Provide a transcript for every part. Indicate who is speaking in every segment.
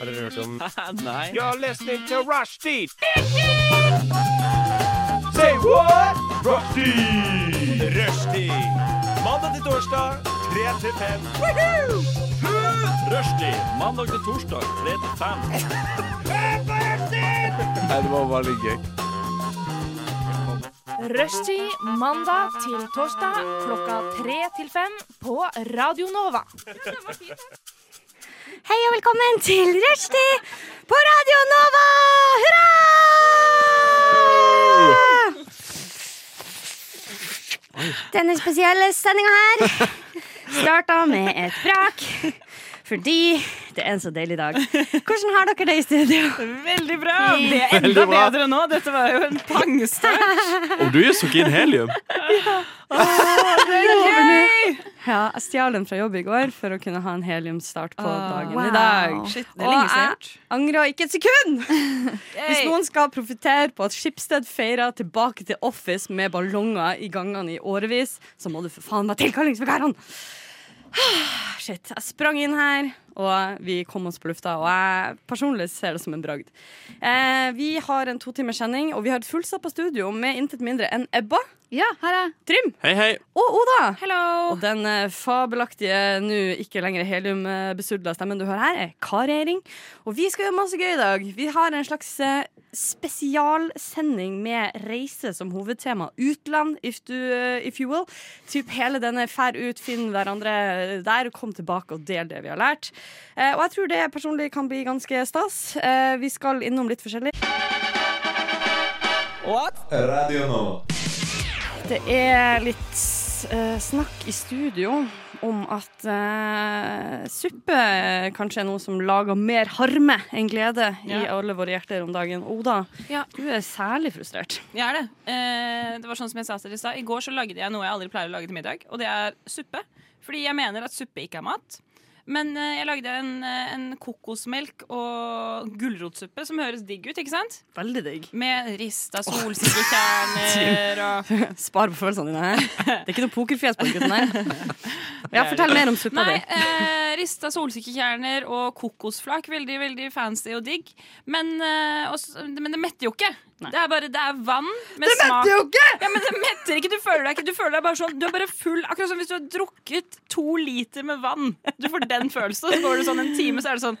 Speaker 1: Har dere hørt om
Speaker 2: Nei.
Speaker 3: You're listening to Rushdie. Say what? Rushdie. Rushdie. Mandag til torsdag, 3 til 5.
Speaker 2: Rushdie mandag til torsdag 3 til 5.
Speaker 4: Nei, det var veldig gøy.
Speaker 5: Rushtid mandag til torsdag klokka tre til fem på Radio Nova.
Speaker 6: Hei og velkommen til Rushdie på Radio Nova! Hurra! Denne spesielle sendinga her starta med et brak. Fordi det er en så deilig dag. Hvordan har dere det i studio?
Speaker 7: Veldig bra! Det er enda
Speaker 4: Veldig bra.
Speaker 7: bedre nå. Dette var jo en pangstart.
Speaker 4: Og du sukket inn helium.
Speaker 6: Ja, jeg stjal den fra jobb i går for å kunne ha en heliumstart på dagen i dag.
Speaker 7: Ah, Shit, det
Speaker 6: Og
Speaker 7: er lenge siden jeg har
Speaker 6: jeg
Speaker 7: gjort.
Speaker 6: angrer ikke et sekund! Hvis noen skal profitere på at Skipsted feirer tilbake til Office med ballonger i gangene i årevis, så må du for faen meg tilkallingsvikarene! Shit. Jeg sprang inn her, og vi kom oss på lufta. Og jeg personlig ser det som en bragd. Eh, vi har en to timers sending, og vi har et fullstappa studio med intet mindre enn Ebba,
Speaker 8: Ja, her er
Speaker 6: Trym
Speaker 4: Hei, hei.
Speaker 6: og Oda. Og den eh, fabelaktige, nå ikke lenger heliumbesudla stemmen du hører her, er Kari Eiring. Og vi skal gjøre masse gøy i dag. Vi har en slags eh, spesialsending med reise som hovedtema. Utland, if, du, eh, if you will. Typ hele denne fær ut, finn hverandre der, kom tilbake og del det vi har lært. Eh, og jeg tror det personlig kan bli ganske stas. Eh, vi skal innom litt forskjellig.
Speaker 9: Radio Nova.
Speaker 6: Det er litt eh, snakk i studio om at eh, suppe kanskje er noe som lager mer harme enn glede i alle våre hjerter om dagen. Oda,
Speaker 7: Ja.
Speaker 6: du er særlig frustrert.
Speaker 7: Jeg er det. Eh, det var sånn som jeg sa til deg i stad. I går så lagde jeg noe jeg aldri pleier å lage til middag, og det er suppe. Fordi jeg mener at suppe ikke er mat. Men eh, jeg lagde en, eh, en kokosmelk og gulrotsuppe som høres digg ut, ikke sant?
Speaker 6: Veldig digg.
Speaker 7: Med rista solsikkekjerner og
Speaker 6: Spar på følelsene dine her. Det er ikke noe pokerfjes på den gutten her. Ja, fortell mer om suppa
Speaker 7: Nei,
Speaker 6: di.
Speaker 7: eh, rista solsikkekjerner og kokosflak. Veldig veldig fancy og digg. Men, eh, og s- men det metter jo ikke. Det er bare det er vann med det smak.
Speaker 6: jo ikke!
Speaker 7: Ja, men det metter ikke. Du føler deg ikke Du føler deg bare sånn Du er bare full. Akkurat som hvis du har drukket to liter med vann. Du får den følelsen, og så går du sånn en time, så er det sånn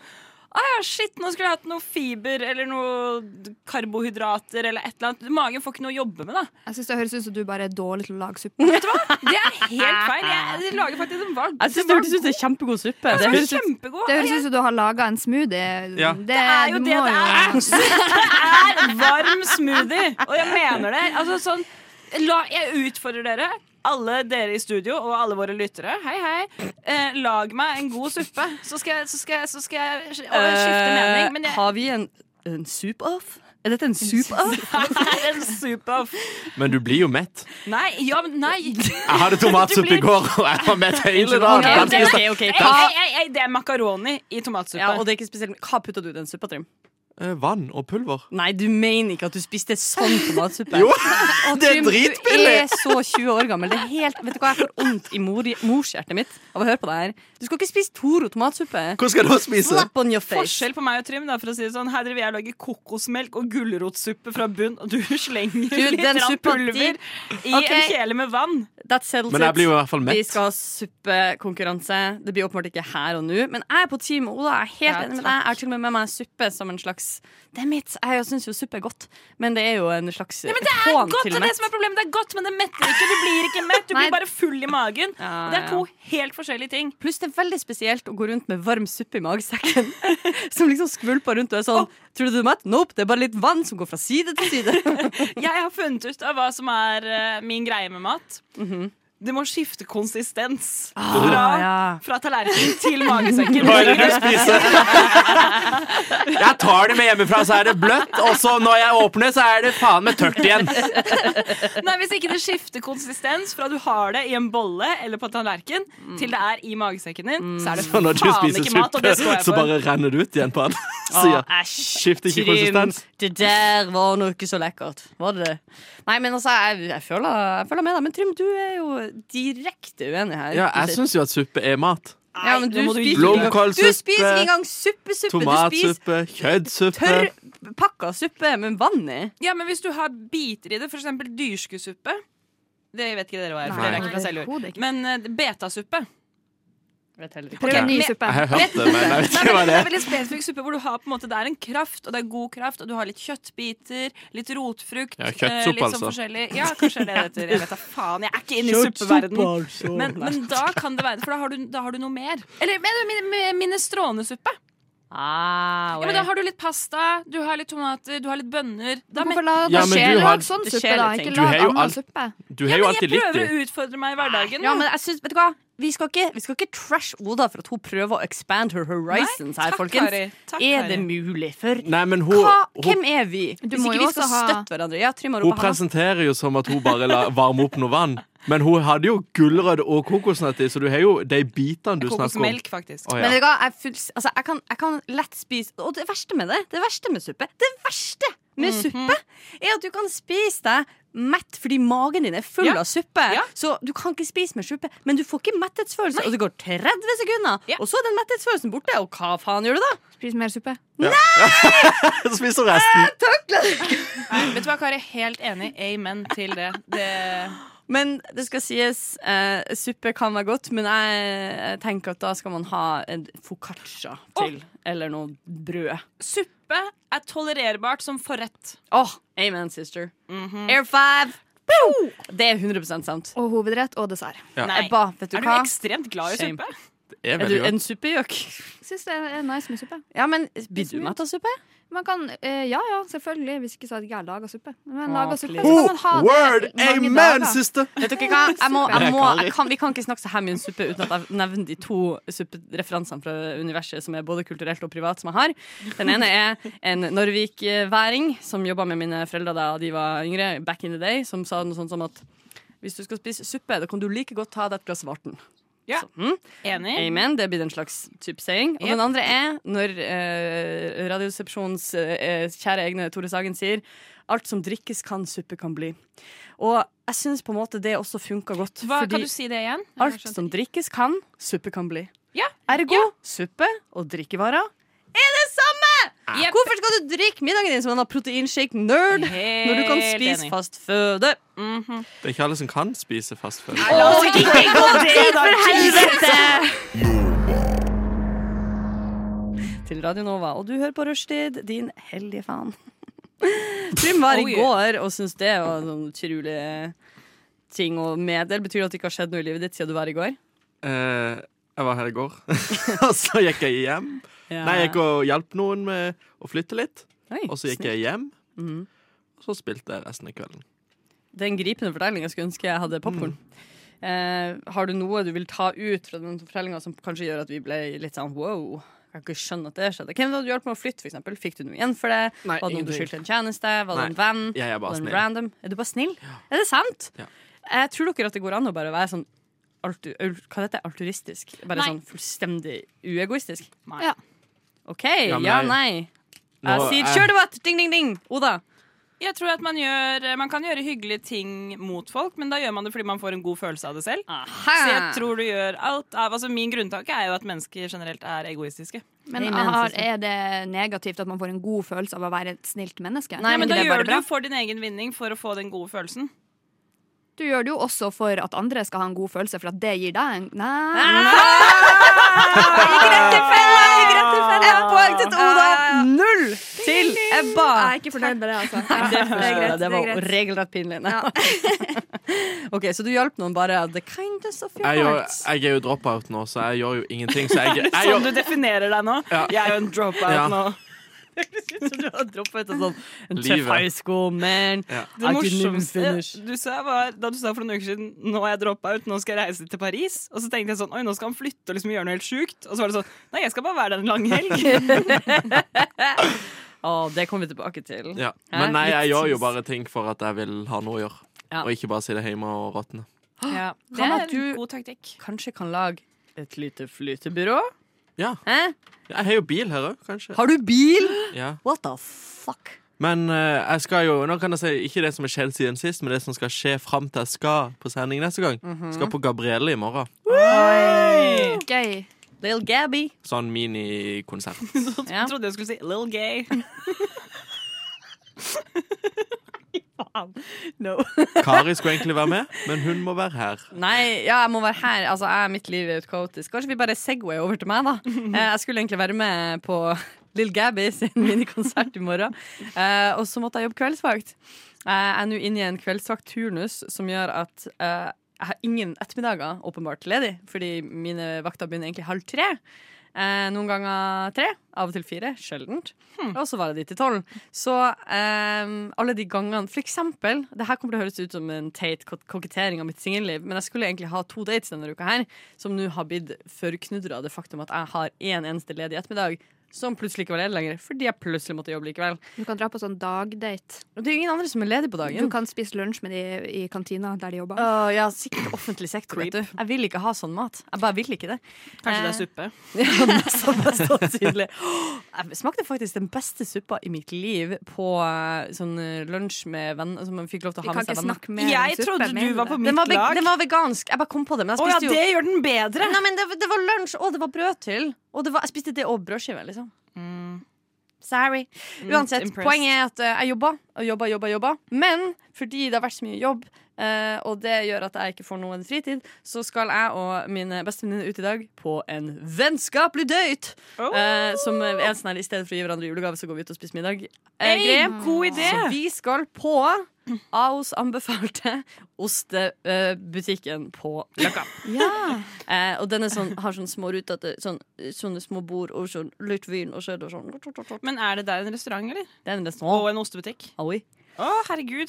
Speaker 7: Å ja, shit, nå skulle jeg hatt noe fiber eller noe karbohydrater eller et eller annet. Magen får ikke noe å jobbe med, da.
Speaker 8: Jeg syns det høres ut som du bare er dårlig til å lage suppe.
Speaker 7: Det er helt feil. Jeg, jeg lager faktisk en varm
Speaker 6: Jeg syns det hørtes ut som en kjempegod suppe. Det høres ut
Speaker 7: Kjempegod.
Speaker 8: Det høres ut som du har laga en smoothie.
Speaker 4: Ja.
Speaker 8: Det,
Speaker 6: Eh,
Speaker 7: er jo
Speaker 8: du
Speaker 7: det
Speaker 8: må
Speaker 7: det er. Det er varm smoothie. Og jeg mener det. Altså, sånn, la, jeg utfordrer dere, alle dere i studio og alle våre lyttere, hei, hei. Eh, lag meg en god suppe, så skal jeg, så skal jeg, så skal jeg sk- å, skifte mening. Men
Speaker 6: Eh,
Speaker 7: jeg
Speaker 6: Har vi en, en soup-off? Er dette en soup-off?
Speaker 7: er en super
Speaker 4: Men du blir jo mett.
Speaker 7: Nei, ja, men nei.
Speaker 4: Jeg hadde tomatsuppe i går, og jeg var mett hele dagen.
Speaker 6: Ja,
Speaker 4: Jeg
Speaker 6: det er
Speaker 4: spiste-
Speaker 6: ok, ok.
Speaker 7: Ei, ei, ei, ei, det er makaroni i tomatsuppe.
Speaker 6: Ja, og det er ikke spesielt Hva putta du i den suppa, Trym?
Speaker 4: Eh, Vann og pulver.
Speaker 6: Nei, du mener ikke at du spiste sånn tomatsuppe?
Speaker 4: Jo,
Speaker 6: Og
Speaker 4: det er
Speaker 6: Trym,
Speaker 4: dritbillig.
Speaker 6: Du er så 20 år gammel. Det er helt, vet du hva, Jeg får vondt i mor, morshjertet mitt av å høre på det her. Du skal ikke spise Toro tomatsuppe.
Speaker 4: Hvor skal du spise?
Speaker 6: Slap on your face.
Speaker 7: Forskjell på meg og Trym, da, for å si det sånn. Her driver jeg og lager kokosmelk og gulrotsuppe fra bunn, og du slenger litt
Speaker 6: den
Speaker 7: grann
Speaker 6: suppa
Speaker 7: pulver i
Speaker 6: Ok.
Speaker 7: en kjele med vann.
Speaker 6: That settles
Speaker 4: Men jeg
Speaker 6: it.
Speaker 4: blir jo i hvert fall
Speaker 6: Vi
Speaker 4: mett.
Speaker 6: skal ha suppekonkurranse. Det blir åpenbart ikke her og nå, men jeg er på team Ola. Jeg er helt
Speaker 7: Ja,
Speaker 6: enig med deg.
Speaker 7: takk.
Speaker 6: Jeg har til og med med meg suppe som en slags Det er mitt. Jeg syns jo suppe er godt, men det er jo en slags
Speaker 7: Ja, men det er
Speaker 6: hån
Speaker 7: godt,
Speaker 6: til
Speaker 7: det er det
Speaker 6: meg.
Speaker 7: som er problemet. Det er godt, men det metter ikke. Du blir ikke mett, du
Speaker 8: Nei.
Speaker 7: blir bare full i magen.
Speaker 6: Ja,
Speaker 7: Det er
Speaker 6: ja.
Speaker 7: to helt forskjellige ting.
Speaker 6: Pluss det er veldig spesielt å gå rundt med varm suppe i magesekken. Som liksom skvulper rundt og er sånn Tror du du er mett? Nope, det er bare litt vann som går fra side til side.
Speaker 7: Jeg har funnet ut av hva som er eh, min greie med mat. Det må skifte konsistens fra,
Speaker 6: Mhm. Ah, ja.
Speaker 7: fra tallerkenen til magesekken.
Speaker 4: Hva er det du spiser? Jeg tar det med hjemmefra, så er det bløtt, og så når jeg åpner, så er det faen meg tørt igjen.
Speaker 7: Nei, Hvis ikke det skifter konsistens fra du har det i en bolle eller på en tallerken,
Speaker 6: Mm.
Speaker 7: til det er i magesekken din, så er det
Speaker 4: Og når du
Speaker 7: faen
Speaker 4: spiser
Speaker 7: ikke mat, og
Speaker 4: suppe,
Speaker 7: det står jeg
Speaker 4: så
Speaker 7: for.
Speaker 4: bare renner det ut igjen på den sida. Skifter ikke konsistens.
Speaker 6: Det der var nå ikke så lekkert. Var det det? Nei, men altså, jeg, jeg, føler, jeg føler med deg. Men Trym, du er jo direkte uenig her.
Speaker 4: Ja, jeg syns jo at suppe er mat.
Speaker 6: Ja, men du
Speaker 7: nå må du gi
Speaker 6: spiser, ikke engang-
Speaker 7: deg.
Speaker 6: du
Speaker 4: Blomkålsuppe,
Speaker 6: spiser ikke engang suppesuppe. Du spiser
Speaker 4: Tomatsuppe, kjøttsuppe
Speaker 6: tørr pakka suppe med vann i.
Speaker 7: Ja, men hvis du har biter i det, f.eks. dyrskuesuppe Det vet ikke dere hva er, for
Speaker 8: Nei,
Speaker 7: dere er ikke fra Seljord.
Speaker 8: overhodet ikke.
Speaker 7: Men eh, betasuppe.
Speaker 6: Vet heller
Speaker 8: Prøv en ny
Speaker 7: med-
Speaker 8: suppe.
Speaker 4: Jeg hørte det, men jeg vet
Speaker 7: Nei,
Speaker 4: ikke hva
Speaker 7: men det
Speaker 4: det
Speaker 7: er en
Speaker 4: er.
Speaker 7: veldig spesifikk suppe hvor du har på en måte, det er en kraft, og det er god kraft, og du har litt kjøttbiter, litt rotfrukt
Speaker 4: Ja,
Speaker 7: eh,
Speaker 4: kjøttsuppe,
Speaker 7: Litt sånn
Speaker 4: altså.
Speaker 7: forskjellig Ja, kanskje det er det det heter. Jeg vet da faen. Jeg er ikke inne i suppeverden. Men, men da kan det være For da har du, da har du noe mer. Eller men, min- min- minestronesuppe.
Speaker 6: ah,
Speaker 7: Ja, men da har du litt pasta, du har litt tomater, du har litt bønner. Da
Speaker 8: Hvorfor
Speaker 7: men,
Speaker 8: la
Speaker 4: Ja,
Speaker 8: ja,
Speaker 4: men
Speaker 8: skje?
Speaker 4: du har-
Speaker 8: Lag sånn
Speaker 6: det
Speaker 8: suppe,
Speaker 6: skjer
Speaker 8: da.
Speaker 6: litt
Speaker 8: Ikke
Speaker 6: ting.
Speaker 4: Du har
Speaker 8: lag
Speaker 4: jo
Speaker 8: annen
Speaker 4: alt-
Speaker 8: suppe.
Speaker 4: Du har jo
Speaker 7: ja, men jeg
Speaker 4: alltid litt,
Speaker 7: prøver
Speaker 4: du.
Speaker 7: å utfordre meg i hverdagen.
Speaker 6: Ja, men jeg synes, vet du hva? Vi skal ikke, vi skal ikke trash Oda for at hun prøver å expand her horizons her,
Speaker 7: Takk,
Speaker 6: folkens.
Speaker 7: Kari. Takk,
Speaker 6: er
Speaker 7: Kari.
Speaker 6: det mulig? For
Speaker 4: Nei, men hun,
Speaker 6: hva,
Speaker 4: hun,
Speaker 6: hvem er vi? Hvis
Speaker 8: må
Speaker 6: ikke
Speaker 8: jo
Speaker 6: vi skal
Speaker 8: også ha-
Speaker 6: støtte hverandre. Ja, Trym har
Speaker 4: hun
Speaker 6: ropa henne.
Speaker 4: presenterer jo som at hun bare la, varmer opp noe vann. Men hun hadde jo gulrøtt og kokosnøtt i, så du har jo de bitene du snakker om.
Speaker 7: Kokosmelk, faktisk.
Speaker 4: Å, ja.
Speaker 6: Men vet du hva, jeg, er fulls- altså, jeg, kan, jeg kan lett spise Og det verste med det, det verste med suppe Det verste med
Speaker 7: Mhm.
Speaker 6: suppe er at du kan spise deg mett fordi magen din er full
Speaker 7: Ja.
Speaker 6: av suppe.
Speaker 7: Ja.
Speaker 6: Så du kan ikke spise mer suppe, men du får ikke metthetsfølelse. Og det går 30 sekunder,
Speaker 7: Ja.
Speaker 6: og så er den metthetsfølelsen borte. Og hva faen gjør du da?
Speaker 8: Spis mer suppe.
Speaker 4: Spis hun resten.
Speaker 7: Vet du hva, Kari? Helt enig. Amen til det. det
Speaker 6: Men det skal sies, eh, suppe kan være godt, men jeg, jeg tenker at da skal man ha en foccaccia til. Eller noe brød.
Speaker 7: suppe er tolererbart som forrett.
Speaker 6: Åh, Mhm. Amen, sister. Air five! Boom! Det er 100 sant.
Speaker 8: Og hovedrett og dessert.
Speaker 6: Jeg ba, vet du
Speaker 7: Er du
Speaker 6: hva?
Speaker 7: ekstremt glad i
Speaker 6: Shame.
Speaker 7: suppe?
Speaker 4: Det er
Speaker 6: Er du
Speaker 4: veldig
Speaker 6: en
Speaker 4: godt.
Speaker 6: suppegjøk?
Speaker 8: Syns det er nice med suppe.
Speaker 6: Ja, men blir du mett av suppe?
Speaker 8: Man kan, eh, ja ja, selvfølgelig. Hvis ikke så hadde ikke jeg laga suppe.
Speaker 6: Å,
Speaker 8: Men
Speaker 7: Ah,
Speaker 8: laga suppe,
Speaker 6: please.
Speaker 8: så kan man ha
Speaker 4: Oh,
Speaker 8: det
Speaker 4: word!
Speaker 8: mange
Speaker 4: Amen,
Speaker 8: dager.
Speaker 4: søster!
Speaker 6: Vet dere hva? Jeg må, jeg
Speaker 4: Jeg
Speaker 6: må,
Speaker 4: kan
Speaker 6: jeg kan, vi kan ikke snakke så her mye om suppe uten at jeg nevner de to suppereferansene fra universet som er både kulturelt og privat som jeg har. Den ene er en Narvik-væring som jobba med mine foreldre da de var yngre, back in the day, som sa noe sånt som at hvis du skal spise suppe, da kan du like godt ta deg et glass varten.
Speaker 7: Ja.
Speaker 6: Så, mm,
Speaker 7: Enig.
Speaker 6: amen. Det blir en slags type saying. Og
Speaker 7: Yep.
Speaker 6: den andre er når eh, Radioresepsjonens eh, kjære egne Tore Sagen sier Alt som drikkes kan, suppe kan bli. Og jeg syns på en måte det også funka godt.
Speaker 7: Hva,
Speaker 6: fordi
Speaker 7: kan du si det igjen?
Speaker 6: alt som drikkes kan, suppe kan bli.
Speaker 7: Ja.
Speaker 6: Ergo suppe og drikkevarer er det samme!
Speaker 7: Jepp.
Speaker 6: Hvorfor skal du drikke middagen din som en proteinshake nerd
Speaker 7: Helt
Speaker 6: når du kan spise
Speaker 7: enig.
Speaker 6: fast føde?
Speaker 4: Det er ikke alle som kan spise fast før.
Speaker 7: La oss ikke gå dit, for
Speaker 6: til Radio Nova, og du hører på Rushtid, din heldige faen. Trym var
Speaker 7: Oh,
Speaker 6: i
Speaker 7: yeah.
Speaker 6: går og syntes det var en sånn utrolig ting å meddele. Betyr det at det ikke har skjedd noe i livet ditt siden du var her i går?
Speaker 4: Eh, jeg var her i går, og så gikk jeg hjem. Nei, jeg gikk og hjalp noen med å flytte litt.
Speaker 6: Oi,
Speaker 4: Og så gikk jeg hjem,
Speaker 6: Mm.
Speaker 4: og så spilte jeg resten av kvelden.
Speaker 6: Det er en gripende fortelling. Jeg skulle ønske jeg hadde popkorn.
Speaker 4: Mm.
Speaker 6: Eh, har du noe du vil ta ut fra den fortellinga som kanskje gjør at vi ble litt sånn wow? Jeg kan ikke skjønne at det skjedde. Hvem var det du hjalp med å flytte, for eksempel? Fikk du noe igjen for det?
Speaker 4: Nei,
Speaker 6: var det noen du
Speaker 4: ingenting.
Speaker 6: skyldte en tjeneste? Var det en venn?
Speaker 4: Jeg er bare
Speaker 6: var det en
Speaker 4: snill.
Speaker 6: random? Er du bare snill? Er det sant?
Speaker 4: Ja.
Speaker 6: Jeg tror dere at det går an å bare være sånn altu, al- Hva heter det? Alturistisk? Bare
Speaker 7: Nei.
Speaker 6: sånn fullstendig uegoistisk?
Speaker 7: Nei.
Speaker 8: Ja.
Speaker 6: OK.
Speaker 4: Ja,
Speaker 6: Ja,
Speaker 4: men jeg-
Speaker 6: nei.
Speaker 4: Nå
Speaker 6: Jeg sier
Speaker 4: er-
Speaker 6: kjør debatt! Ding, ding, ding! Oda.
Speaker 7: Jeg tror at man, gjør, man kan gjøre hyggelige ting mot folk, men da gjør man det fordi man får en god følelse av det selv. Så jeg tror du gjør alt av Altså Min grunntanke er jo at mennesker generelt er egoistiske.
Speaker 8: Men
Speaker 6: Amen,
Speaker 8: har,
Speaker 6: søster.
Speaker 8: er det negativt at man får en god følelse av å være et snilt
Speaker 6: Nei,
Speaker 8: menneske?
Speaker 7: Nei, men
Speaker 6: men
Speaker 7: da
Speaker 6: det er
Speaker 7: gjør
Speaker 6: bare
Speaker 7: du det for din egen vinning for å få den gode følelsen.
Speaker 8: Du gjør det jo også for at andre skal ha en god følelse, for at det gir deg en Nei.
Speaker 6: Ett poeng til Oda. Null til Ebba.
Speaker 8: Jeg er ikke fornøyd med det, altså. det er greit.
Speaker 6: det
Speaker 8: Det
Speaker 6: var
Speaker 8: er greit.
Speaker 6: regelrett pinlig. Nei. ok, Så du hjalp noen bare av the kindness of your
Speaker 4: Jeg, gjør,
Speaker 6: hearts.
Speaker 4: jeg er jo dropout nå, så jeg gjør jo ingenting. Så jeg, jeg,
Speaker 7: Sånn
Speaker 4: gjør-
Speaker 7: du definerer deg nå.
Speaker 4: Ja.
Speaker 7: Jeg er jo en dropout
Speaker 4: Ja.
Speaker 7: nå.
Speaker 6: Så du har droppet en sånn en
Speaker 4: Livet.
Speaker 6: tøff high school man.
Speaker 4: Ja.
Speaker 7: Det
Speaker 6: I didn't even finish.
Speaker 7: morsomste du sa var da du sa for noen uker siden Nå er jeg droppa ut, nå skal jeg reise til Paris. Og så tenkte jeg sånn Oi, nå skal han flytte og liksom gjøre noe helt sjukt. Og så var det sånn Nei, jeg skal bare være der en lang helg.
Speaker 6: Å, det kommer vi tilbake til.
Speaker 4: ja.
Speaker 6: Hæ?
Speaker 4: Men nei, jeg
Speaker 6: Litt-
Speaker 4: gjør jo bare ting for at jeg vil ha noe å gjøre.
Speaker 6: Ja.
Speaker 4: Og ikke bare sitte hjemme og råtne.
Speaker 7: Ja, det
Speaker 6: Hanna,
Speaker 7: er en
Speaker 6: du-
Speaker 7: god taktikk.
Speaker 6: Kanskje kan lage et lite flytebyrå?
Speaker 4: Ja.
Speaker 6: Hæ?
Speaker 4: Jeg har jo bil her òg, kanskje.
Speaker 6: Har du bil?
Speaker 4: Ja.
Speaker 6: What the fuck?
Speaker 4: Men eh, jeg skal jo Nå kan jeg si ikke det som har skjedd siden sist, men det som skal skje fram
Speaker 6: Mhm.
Speaker 4: til jeg skal på sending neste gang. Skal på Gabrielle i morgen.
Speaker 8: Gøy.
Speaker 6: Little Gabby.
Speaker 4: Sånn minikonsert.
Speaker 6: Ja.
Speaker 7: Jeg trodde jeg skulle si Lil Gay. Faen. No.
Speaker 4: Kari skulle egentlig være med, men hun må være her.
Speaker 6: Nei, ja, jeg må være her. Altså, jeg, mitt liv er jo kaotisk. Kanskje vi bare segway over til meg, da. Eh, Jeg skulle egentlig være med på Lill Gabby sin minikonsert i morgen. Eh, og så måtte jeg jobbe kveldsvakt. Eh, jeg er nå inne i en kveldsvakt-turnus som gjør at eh, jeg har ingen ettermiddager åpenbart ledig, fordi mine vakter begynner egentlig halv tre. Eh, noen ganger tre, av og til fire. Sjeldent. Og så var det de til tolv. Så eh, alle de gangene For eksempel, det her kommer til å høres ut som en teit kok- kokettering av mitt singelliv, men jeg skulle egentlig ha to dates denne uka her, som nå har blitt forknudra av det faktum at jeg har én eneste ledig ettermiddag, som plutselig ikke var ledig lenger, fordi jeg plutselig måtte jobbe likevel.
Speaker 8: Du kan dra på sånn dagdate.
Speaker 6: Og det er jo ingen andre som er ledig på
Speaker 8: Du
Speaker 6: dagen.
Speaker 8: kan spise lunsj med de i kantina der de jobber.
Speaker 6: Åh, ja, sikkert offentlig sektor, vet du. Jeg vil ikke ha sånn mat. Jeg bare vil ikke det.
Speaker 7: Kanskje det
Speaker 6: Eh.
Speaker 7: er suppe.
Speaker 6: Ja, mest mest sannsynlig. Jeg smakte faktisk den beste suppa i mitt liv på eh, sånn eh, lunsj med venner. Som man fikk lov til å
Speaker 8: Vi
Speaker 6: ha
Speaker 8: kan
Speaker 6: med
Speaker 8: ikke
Speaker 6: seg venner.
Speaker 8: snakke mer
Speaker 7: Jeg
Speaker 8: om suppe,
Speaker 7: trodde du
Speaker 8: mener
Speaker 7: var
Speaker 8: det.
Speaker 6: Den
Speaker 7: på
Speaker 6: var,
Speaker 7: mitt
Speaker 6: veg-
Speaker 7: lag.
Speaker 6: den var vegansk. Jeg bare kom på det. Men jeg
Speaker 7: Å ja,
Speaker 6: spiste jo
Speaker 7: det gjør den bedre!
Speaker 6: Nei, men det, det var lunsj, og det var brød til. Og det var, jeg spiste det og brødskive, liksom. Sorry. Uansett,
Speaker 7: Mm. impressed.
Speaker 6: poenget er at eh, jeg jobba og jobba, jobba, jobba. Men fordi det har vært så mye jobb, eh, og det gjør at jeg ikke får noen fritid, så skal jeg og mine bestevenninner ut i dag på en vennskapelig date.
Speaker 7: Oh.
Speaker 6: Eh, som er en sånn her, I stedet for å gi hverandre julegave, så går vi ut og spiser middag. Eh,
Speaker 7: Hey, Mm.
Speaker 6: greie.
Speaker 7: god idé!
Speaker 6: Så vi skal på Aos anbefalte ostebutikken på Løkka.
Speaker 8: Ja.
Speaker 6: Eh, og den er sånn, har sånn små rutete sånn, sånne små bord og sånn litt vin, og så er det sånn Det
Speaker 7: Men er det der en restaurant, eller?
Speaker 6: er en
Speaker 7: Og
Speaker 6: restaurant.
Speaker 7: en ostebutikk?
Speaker 6: Oi.
Speaker 7: Å, herregud,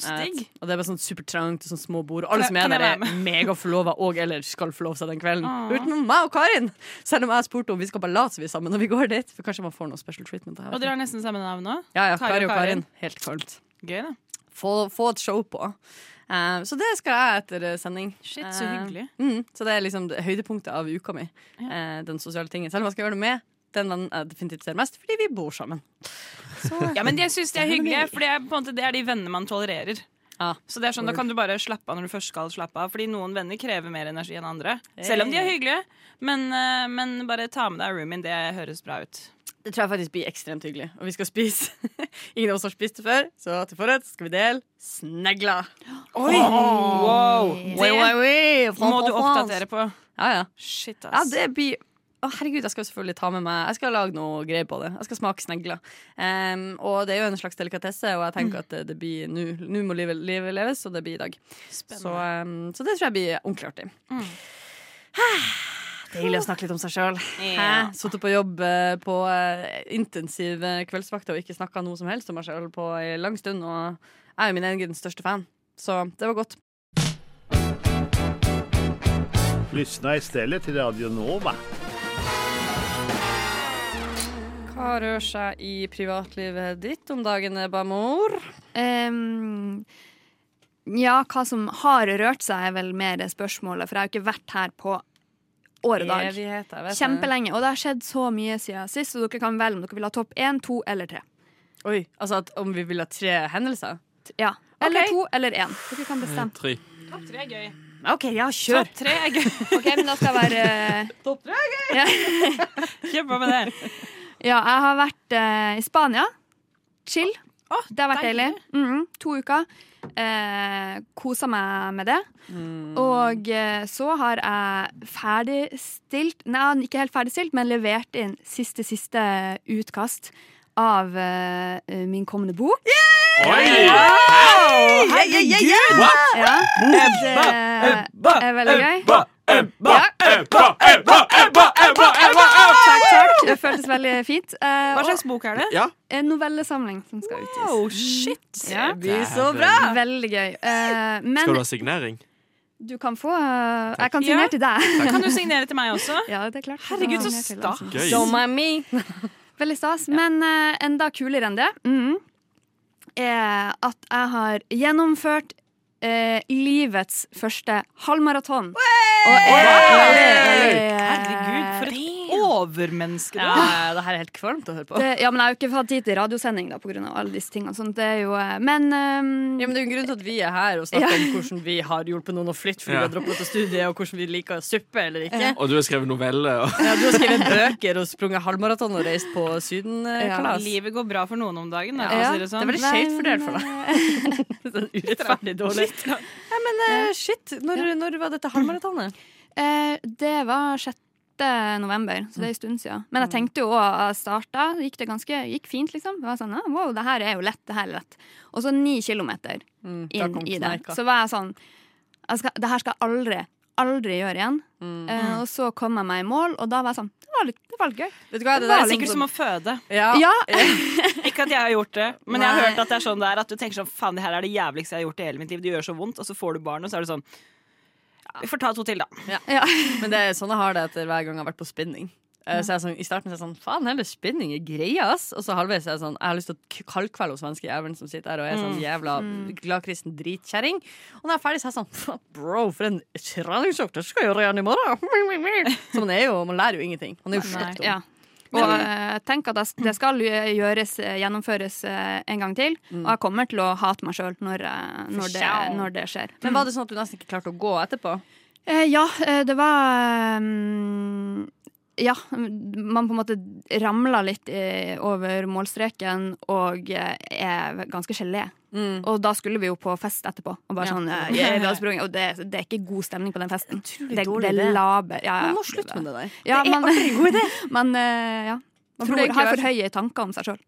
Speaker 6: Eh,
Speaker 7: stig!
Speaker 6: og det er bare sånn supertrangt og sånn små bord. Og alle som er
Speaker 7: Kan jeg
Speaker 6: der,
Speaker 7: være
Speaker 6: er megaforlova og eller skal forlove seg den kvelden.
Speaker 7: Ah.
Speaker 6: Utenom meg og Karin! Selv om jeg spurte om vi skal bare late som vi er sammen når vi går dit. For kanskje man får noe special treatment her.
Speaker 7: Og dere har nesten samme navn nå?
Speaker 6: Ja, ja,
Speaker 7: Kari
Speaker 6: Kari
Speaker 7: og
Speaker 6: og Karin. Helt kaldt.
Speaker 7: Gøy, da.
Speaker 6: Få, få et show på. Eh, så det skal jeg etter eh, sending.
Speaker 7: Shit,
Speaker 6: Eh,
Speaker 7: så hyggelig.
Speaker 6: Mm, så det er liksom det høydepunktet av uka mi. eh, den sosiale tingen. Selv om jeg skal gjøre det med den vennen jeg definitivt ser mest, fordi vi bor sammen.
Speaker 7: Ja, men jeg syns de er hyggelige, for det er, på en måte, det er de vennene man tolererer.
Speaker 6: Ja.
Speaker 7: Så det er sånn, Da kan du bare slappe av når du først skal slappe av. Fordi noen venner krever mer energi enn andre. Selv om de er hyggelige. Men, eh, men bare ta med deg roomien. Det høres bra ut.
Speaker 6: Det tror jeg faktisk blir ekstremt hyggelig. Og vi skal spise. Ingen av oss har spist det før, så til forrett skal vi dele snegler.
Speaker 7: Wow.
Speaker 6: Oi, oi,
Speaker 7: Det
Speaker 6: oi,
Speaker 7: må
Speaker 6: frans,
Speaker 7: du
Speaker 6: frans.
Speaker 7: oppdatere på.
Speaker 6: Ja, ja.
Speaker 7: Shit,
Speaker 6: Ja,
Speaker 7: ass.
Speaker 6: det blir å, herregud, jeg skal selvfølgelig ta med meg Jeg skal lage noe greier på det. Jeg skal smake snegler. Em, og det er jo en slags delikatesse, og jeg
Speaker 7: Mm.
Speaker 6: tenker at det, det blir nå Nå må livet, livet leves, og det blir i dag. Så,
Speaker 7: Spennende. Mm.
Speaker 6: em, så det tror jeg blir ordentlig artig. Deilig å snakke litt om seg sjøl.
Speaker 7: Ja.
Speaker 6: Sittet på jobb eh, på eh, intensiv eh, kveldsvakt og ikke snakka noe som helst om meg sjøl på en lang stund, og jeg er jo min egen største fan, så det var godt.
Speaker 1: Lyssna istället till Radio Nova.
Speaker 6: Hva rører seg i privatlivet ditt om dagen, Bamor?
Speaker 8: Ehm, ja, hva som har rørt seg, er vel mer spørsmålet, for jeg har ikke vært her på år og dag.
Speaker 6: Evighet, jeg vet
Speaker 8: altså?
Speaker 6: det.
Speaker 8: Kjempelenge. Og det har skjedd så mye siden sist, så dere kan velge om dere vil ha topp én, to eller tre.
Speaker 6: Oi, altså at om vi vil ha tre hendelser?
Speaker 8: Ja. Eller
Speaker 6: Ok.
Speaker 8: to eller én. Dere kan bestemme.
Speaker 4: Tre.
Speaker 7: Topp tre er gøy.
Speaker 6: Ok, ja,
Speaker 7: Topp tre er gøy.
Speaker 8: Ok, men da skal jeg være
Speaker 7: Kjempe med det.
Speaker 8: Ja, jeg har vært eh, i Spania. Chill.
Speaker 7: Å,
Speaker 8: det har vært deilig.
Speaker 7: deilig.
Speaker 8: Mhm, to uker. Eh, Kosa meg med det.
Speaker 7: Mm.
Speaker 8: Og eh, så har jeg ferdigstilt Nei, ikke helt ferdigstilt, men levert inn siste, siste utkast av eh, min kommende bok.
Speaker 4: Oi!
Speaker 8: Ja, Eh, det er veldig gøy. Ja. Takk, takk. Det føltes veldig fint. Eh,
Speaker 7: Hva
Speaker 8: og
Speaker 7: slags bok er det?
Speaker 4: Ja.
Speaker 8: en novellesamling som skal utgis.
Speaker 7: Oh, shit.
Speaker 8: Ja,
Speaker 6: blir så bra!
Speaker 8: veldig gøy. Eh, men
Speaker 4: Skal du ha signering?
Speaker 8: Du kan få øh, Jeg kan signere
Speaker 7: Ja.
Speaker 8: til deg.
Speaker 7: Kan du signere til meg også?
Speaker 8: Ja, det er klart.
Speaker 7: Herregud, så
Speaker 8: Signere til deg.
Speaker 7: stas.
Speaker 4: Gøy.
Speaker 6: Don't mind me.
Speaker 8: Veldig stas. Men øh, enda kulere enn det mhm, er at jeg har gjennomført øh, livets første halvmaraton. Og er veldig, veldig, øh,
Speaker 7: Herregud, for et overmenneske,
Speaker 6: Ja,
Speaker 7: da.
Speaker 6: ja, det her er helt kvalmt å høre på.
Speaker 8: Det, ja, men jeg har jo ikke hatt tid til radiosending da, på grunn av alle disse tingene. Sånn, det er jo, eh, men ehm,
Speaker 6: Ja, men det er jo en grunn til at vi er her og snakker om hvordan vi har hjulpet noen å flytte fordi
Speaker 4: Ja.
Speaker 6: vi har droppet ut av studiet, og hvordan vi liker suppe eller ikke.
Speaker 4: Og du har skrevet novelle. Og...
Speaker 6: Ja, du har skrevet bøker og sprunget halvmaraton og reist på sydenkalas.
Speaker 7: Livet går bra for noen om dagen. Da, for
Speaker 6: Ja,
Speaker 7: å si
Speaker 6: det
Speaker 7: det sånn.
Speaker 6: er veldig
Speaker 8: Nei,
Speaker 6: skjevt fordelt for deg. Sånn urettferdig dårlig. Nei, men eh, shit, når, når var dette halvmaratonet?
Speaker 8: eh, det var 6. november, så det er en stund siden. Men
Speaker 6: Mm.
Speaker 8: jeg tenkte jo også, jeg starta, gikk det ganske gikk fint, liksom. Det var sånn, ah, wow, det her er jo lett, det her er lett. Og så ni kilometer
Speaker 6: Mm, da
Speaker 8: inn
Speaker 6: kom
Speaker 8: i det.
Speaker 6: kneika.
Speaker 8: Så var jeg sånn jeg skal, Det her skal jeg aldri, aldri gjøre igjen.
Speaker 6: Mm.
Speaker 8: Eh, og så kom jeg meg i mål, og da var jeg sånn Det var litt, det var litt gøy.
Speaker 6: Vet du hva,
Speaker 7: det
Speaker 6: der
Speaker 7: er
Speaker 6: sånn
Speaker 7: sikkert som å føde.
Speaker 6: Ja,
Speaker 8: Ja,
Speaker 7: Ikke at jeg har gjort det, men jeg har
Speaker 8: Nei.
Speaker 7: hørt at det er sånn det er. At du tenker sånn faen, det her er det jævligste jeg har gjort i hele mitt liv. Det gjør så vondt. Og så får du barn, og så er det sånn ja, Vi får ta to til, da.
Speaker 8: ja.
Speaker 6: Men det er sånn jeg har det etter hver gang jeg har vært på spinning. Eh, Så jeg er sånn, I starten så er jeg sånn Faen, hele spinning er greia, ass! Og så halvveis er jeg sånn Jeg har lyst til å k- kaldkvelde hos svenske jævelen som sitter her og er sånn
Speaker 8: Mm.
Speaker 6: jævla gladkristen dritkjerring. Og når jeg er ferdig, så er jeg sånn «Faen, Bro, for en treningsøkt! Det skal jeg gjøre igjen i morgen! Så man er jo Man lærer jo ingenting. Man er jo
Speaker 7: Nei.
Speaker 6: slutt
Speaker 8: Ja. Og eh, tenk at jeg s- det skal gjø- gjøres, eh, gjennomføres eh, en gang til.
Speaker 6: Mm.
Speaker 8: Og jeg kommer til å hate meg sjøl når, eh, når, det,
Speaker 6: sjau.
Speaker 8: når det skjer.
Speaker 6: Men var det sånn at du nesten ikke klarte å gå etterpå?
Speaker 8: Eh, ja, eh, det var mm, Ja, man på en måte ramler litt eh, over målstreken og eh, er ganske gelé. Og da skulle vi jo på fest etterpå. Og bare
Speaker 6: Mm. Ja.
Speaker 8: sånn, eh, yeah, vi har sprunget, og det, det er ikke god stemning på den festen.
Speaker 6: Utrolig
Speaker 8: Det,
Speaker 6: dårlig
Speaker 8: det
Speaker 6: idé.
Speaker 8: er laber. Ja, ja.
Speaker 6: Man må slutte med det der.
Speaker 8: Ja,
Speaker 6: det er
Speaker 8: man-
Speaker 6: aldri en god idé.
Speaker 8: Men eh, ja.
Speaker 6: Man
Speaker 8: Man tror,
Speaker 6: burde egentlig
Speaker 8: har
Speaker 6: være
Speaker 8: for høye tanker om seg sjøl.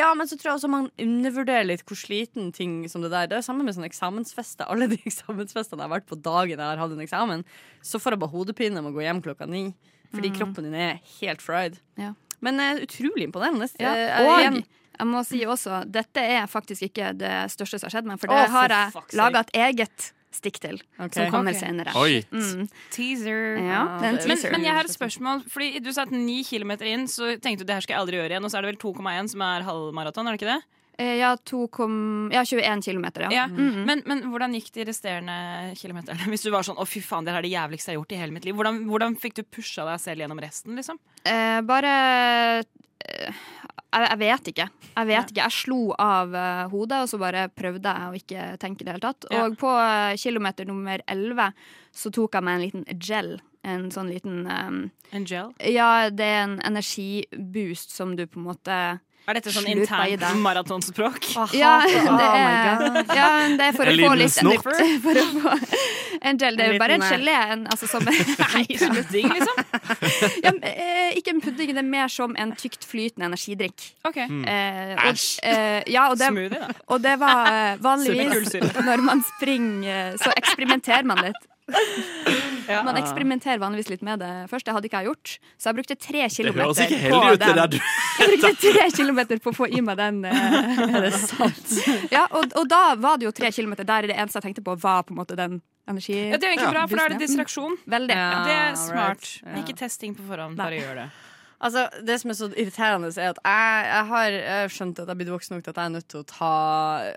Speaker 6: Ja, men så tror jeg også man undervurderer litt hvor sliten ting som det der Det er samme med sånne eksamensfester. Alle de eksamensfestene jeg har vært på dagen jeg har hatt en eksamen, så får jeg bare hodepine om å gå hjem klokka ni. Fordi
Speaker 8: Mm.
Speaker 6: kroppen din er helt fried.
Speaker 8: Ja.
Speaker 6: Men eh, utrolig imponerende.
Speaker 8: Ja,
Speaker 6: Eh,
Speaker 8: og
Speaker 6: igjen,
Speaker 8: jeg må si også, dette er faktisk ikke det største som har skjedd meg, for
Speaker 6: Å,
Speaker 8: det
Speaker 6: for
Speaker 8: har
Speaker 6: fuck's
Speaker 8: jeg
Speaker 6: sake.
Speaker 8: laga et eget stikk til,
Speaker 6: Ok.
Speaker 8: som kommer
Speaker 7: Ok.
Speaker 8: senere.
Speaker 4: Oi.
Speaker 8: Mm.
Speaker 7: Teaser.
Speaker 8: Ja, det er en
Speaker 7: Men,
Speaker 8: teaser.
Speaker 7: men jeg har et spørsmål. Fordi Du sa at ni kilometer inn så tenkte du det her skal jeg aldri gjøre igjen. Og så er det vel 2,1 som er halvmaraton, er det ikke det?
Speaker 8: Eh, ja, to kom, ja, 21 km, ja.
Speaker 7: Ja. Men, men hvordan gikk de resterende kilometerne? Hvis du var sånn 'Å, fy faen, det her er det jævligste jeg har gjort i hele mitt liv'. Hvordan, hvordan fikk du pusha deg selv gjennom resten, liksom?
Speaker 8: Eh, bare eh, jeg, jeg vet ikke. Jeg vet ikke. Jeg slo av eh, hodet, og så bare prøvde jeg å ikke tenke i det hele tatt.
Speaker 7: Ja.
Speaker 8: Og på eh, kilometer nummer 11 så tok jeg meg en liten gel. En sånn liten eh,
Speaker 7: En gel?
Speaker 8: Ja, det er en energiboost som du på en måte
Speaker 7: Er dette sånn
Speaker 8: Slurpa i
Speaker 7: internt
Speaker 8: deg.
Speaker 7: maratonspråk?
Speaker 8: Ja, det
Speaker 6: Oh my
Speaker 8: er, ja, men det er for å
Speaker 4: En
Speaker 8: få
Speaker 4: liten
Speaker 8: litt
Speaker 4: snort.
Speaker 8: energi- For å få en gel. Det er
Speaker 6: En
Speaker 8: jo bare en
Speaker 6: liten, eh,
Speaker 8: gelé. En, altså, som, Nei,
Speaker 7: Pudding, liksom?
Speaker 8: ja, men, eh, ikke en pudding, det er mer som en tykt flytende energidrikk.
Speaker 7: Ok,
Speaker 4: Mm.
Speaker 8: Eh, og, eh, ja, og det,
Speaker 7: Mm. Smoothie, da.
Speaker 8: og det var eh,
Speaker 7: Med
Speaker 8: vanligvis
Speaker 7: kullsyre.
Speaker 8: når man springer, eh, så eksperimenterer man litt.
Speaker 7: Ja.
Speaker 8: Man eksperimenterer vanligvis litt med det først. Det hadde ikke jeg gjort. Så jeg brukte tre
Speaker 4: Det
Speaker 8: kilometer
Speaker 4: høres ikke
Speaker 8: på
Speaker 4: heldig ut, det
Speaker 8: den.
Speaker 4: der du
Speaker 8: Jeg brukte tre kilometer på å få i meg den. eh,
Speaker 6: er det sant?
Speaker 8: Ja, og, og da var det jo tre kilometer der det eneste jeg tenkte på, var på en måte den energi...
Speaker 7: Ja, det er egentlig bra, for da er det distraksjon.
Speaker 8: Veldig.
Speaker 6: Ja.
Speaker 7: Det er
Speaker 6: alright.
Speaker 7: smart.
Speaker 6: Ja.
Speaker 7: Ikke test ting på forhånd, bare gjør det.
Speaker 6: Altså, det som er så irriterende, er at jeg, jeg har jeg har skjønt at jeg er blitt voksen nok til at jeg er nødt til å ta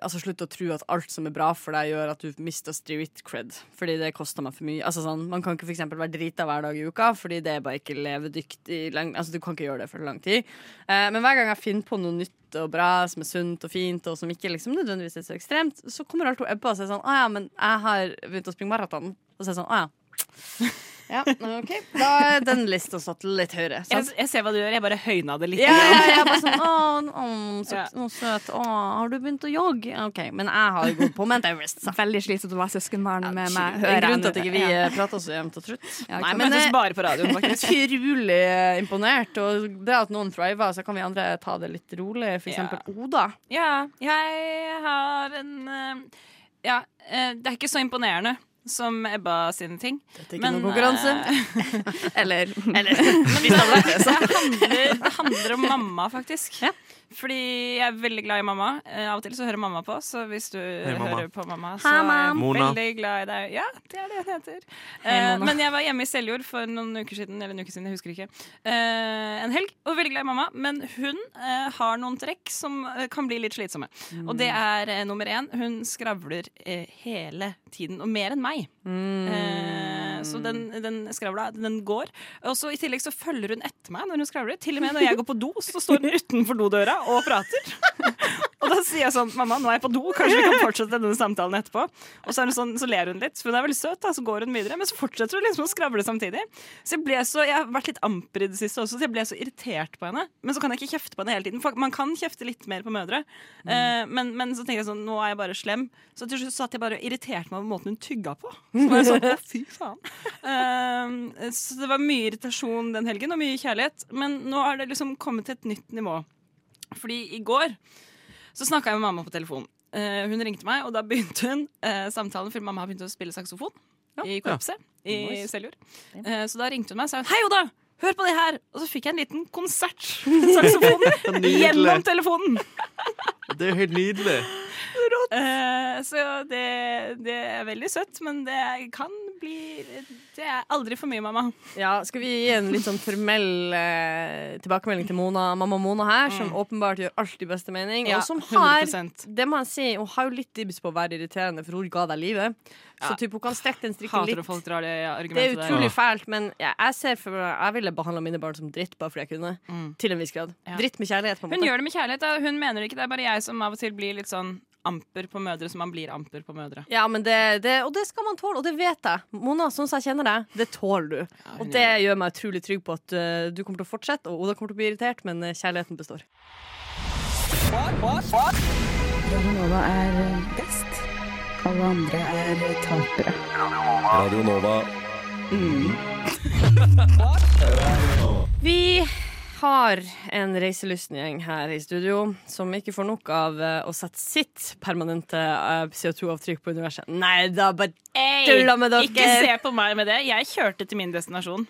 Speaker 6: Altså slutte å tro at alt som er bra for deg, gjør at du mister street-cred. Fordi det koster meg for mye. Altså sånn, Man kan ikke for eksempel være drita hver dag i uka, fordi det er bare ikke levedyktig lenge. Altså, du kan ikke gjøre det for lang tid. Eh, men hver gang jeg finner på noe nytt og bra som er sunt og fint, og som ikke liksom nødvendigvis er så ekstremt, så kommer alt hun ebba og sier sånn Å ja, men jeg har begynt å springe maraton. Og så er jeg sånn Å ja. Ja, ok. Da er den lista satt litt høyere. Sånn, sant?
Speaker 7: Jeg, jeg ser hva du gjør, jeg bare høyna det litt.
Speaker 6: Ja, ja, ja, bare sånn, å, å, så,
Speaker 7: Ja.
Speaker 6: nå søt, å, har du begynt å jogge? Ok, men jeg har jo gått på Mount Everest. Så.
Speaker 8: Altså, Veldig slitsomt å være søskenbarn med meg.
Speaker 6: Det er en grunn til
Speaker 8: nå.
Speaker 6: at ikke vi
Speaker 8: Ja.
Speaker 6: eh, prater så jevnt og trutt.
Speaker 8: Ja,
Speaker 6: Nei,
Speaker 8: ikke
Speaker 6: men
Speaker 7: Men eh,
Speaker 6: det
Speaker 7: det bare på radioen,
Speaker 6: er
Speaker 7: faktisk.
Speaker 6: utrolig eh, imponert, og bra at noen thriver, så kan vi andre ta det litt rolig, for
Speaker 7: Ja.
Speaker 6: eksempel Oda.
Speaker 7: Ja, jeg har en eh, Ja, eh, det er ikke så imponerende som Ebba sine ting.
Speaker 6: Dette er ikke
Speaker 7: Men,
Speaker 6: noen konkurranse.
Speaker 7: eh,
Speaker 8: Eller
Speaker 7: det, handler, det handler om mamma, faktisk.
Speaker 6: Ja.
Speaker 7: Fordi jeg er veldig glad i mamma. Eh, Av og til så hører mamma på, så hvis du
Speaker 4: mamma.
Speaker 7: hører på mamma, så
Speaker 6: Hei,
Speaker 7: er jeg
Speaker 6: mam.
Speaker 4: Mona.
Speaker 7: veldig glad i deg. Ja, det er det hun heter.
Speaker 6: Hei,
Speaker 7: Eh,
Speaker 6: Mona.
Speaker 7: men jeg var hjemme i Seljord for noen uker siden, eller en uke siden, jeg husker ikke. Eh, en helg, og veldig glad i mamma. Men hun eh, har noen trekk som eh, kan bli litt slitsomme. Og det er
Speaker 6: Mm.
Speaker 7: eh, nummer én, hun skravler eh, hele tiden, og mer enn meg. Eh, Eh, Så den, den skravla, den går. Og så i tillegg så følger hun etter meg når hun skravler. Til og med når jeg går på do, så står hun utenfor dodøra og prater. Og da sier jeg sånn, mamma, nå er jeg på do, kanskje vi kan fortsette denne samtalen etterpå. Og så, er hun sånn, så ler hun litt, for hun er veldig søt, da, så går hun videre. Men så fortsetter hun liksom å skravle samtidig. Så jeg, ble så jeg har vært litt amper i det siste også, så jeg ble så irritert på henne. Men så kan jeg ikke kjefte på henne hele tiden. For man kan kjefte litt mer på mødre. Eh, men, men så tenker jeg sånn, nå er jeg bare slem. Så til slutt satt jeg bare og irriterte meg over måten hun tygga på. Så var jeg sånn, å fy faen. Eh, så det var mye irritasjon den helgen, og mye kjærlighet. Men nå er det liksom kommet til et nytt nivå. Fordi i går så snakka jeg med mamma på telefon. Eh, hun ringte meg, og da begynte hun eh, samtalen, for mamma har begynt å spille saksofon i korpset i Seljord. Eh, så da ringte hun meg og sa hun, 'Hei, Oda! Hør på det her!' Og så fikk jeg en liten konsert med saksofon gjennom telefonen.
Speaker 4: Det er jo helt nydelig.
Speaker 7: Eh, så det, det er veldig søtt, men det kan bli Det er aldri for mye, mamma.
Speaker 6: Ja, skal vi gi en litt sånn formell eh, tilbakemelding til Mona, mamma Mona her, som åpenbart gjør alt i beste mening,
Speaker 7: Ja,
Speaker 6: og som har
Speaker 7: 100%.
Speaker 6: Det må jeg si, hun har jo litt dibs på å være irriterende, for hun ga deg livet.
Speaker 7: Ja.
Speaker 6: Så typ, hun kan strekke den strikken
Speaker 7: Hater
Speaker 6: litt.
Speaker 7: når folk drar det
Speaker 6: Det er
Speaker 7: argumentet der.
Speaker 6: utrolig fælt, men jeg, jeg ser for meg Jeg ville behandla mine barn som dritt bare fordi jeg kunne. Til en viss grad.
Speaker 7: Mm. Ja.
Speaker 6: Dritt med kjærlighet, på en
Speaker 7: Hun
Speaker 6: måte.
Speaker 7: gjør det med kjærlighet. Da. Hun mener det ikke. Det er bare jeg som av og til blir litt sånn amper på mødre, som man blir amper på mødre.
Speaker 6: Ja, men det, det, og det skal man tåle, og det vet jeg. Mona, sånn som jeg kjenner deg, det tåler du. og det gjør meg utrolig trygg på at eh, du kommer til å fortsette, og Oda kommer til å bli irritert, men eh, kjærligheten består.
Speaker 9: Radio Nova.
Speaker 6: Vi har en reiselysten gjeng her i studio som ikke får nok av eh, å sette sitt permanente eh, CO2-avtrykk på universet. Nei da, bare tulla med dere!
Speaker 7: Ikke se på meg med det. Jeg kjørte til min destinasjon.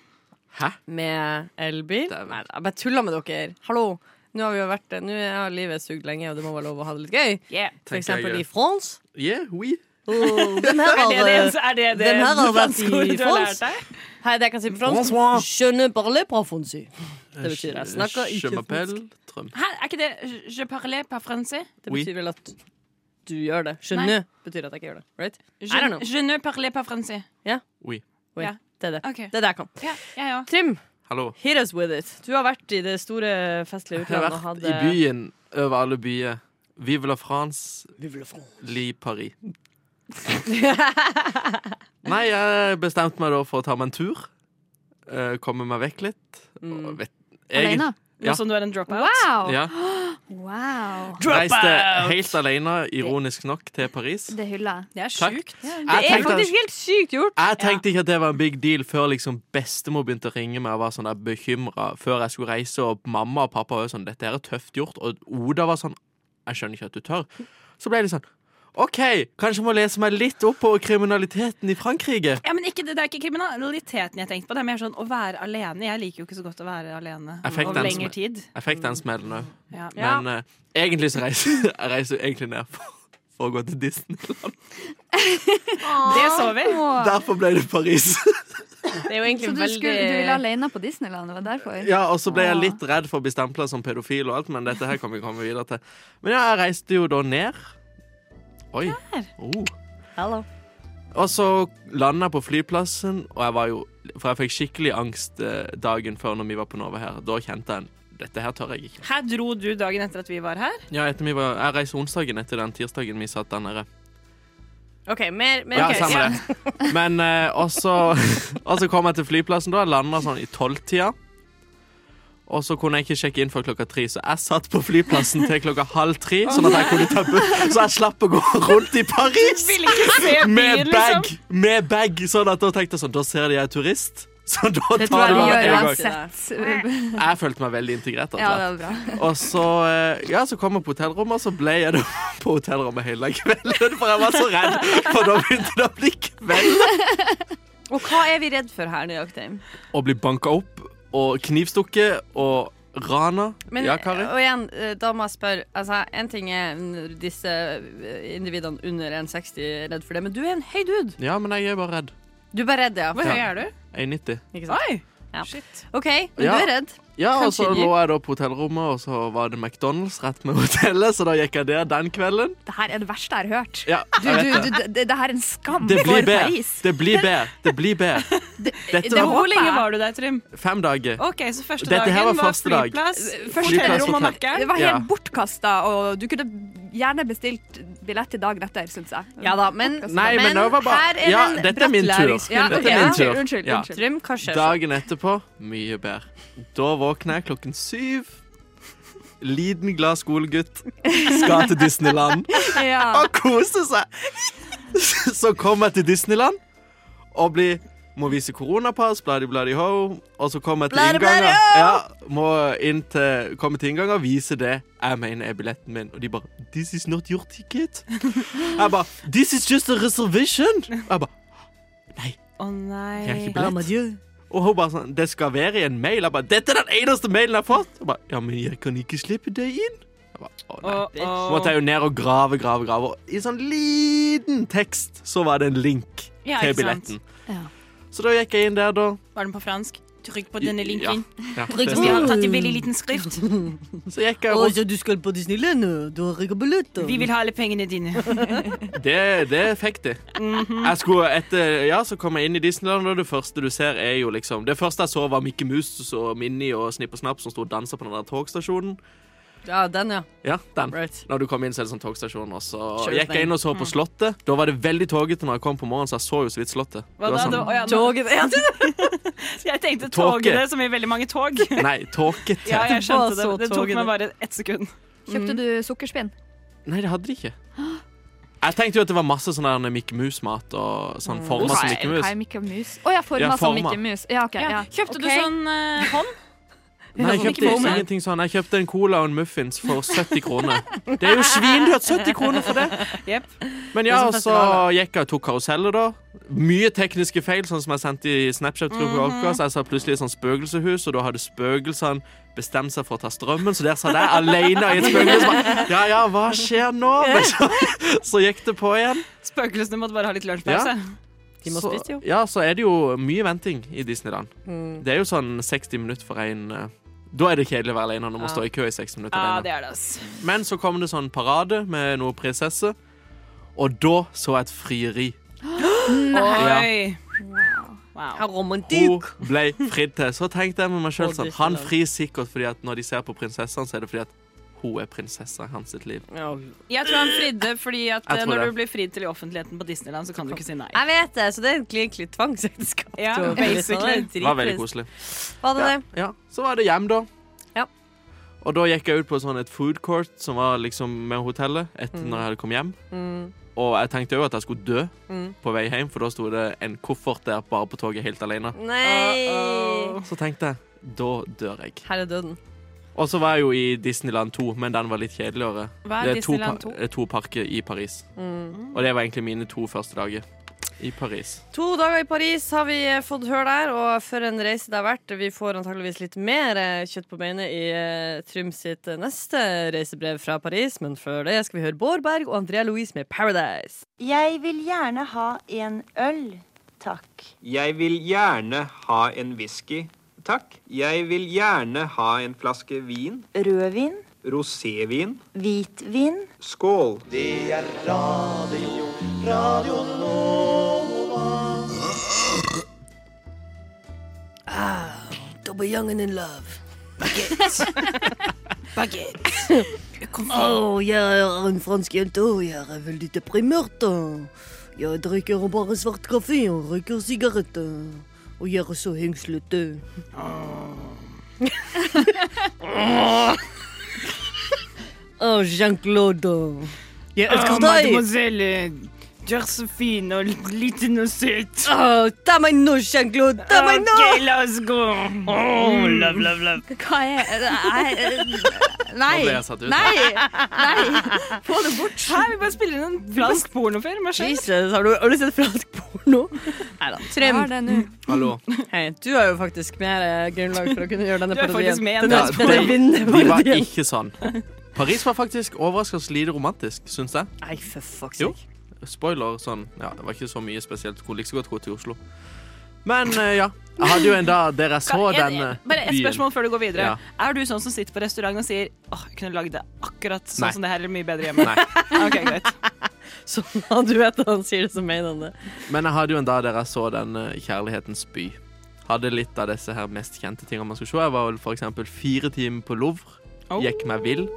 Speaker 6: Med elbil. Nei da, bare tulla med dere. Hallo! Nå har vi jo vært Nå har livet sugd lenge, og det må være lov å ha det litt gøy.
Speaker 7: Yeah.
Speaker 4: Tenker
Speaker 6: For
Speaker 4: jeg
Speaker 6: eksempel
Speaker 4: gjør.
Speaker 6: i France.
Speaker 4: Yeah, we.
Speaker 6: Oh, den her
Speaker 7: Er det det,
Speaker 6: har,
Speaker 7: er det, det
Speaker 6: den her har vært
Speaker 7: franske ordet
Speaker 6: i
Speaker 7: du har lært
Speaker 6: France.
Speaker 7: deg?
Speaker 6: Hei, det jeg kan si på fransk.
Speaker 4: Bonsoir.
Speaker 6: Je ne parle pas français. Det betyr jeg snakker
Speaker 4: Je
Speaker 6: ikke
Speaker 4: m'appelle
Speaker 6: fransk.
Speaker 4: Trump.
Speaker 7: Hæ, er ikke det je- Je parlais pas français?
Speaker 6: Det
Speaker 4: Oui.
Speaker 6: betyr vel at du gjør det. Je
Speaker 7: Nei.
Speaker 6: ne betyr at jeg ikke gjør det. Right?
Speaker 7: Je,
Speaker 6: I don't know.
Speaker 7: je ne parlais pas français.
Speaker 6: Oi,
Speaker 7: Ja.
Speaker 6: Det er det.
Speaker 7: Ok.
Speaker 6: Det er det jeg kan.
Speaker 7: Ja, jeg òg.
Speaker 6: Trym,
Speaker 4: Hallo.
Speaker 6: hit us with it. Du har vært i det store festlige
Speaker 4: Jeg har
Speaker 6: utlandet og
Speaker 4: vært
Speaker 6: hadde
Speaker 4: i byen over alle byer. Vive la France, li Paris. Nei, jeg bestemte meg da for å ta meg en tur. eh, Komme meg vekk litt.
Speaker 6: Mm.
Speaker 4: Og vet, egen-
Speaker 8: Alene?
Speaker 4: Ja.
Speaker 7: Nå som du er en dropout.
Speaker 8: Wow!
Speaker 4: Ja,
Speaker 8: wow.
Speaker 4: reiste helt alene, ironisk nok, til Paris.
Speaker 8: Det hyller jeg.
Speaker 7: Det er
Speaker 4: Takk.
Speaker 7: sjukt.
Speaker 6: Det
Speaker 4: Jeg
Speaker 6: er
Speaker 4: tenkte,
Speaker 6: faktisk helt sykt gjort.
Speaker 4: jeg tenkte ikke at det var en big deal før liksom bestemor begynte å ringe meg og var sånn bekymra før jeg skulle reise. Og mamma og pappa var jo sånn Dette her er tøft gjort. Og Oda var sånn Jeg skjønner ikke at du tør. Så ble jeg litt sånn OK, kanskje jeg må lese meg litt opp på kriminaliteten i Frankrike.
Speaker 7: Ja, men ikke, det er ikke kriminaliteten jeg tenkte på. Det er mer sånn å være alene. Jeg liker jo ikke så godt å være alene
Speaker 4: Jeg fikk
Speaker 7: over
Speaker 4: den som-
Speaker 7: lengre tid.
Speaker 4: Jeg fikk den smellen òg.
Speaker 7: Ja.
Speaker 4: Men eh, egentlig så reiser jeg reiser jo egentlig ned for, for å gå til Disneyland.
Speaker 7: Det så vi.
Speaker 4: Derfor ble det Paris.
Speaker 6: Det er jo egentlig
Speaker 8: Så du,
Speaker 6: veldig
Speaker 8: skulle, du ville alene på Disneyland? Det var derfor?
Speaker 4: Ja, og så ble jeg litt redd for å bli stempla som pedofil og alt, men dette her kan vi komme videre til. Men ja, jeg reiste jo da ned. Oi. Oh.
Speaker 6: Hello.
Speaker 4: Og så landa jeg på flyplassen, og jeg var jo For jeg fikk skikkelig angst eh, dagen før når vi var på Nova her. Da kjente jeg en Dette her tør jeg ikke.
Speaker 7: Her dro du dagen etter at vi var her.
Speaker 4: Ja, etter vi var, jeg reiste onsdagen etter den tirsdagen vi satt der nede.
Speaker 6: OK, mer, mer
Speaker 4: Ja,
Speaker 6: gøy.
Speaker 4: samme det. Men eh, og så og så kom jeg til flyplassen da, landa sånn i tolvtida. Og så kunne jeg ikke sjekke inn før klokka tre, så jeg satt på flyplassen til klokka halv tre. Sånn at jeg kunne ta buss, så jeg slapp å gå rundt i Paris
Speaker 7: Ville ikke se
Speaker 4: med
Speaker 7: byen, liksom.
Speaker 4: bag. Med bag sånn at da tenkte jeg sånn, da ser de jeg er turist. Så da tar
Speaker 8: Det
Speaker 4: det
Speaker 8: tror jeg vi
Speaker 4: meg
Speaker 8: gjør
Speaker 4: en gang.
Speaker 8: uansett.
Speaker 4: Jeg følte meg veldig integrert.
Speaker 8: Ja,
Speaker 4: Altså.
Speaker 8: det var bra.
Speaker 4: Og så, eh, ja, så kom jeg på hotellrommet, og så ble jeg da på hotellrommet hele kvelden. For jeg var så redd, for da begynte det å bli kveld.
Speaker 6: Og hva er vi redd for her nøyaktig?
Speaker 4: Å bli banka opp og knivstukket og rana.
Speaker 6: Men,
Speaker 4: ja, Kari?
Speaker 6: Og igjen, eh, da må jeg spørre. Altså, en ting er n- disse eh, individene under 1,60 er redd for det, men du er en høy dude.
Speaker 4: Ja, men jeg er bare redd.
Speaker 6: Du er bare redd, ja.
Speaker 7: Hvor høy er du?
Speaker 4: Jeg er 90.
Speaker 6: Ikke sant?
Speaker 7: Oi!
Speaker 6: Ja.
Speaker 7: Shit.
Speaker 6: OK, men
Speaker 4: Ja.
Speaker 6: du er redd.
Speaker 4: Ja, og så
Speaker 6: Kanskje-
Speaker 4: lå jeg da på hotellrommet, og så var det McDonald's rett med hotellet, så da gikk jeg der den kvelden.
Speaker 8: Det her er det verste jeg har hørt.
Speaker 4: Ja,
Speaker 8: Du,
Speaker 4: jeg
Speaker 8: du,
Speaker 4: vet
Speaker 8: du, det, det her er en skam
Speaker 4: Det
Speaker 8: for
Speaker 4: blir bedre.
Speaker 8: Paris.
Speaker 4: Det blir bedre. Det blir bedre. Dette
Speaker 8: det
Speaker 4: var
Speaker 8: håper
Speaker 7: Hvor lenge
Speaker 8: jeg.
Speaker 7: var du der, Trym?
Speaker 4: fem dager.
Speaker 7: Ok, Så første
Speaker 4: Dette her
Speaker 7: dagen
Speaker 4: var
Speaker 7: var,
Speaker 4: første dag.
Speaker 7: flyplass,
Speaker 8: Første
Speaker 7: hotellrom og
Speaker 4: hotell.
Speaker 8: Det
Speaker 7: Mækkern.
Speaker 8: var helt
Speaker 4: Ja.
Speaker 8: bortkasta, og du kunne gjerne bestilt billett til dagen etter, syns jeg.
Speaker 6: Ja da, men,
Speaker 4: Nei, men det var bare-
Speaker 6: her er
Speaker 4: Ja,
Speaker 6: en
Speaker 4: dette er min tur.
Speaker 6: brattlæringskurve.
Speaker 4: Ja,
Speaker 8: ok,
Speaker 4: Dette er min tur.
Speaker 8: Unnskyld, unnskyld.
Speaker 4: Ja.
Speaker 8: unnskyld.
Speaker 6: Trym, hva skjer? så?
Speaker 4: Dagen etterpå mye bedre. Da våkner jeg klokken syv. Liten, glad skolegutt skal til Disneyland
Speaker 8: Ja.
Speaker 4: og kose seg. Så kommer jeg til Disneyland og blir må vise koronapass, bladi bladi ho. Og så kommer jeg til
Speaker 6: Bladi, bladi,
Speaker 4: inngangen.
Speaker 6: ho!
Speaker 4: Ja, må inn til, komme til inngangen og vise det jeg mener er billetten min. Og de bare This is not your ticket. Jeg bare This is just a reservation. Jeg bare
Speaker 7: Å
Speaker 4: Jeg har
Speaker 7: nei.
Speaker 4: ikke billett. Og hun bare sånn, det skal være i en mail. Jeg bare, dette er den eneste mailen jeg har fått. Jeg bare, ja, men jeg kan ikke slippe deg inn. Jeg bare, å nei.
Speaker 7: Å, å.
Speaker 4: Så måtte jeg jo ned og grave, grave, grave. Og i sånn liten tekst så var det en link
Speaker 7: Ja,
Speaker 4: til
Speaker 7: ikke sant.
Speaker 4: billetten.
Speaker 6: Ja.
Speaker 4: Så da gikk jeg inn der da.
Speaker 7: Var den på fransk? Trykk på denne linken.
Speaker 4: Ja, ja, det
Speaker 7: Som de
Speaker 4: stemmer.
Speaker 7: har tatt i veldig liten skrift.
Speaker 4: så gikk jeg rundt.
Speaker 6: du skal på Disneyland, du har ikke billett.
Speaker 7: Vi vil ha alle pengene dine.
Speaker 4: Det, det fikk de.
Speaker 7: Mhm.
Speaker 4: Jeg skulle etter, ja, så kom jeg inn i Disneyland, og det første du ser er jo liksom, det første jeg så var Mickey Mouse og Minnie og Snipp og Snapp som stod og danset på den der togstasjonen.
Speaker 6: Ja, den, ja.
Speaker 4: Ja, den.
Speaker 6: Right.
Speaker 4: Når du kom inn, så er det sånn togstasjon. Og så
Speaker 6: Sure
Speaker 4: gikk
Speaker 6: thing.
Speaker 4: jeg inn og så
Speaker 7: Mm.
Speaker 4: på Slottet. Da var det veldig tågete når jeg kom på morgenen, så jeg så jo så vidt Slottet.
Speaker 7: Hva
Speaker 4: Det var
Speaker 7: da? Da-
Speaker 4: sånn,
Speaker 7: å ja, nå-
Speaker 6: Toget ja, det-
Speaker 7: Jeg tenkte
Speaker 4: Tåke.
Speaker 7: togene, som i veldig mange tog.
Speaker 4: Nei, tåkete.
Speaker 7: Ja, jeg
Speaker 6: Det var
Speaker 7: skjønte det.
Speaker 6: så
Speaker 7: Det tok
Speaker 6: togene.
Speaker 7: meg bare ett sekund.
Speaker 8: Kjøpte du sukkerspinn?
Speaker 4: Nei, det hadde de ikke. Jeg tenkte jo at det var masse sånn der Mickey Mouse-mat og sånn forma som Mickey
Speaker 8: Hva
Speaker 4: Mouse.
Speaker 8: er Mickey Mouse? Å ja, forma
Speaker 4: Ja,
Speaker 8: som
Speaker 4: forma.
Speaker 8: Mickey Mouse. Ja, ok, ja.
Speaker 7: Kjøpte
Speaker 8: Ok.
Speaker 7: du sånn eh, hånd?
Speaker 4: Nei, jeg kjøpte
Speaker 7: Mickey Mouse.
Speaker 4: ingenting sånn. Jeg kjøpte en cola og en muffins for 70 kroner. Det er jo svindyrt! 70 kroner for det.
Speaker 7: Jep.
Speaker 4: Men ja,
Speaker 6: Det er som
Speaker 4: og så
Speaker 6: festival,
Speaker 4: gikk jeg og tok karusellet, da. Mye tekniske feil, sånn som jeg sendte i Snapchat-gruppa vår. Så Jeg sa plutselig et sånt spøkelseshus, og da hadde spøkelsene bestemt seg for å ta strømmen, så der satt jeg alene i et spøkelse. bare, Ja, ja, hva skjer nå? Men så, så gikk det på igjen.
Speaker 7: Spøkelsene måtte bare ha litt lunsjpause.
Speaker 6: De må
Speaker 4: så,
Speaker 6: spise, jo. Mm.
Speaker 4: Ja, så er det jo mye venting i Disneyland. Det er jo sånn 60 minutter for en eh, Da er det kjedelig å være alene når man
Speaker 6: Ja.
Speaker 4: står i kø i 60 minutter.
Speaker 7: Ja,
Speaker 4: alene.
Speaker 7: det er det, ass.
Speaker 4: Men så kom det sånn parade med noe prinsesse, og da så jeg et frieri.
Speaker 7: Oi.
Speaker 6: Her romantikk.
Speaker 4: Hun ble fridd til. Så tenkte jeg med meg selv sånn Han frir sikkert fordi at når de ser på prinsessene, så er det fordi at hun er prinsessa i hans sitt liv.
Speaker 6: Ja.
Speaker 7: Jeg tror han fridde fordi at
Speaker 4: Jeg
Speaker 7: eh,
Speaker 4: tror
Speaker 7: når
Speaker 4: det.
Speaker 7: du blir fridd til i offentligheten på Disneyland, så kan du ikke si nei.
Speaker 6: Jeg vet det, så det er egentlig, egentlig tvangsekteskap.
Speaker 7: Ja,
Speaker 6: til å-
Speaker 7: basically.
Speaker 6: Det
Speaker 4: Det var veldig
Speaker 6: drittrist.
Speaker 4: koselig.
Speaker 6: Var det det?
Speaker 4: Ja, Så var det hjem, da.
Speaker 6: Ja.
Speaker 4: Og da gikk jeg ut på sånn et food court som var liksom med hotellet, etter når jeg hadde kommet hjem.
Speaker 6: Mm.
Speaker 4: Og jeg tenkte jo at jeg skulle dø
Speaker 6: Mm.
Speaker 4: på vei hjem, for da sto det en koffert der bare på toget helt alene.
Speaker 6: Nei!
Speaker 4: Så tenkte jeg da dør jeg.
Speaker 6: Her er døden.
Speaker 4: Og så var jeg jo i Disneyland 2, men den var litt kjedeligere.
Speaker 7: Hva
Speaker 4: Det
Speaker 7: er
Speaker 4: er to,
Speaker 7: Disneyland
Speaker 4: par-
Speaker 7: 2?
Speaker 4: det er to parker i Paris.
Speaker 6: Mm.
Speaker 4: Og det var egentlig mine to første dager i Paris.
Speaker 6: To dager i Paris har vi eh, fått høre der, og for en reise det har vært. Vi får antakeligvis litt mer eh, kjøtt på beinet i eh, Trym sitt eh, neste reisebrev fra Paris, men før det skal vi høre Bård Berg og Andrea Louise med 'Paradise'.
Speaker 10: Jeg vil gjerne ha en øl, takk.
Speaker 11: Jeg vil gjerne ha en whisky, takk. Jeg vil gjerne ha en flaske vin.
Speaker 10: Rødvin,
Speaker 11: Rosévin.
Speaker 10: hvitvin.
Speaker 11: Skål.
Speaker 6: Double young and in love.
Speaker 7: Baguette.
Speaker 6: Oh, jeg er en fransk jente, og jeg er veldig deprimert. Jeg drikker bare svart kaffe og røyker sigaretter. Og jeg er så hengslete. Å, Oh, Jean-Claude. Oh, Jeg elsker deg.
Speaker 7: Mademoiselle Gjør så fin og liten og søt.
Speaker 6: Å, ta meg nå, Oh, Jean-Claude. Ta meg nå.
Speaker 7: Ok, la oss gå. love, love, love.
Speaker 8: Hva er Nei.
Speaker 4: Nå ble jeg satt ut.
Speaker 8: Nei. Nei. Få det bort.
Speaker 7: Her, vi bare spiller inn en fransk pornofilm. Hva skjer?
Speaker 6: Jesus, har du, har du sett fransk porno? Neida. Trym,
Speaker 8: Hva er det nå?
Speaker 4: Hallo.
Speaker 6: hei, du har jo faktisk mer eh, grunnlag for å kunne gjøre denne
Speaker 7: Du er faktisk
Speaker 6: parodien.
Speaker 7: med i en
Speaker 6: Denne,
Speaker 4: fransk
Speaker 6: denne
Speaker 4: porno. Altså, De var
Speaker 6: vinnerparodien.
Speaker 4: ikke sånn. Paris var faktisk overraskende lite romantisk, syns jeg.
Speaker 6: Nei, for fuck's
Speaker 4: Jo.
Speaker 6: sake.
Speaker 4: Spoiler sånn. Ja, det var ikke så mye spesielt. Kunne like så godt gå til Oslo. Men eh, ja. Jeg hadde jo en dag der jeg så
Speaker 7: Kan- en-
Speaker 4: den eh,
Speaker 7: Bare et
Speaker 4: byen.
Speaker 7: spørsmål før du går videre.
Speaker 4: Ja.
Speaker 7: Er du sånn som sitter på restaurant og sier åh, jeg kunne lagd det akkurat sånn
Speaker 4: Nei.
Speaker 7: som det her, eller mye bedre hjemme?
Speaker 4: Nei.
Speaker 7: Ok, greit.
Speaker 6: Sånn at du vet at han sier det som mener han det.
Speaker 4: Men jeg hadde jo en dag der jeg så den eh, Kjærlighetens by. Hadde litt av disse her mest kjente tingene man skulle se. Jeg var vel for eksempel fire timer på Louvre. Gikk meg vill.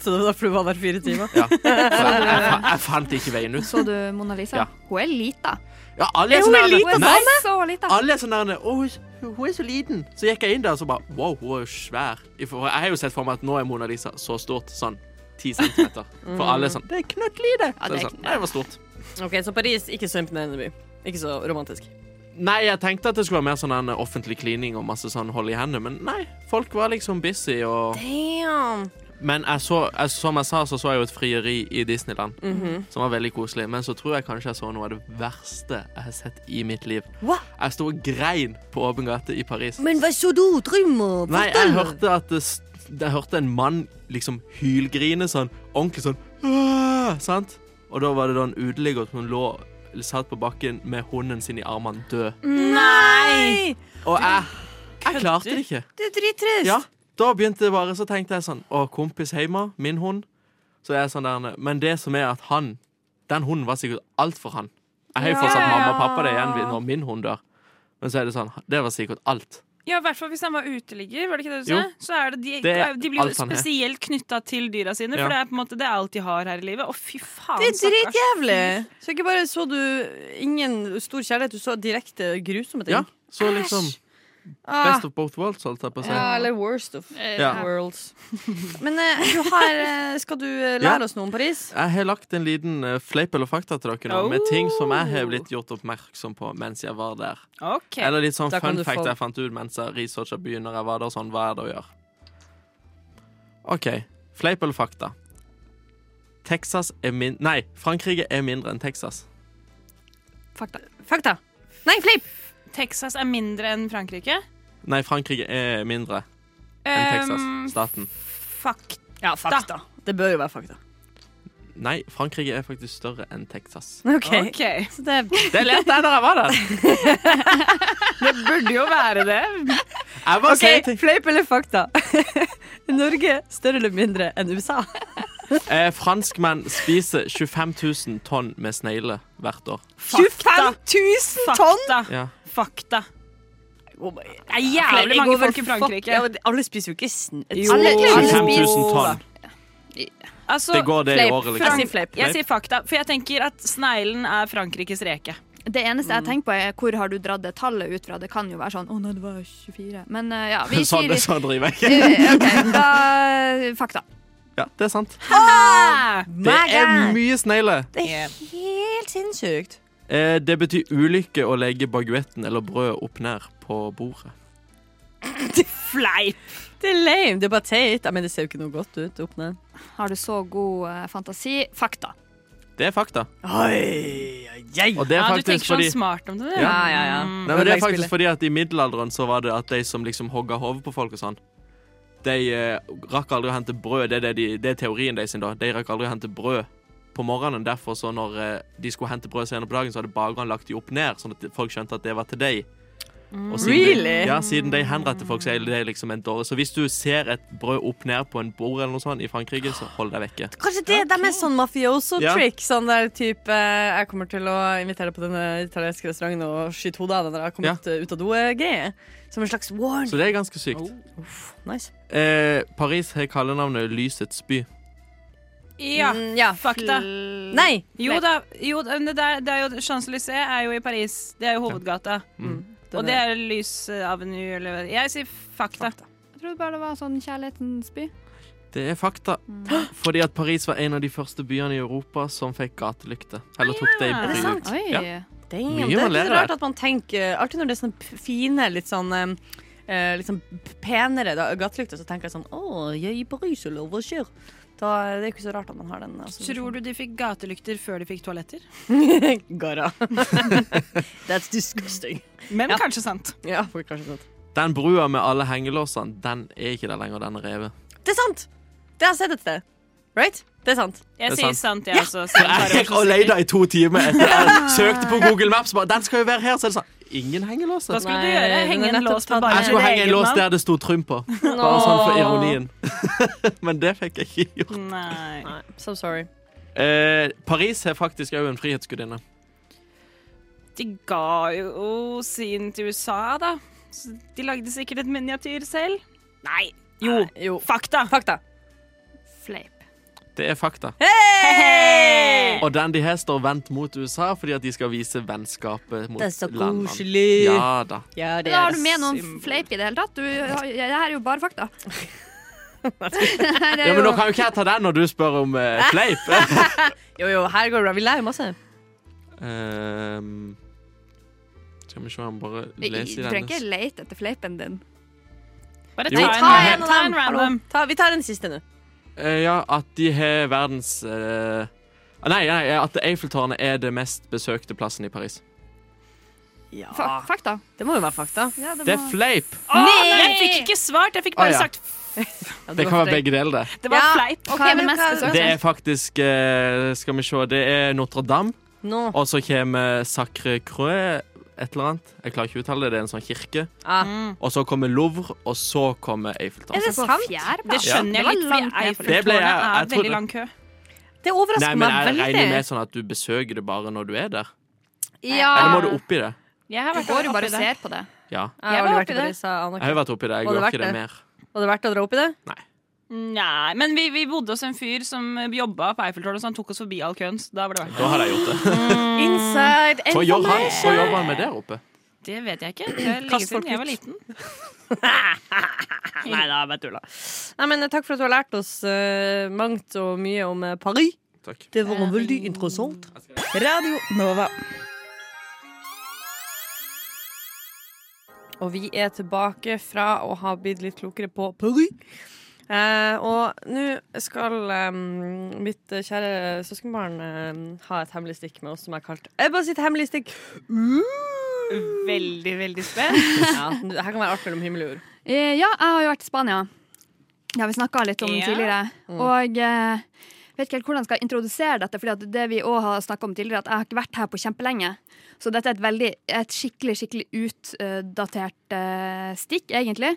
Speaker 6: Så det var derfor du var der fire timer?
Speaker 4: Ja. Så jeg, jeg, fa- jeg fant ikke veien ut.
Speaker 8: Så du Mona
Speaker 4: Ja.
Speaker 8: Lisa? Hun er lita.
Speaker 4: Ja, alle er
Speaker 8: hun
Speaker 4: sånn
Speaker 8: er
Speaker 4: der-
Speaker 8: lita
Speaker 4: Nei,
Speaker 8: dame! Så lita.
Speaker 4: Alle er sånn der Å, hun hun er så liten. Så gikk jeg inn der og så bare Wow, hun er jo svær. I for- Jeg har jo sett for meg at nå er Mona Lisa så stort. Sånn 10 centimeter. For alle er sånn Det er knøttlite.
Speaker 6: Ja,
Speaker 4: Så er det sånn, Nei, det var stort.
Speaker 6: OK, så Paris, ikke så imponerende by. Ikke så romantisk.
Speaker 4: Nei, jeg tenkte at det skulle være mer sånn en offentlig klining og masse sånn hold i hendene, men nei. Folk var liksom busy og
Speaker 6: Damn!
Speaker 4: Men jeg så, jeg, som jeg sa, så så jeg jo et frieri i Disneyland,
Speaker 6: Mhm.
Speaker 4: som var veldig koselig. Men så tror jeg kanskje jeg så noe av det verste jeg har sett i mitt liv.
Speaker 6: Hva?
Speaker 4: Jeg sto og grein på åpen gate i Paris.
Speaker 6: Men hva så du drømmer?
Speaker 4: Nei, jeg hørte at det, s- Jeg hørte en mann liksom hylgrine sånn Ordentlig sånn «Åh!» Sant? Og da var det da en uteligger som lå eller satt på bakken med hunden sin i armene død.
Speaker 6: Nei!
Speaker 4: Og jeg, jeg klarte det ikke.
Speaker 6: Det er drittrist.
Speaker 4: Ja, da begynte det bare, så tenkte jeg sånn Å, kompis hjemme, min hund. Så jeg er sånn der Men det som er at han Den hunden var sikkert alt for han. Jeg har jo
Speaker 7: Ja,
Speaker 4: fortsatt
Speaker 7: ja,
Speaker 4: mamma og
Speaker 7: ja.
Speaker 4: pappa det igjen når min hund dør. Men så er det sånn Det var sikkert alt.
Speaker 7: Ja, i hvert fall hvis han var uteligger, var det ikke det du
Speaker 4: Jo.
Speaker 7: sa? Så er det, de,
Speaker 4: Det er
Speaker 7: de blir jo
Speaker 4: alt han er.
Speaker 7: spesielt knytta til dyra sine,
Speaker 4: Ja.
Speaker 7: for det er på en måte det er alt de har her i livet. Å, fy faen,
Speaker 6: Det er
Speaker 7: stakkars.
Speaker 6: dritjævlig! Så ikke bare så du ingen stor kjærlighet, du så direkte grusomme ting.
Speaker 4: Ja, så liksom
Speaker 6: Ah.
Speaker 4: Best of both worlds, holdt jeg på å si.
Speaker 6: Ja, eller worst of
Speaker 4: Ja.
Speaker 6: worlds. Men eh, du har, eh, skal du eh, lære
Speaker 4: Ja.
Speaker 6: oss noe om Paris?
Speaker 4: Jeg har lagt en liten eh, fleip eller fakta til dere nå,
Speaker 6: Oh.
Speaker 4: med ting som jeg har blitt gjort oppmerksom på mens jeg var der.
Speaker 7: Ok.
Speaker 4: Eller litt sånn
Speaker 6: Da kan
Speaker 4: fun
Speaker 6: du
Speaker 4: fact
Speaker 6: få-
Speaker 4: jeg fant ut mens jeg researcha byen når jeg var der, sånn, hva er det å gjøre? OK. Fleip eller fakta? Texas er min... Nei, Frankrike er mindre enn Texas.
Speaker 6: Fakta. Fakta. Nei, fleip!
Speaker 7: Texas er mindre enn Frankrike.
Speaker 4: Nei, Frankrike er mindre enn Texas.
Speaker 7: Um,
Speaker 4: Staten.
Speaker 7: Fakta.
Speaker 6: Ja, fakta. Det bør jo være fakta.
Speaker 4: Nei, Frankrike er faktisk større enn Texas.
Speaker 6: OK.
Speaker 7: Ok.
Speaker 6: Så det,
Speaker 4: Det lærte jeg da jeg var der.
Speaker 7: Det burde jo være det.
Speaker 4: Jeg bare sier ting.
Speaker 6: Fleip eller fakta? Norge større eller mindre enn USA?
Speaker 4: Eh, franskmenn spiser 25 000 tonn med snegler hvert år.
Speaker 6: 25 000 tonn!
Speaker 4: Ja.
Speaker 7: Fakta.
Speaker 6: Det
Speaker 7: Det er jævlig mange folk i Frankrike.
Speaker 6: alle spiser jo ikke sn...
Speaker 8: Alle- alle
Speaker 4: 25 000
Speaker 8: spiser
Speaker 4: tonn.
Speaker 7: Altså,
Speaker 4: Det går det i
Speaker 8: fleip.
Speaker 4: året, liksom.
Speaker 6: Jeg sier fleip.
Speaker 7: jeg sier fakta, for jeg tenker at sneglen er Frankrikes reke.
Speaker 8: Det eneste
Speaker 4: Mm.
Speaker 8: jeg tenker på, er hvor har du dratt det tallet ut fra? Det kan jo være sånn Å nei, det var 24. Men eh, ja, vi
Speaker 4: Sånn,
Speaker 8: sier
Speaker 4: sånn driver jeg ikke.
Speaker 8: Eh, OK, da Fakta.
Speaker 4: Ja, det er sant.
Speaker 7: Ah!
Speaker 4: Det er mye snegler.
Speaker 6: Det er helt sinnssykt.
Speaker 4: Eh, det betyr ulykke å legge baguetten eller brødet opp ned på bordet.
Speaker 7: Fleip.
Speaker 6: Det er lame. Det er bare teit. Jeg mener, det ser jo ikke noe godt ut opp ned.
Speaker 8: Har du så god eh, fantasi? Fakta.
Speaker 4: Det er fakta.
Speaker 6: Oi, oi, oi.
Speaker 4: Og det er
Speaker 7: Ja, du
Speaker 4: faktisk
Speaker 7: tenker sånn
Speaker 4: fordi
Speaker 7: smart om det. du.
Speaker 6: Ja, ja, ja.
Speaker 7: Mm.
Speaker 4: Nei, men det er faktisk fordi at i middelalderen så var det at de som liksom hogga hodet på folk og sånn, de eh, rakk aldri å hente brød. Det er, det de, det er teorien de sin, da. De rakk aldri å hente brød på morgenen. Derfor så når eh, de skulle hente brød senere på dagen, så hadde bakerne lagt de opp ned, sånn at folk skjønte at det var til deg. Og siden De,
Speaker 6: Really?
Speaker 4: ja, siden de henretter folk, så er det liksom en dårlig Så hvis du ser et brød opp ned på en bord eller noe sånt i Frankrike, så hold deg vekke.
Speaker 6: Kanskje det de er sånn mafioso-trick. Sånn der type eh, Jeg kommer til å invitere deg på denne italienske restauranten og skyte hodet av deg når jeg har kommet eh, ut av do-greie. Som en slags warning.
Speaker 4: Så det er ganske sykt.
Speaker 6: Nice.
Speaker 4: Eh, Paris har kallenavnet Lysets by.
Speaker 7: Ja,
Speaker 6: Mm, ja.
Speaker 7: fakta.
Speaker 6: Nei!
Speaker 7: Jo da, jo, da, men det, der, det er jo Champs-Élysées er jo i Paris. Det er jo hovedgata.
Speaker 4: Mm.
Speaker 7: Og det Mm. er Lys Avenue eller Jeg sier fakta.
Speaker 8: Jeg trodde bare det var sånn kjærlighetens by.
Speaker 4: Det er fakta. Fordi at Paris var en av de første byene i Europa som fikk gatelykter. Eller tok det i
Speaker 7: Er
Speaker 6: det
Speaker 4: bruk.
Speaker 6: sant?
Speaker 8: Oi.
Speaker 4: Ja.
Speaker 6: Damn,
Speaker 4: Mye
Speaker 6: det
Speaker 4: man
Speaker 6: er litt
Speaker 4: lærer
Speaker 6: rart
Speaker 4: der.
Speaker 6: at man tenker Alltid når det er sånne p- fine, litt sånn eh, eh, Litt sånn p- penere da- gatelykter, så tenker jeg sånn Å, jeg i Paris, eller hva skjer? Da er det ikke så rart at man har den. altså.
Speaker 7: Tror du de fikk gatelykter før de fikk toaletter?
Speaker 6: Gara. That's disgusting.
Speaker 7: Men
Speaker 6: Ja.
Speaker 7: kanskje sant.
Speaker 6: Ja, for kanskje sant.
Speaker 4: Den brua med alle hengelåsene, den er ikke der lenger. Den er revet.
Speaker 6: Det er sant! Det har jeg sett et sted. Right? Det er sant.
Speaker 7: Jeg
Speaker 4: Det er
Speaker 7: sier
Speaker 4: sant.
Speaker 7: sant, jeg også.
Speaker 4: Jeg gikk og leita i to timer etter jeg søkte på Google Maps. Bare, den skal jo være her, så er det sånn ingen hengelåser.
Speaker 7: Hva skulle du gjøre? Henge en lås på bare
Speaker 4: Jeg skulle henge en lås
Speaker 7: navn?
Speaker 4: der det sto Trym på. Bare sånn for ironien. Men det fikk jeg ikke gjort.
Speaker 7: Nei.
Speaker 6: So sorry.
Speaker 4: Eh, Paris har faktisk òg en frihetsgudinne.
Speaker 7: De ga jo sin til USA, da. Så de lagde sikkert et miniatyr selv. Nei. Jo. Fakta.
Speaker 8: Fleip.
Speaker 4: Det er fakta.
Speaker 7: Hei!
Speaker 4: Og den de har, står vendt mot USA fordi at de skal vise vennskapet mot landene.
Speaker 8: Det er så
Speaker 6: koselig.
Speaker 4: Ja da.
Speaker 8: Men da har du med noen fleip i det hele tatt. Du, har- ja, det her er jo bare fakta.
Speaker 4: Ja, men nå kan jo ikke jeg ta den når du spør om eh, fleip.
Speaker 6: Jo, jo, her går det bra. Vi lærer masse.
Speaker 4: Ehm, skal vi se, han bare
Speaker 8: Du
Speaker 4: leser i
Speaker 8: trenger
Speaker 4: denne.
Speaker 8: ikke lete etter fleipen din.
Speaker 7: Bare
Speaker 4: Jo. ta en-
Speaker 7: ta en random.
Speaker 6: Hallo. Ta, vi tar den siste nå.
Speaker 4: Eh, ja, at de har verdens eh, ah, Nei, nei, at Eiffeltårnet er det mest besøkte plassen i Paris.
Speaker 8: Fa fakta.
Speaker 6: Det må jo være fakta.
Speaker 8: Ah. Ja, det
Speaker 4: Det er
Speaker 8: var-
Speaker 4: fleip.
Speaker 7: Å, nei! Jeg fikk ikke svart. Jeg fikk bare
Speaker 4: Å, ja.
Speaker 7: sagt
Speaker 4: Det kan være begge deler, det.
Speaker 7: Det var
Speaker 6: Ja.
Speaker 7: fleip.
Speaker 8: Hva er det mest
Speaker 4: Det
Speaker 8: besøkte?
Speaker 4: er faktisk eh, Skal vi se, det er Notre-Dame.
Speaker 6: Nå.
Speaker 4: Og så kommer Sacré-Creux, et eller annet. Jeg klarer ikke å uttale det. Det er en sånn kirke.
Speaker 6: Ah.
Speaker 7: Mm.
Speaker 4: Og så kommer Louvre, og så kommer
Speaker 8: Er
Speaker 4: Eiffeltårnet.
Speaker 8: det sant?
Speaker 7: Det skjønner jeg litt, fordi
Speaker 4: Det ble jeg-
Speaker 7: Eiffeltårnet er
Speaker 4: jeg trodde-
Speaker 7: veldig lang kø.
Speaker 4: Nei,
Speaker 6: Det overrasker
Speaker 4: men
Speaker 6: meg
Speaker 4: jeg
Speaker 6: veldig.
Speaker 4: regner med sånn at du besøker det bare når du er der. Eller må
Speaker 8: Ja.
Speaker 4: du oppi det?
Speaker 7: Jeg har
Speaker 8: Du
Speaker 7: vært
Speaker 8: går jo bare
Speaker 7: oppi
Speaker 8: og
Speaker 7: det.
Speaker 8: ser på det.
Speaker 4: Ja.
Speaker 6: Jeg har
Speaker 7: Jeg
Speaker 6: aldri
Speaker 7: var
Speaker 6: vært
Speaker 7: oppi
Speaker 6: i
Speaker 7: det.
Speaker 6: Paris, sa Anna.
Speaker 4: Jeg har jo vært oppi det. Jeg
Speaker 6: Var det
Speaker 4: gjør ikke
Speaker 6: verdt
Speaker 4: det
Speaker 6: det?
Speaker 4: mer.
Speaker 6: Var det verdt å dra opp i det?
Speaker 7: Nei, men vi, vi bodde hos en fyr som jobba på Eiffeltårnet, så han tok oss forbi all køen. Så da var det verdt
Speaker 4: Da hadde jeg gjort det.
Speaker 7: Mm.
Speaker 6: Inside
Speaker 4: Hva gjør han,
Speaker 6: information.
Speaker 4: hva gjør han med der oppe?
Speaker 7: det. Det vet jeg ikke. Det er lenge
Speaker 6: Kast folk
Speaker 7: siden jeg var
Speaker 6: ut.
Speaker 7: liten.
Speaker 6: Nei da, bare tulla. Nei, men eh, takk for at du har lært oss eh, mangt og mye om eh, Paris.
Speaker 4: Takk.
Speaker 6: Det var veldig interessant.
Speaker 7: Radio Nova.
Speaker 6: Og vi er tilbake fra å ha blitt litt klokere på Paris. Eh, og nå skal eh, mitt eh, kjære søskenbarn eh, ha et hemmelig stikk med oss som er kalt Ebba sitt hemmelige stikk.
Speaker 7: Uh! Veldig, veldig spent.
Speaker 6: Ja, det her kan være alt mellom himmel og jord.
Speaker 8: Eh, Ja, jeg har jo vært i Spania. Det har vi snakka litt om
Speaker 7: Ja. Mm.
Speaker 8: tidligere. Og eh, vet ikke helt hvordan jeg skal introdusere dette, Fordi at det vi også har snakket om tidligere, at jeg har ikke vært her på kjempelenge. Så dette er et, veldig, et skikkelig, skikkelig utdatert eh, stikk, egentlig.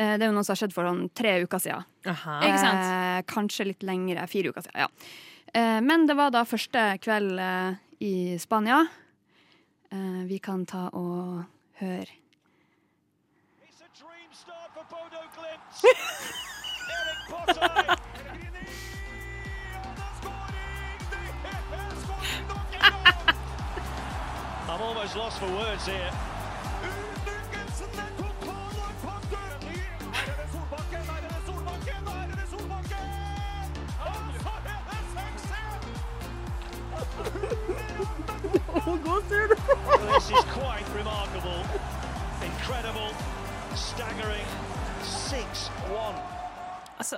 Speaker 8: Eh, det er jo noe som har skjedd for sånn tre uker siden.
Speaker 7: Ikke sant?
Speaker 8: Eh, kanskje litt lengre, fire uker siden. Ja. Eh, men det var da første kveld eh, i Spania. Eh, vi kan ta og høre.
Speaker 3: I'm almost lost for words here. This is quite remarkable. Incredible. Staggering. 6-1.
Speaker 7: Altså,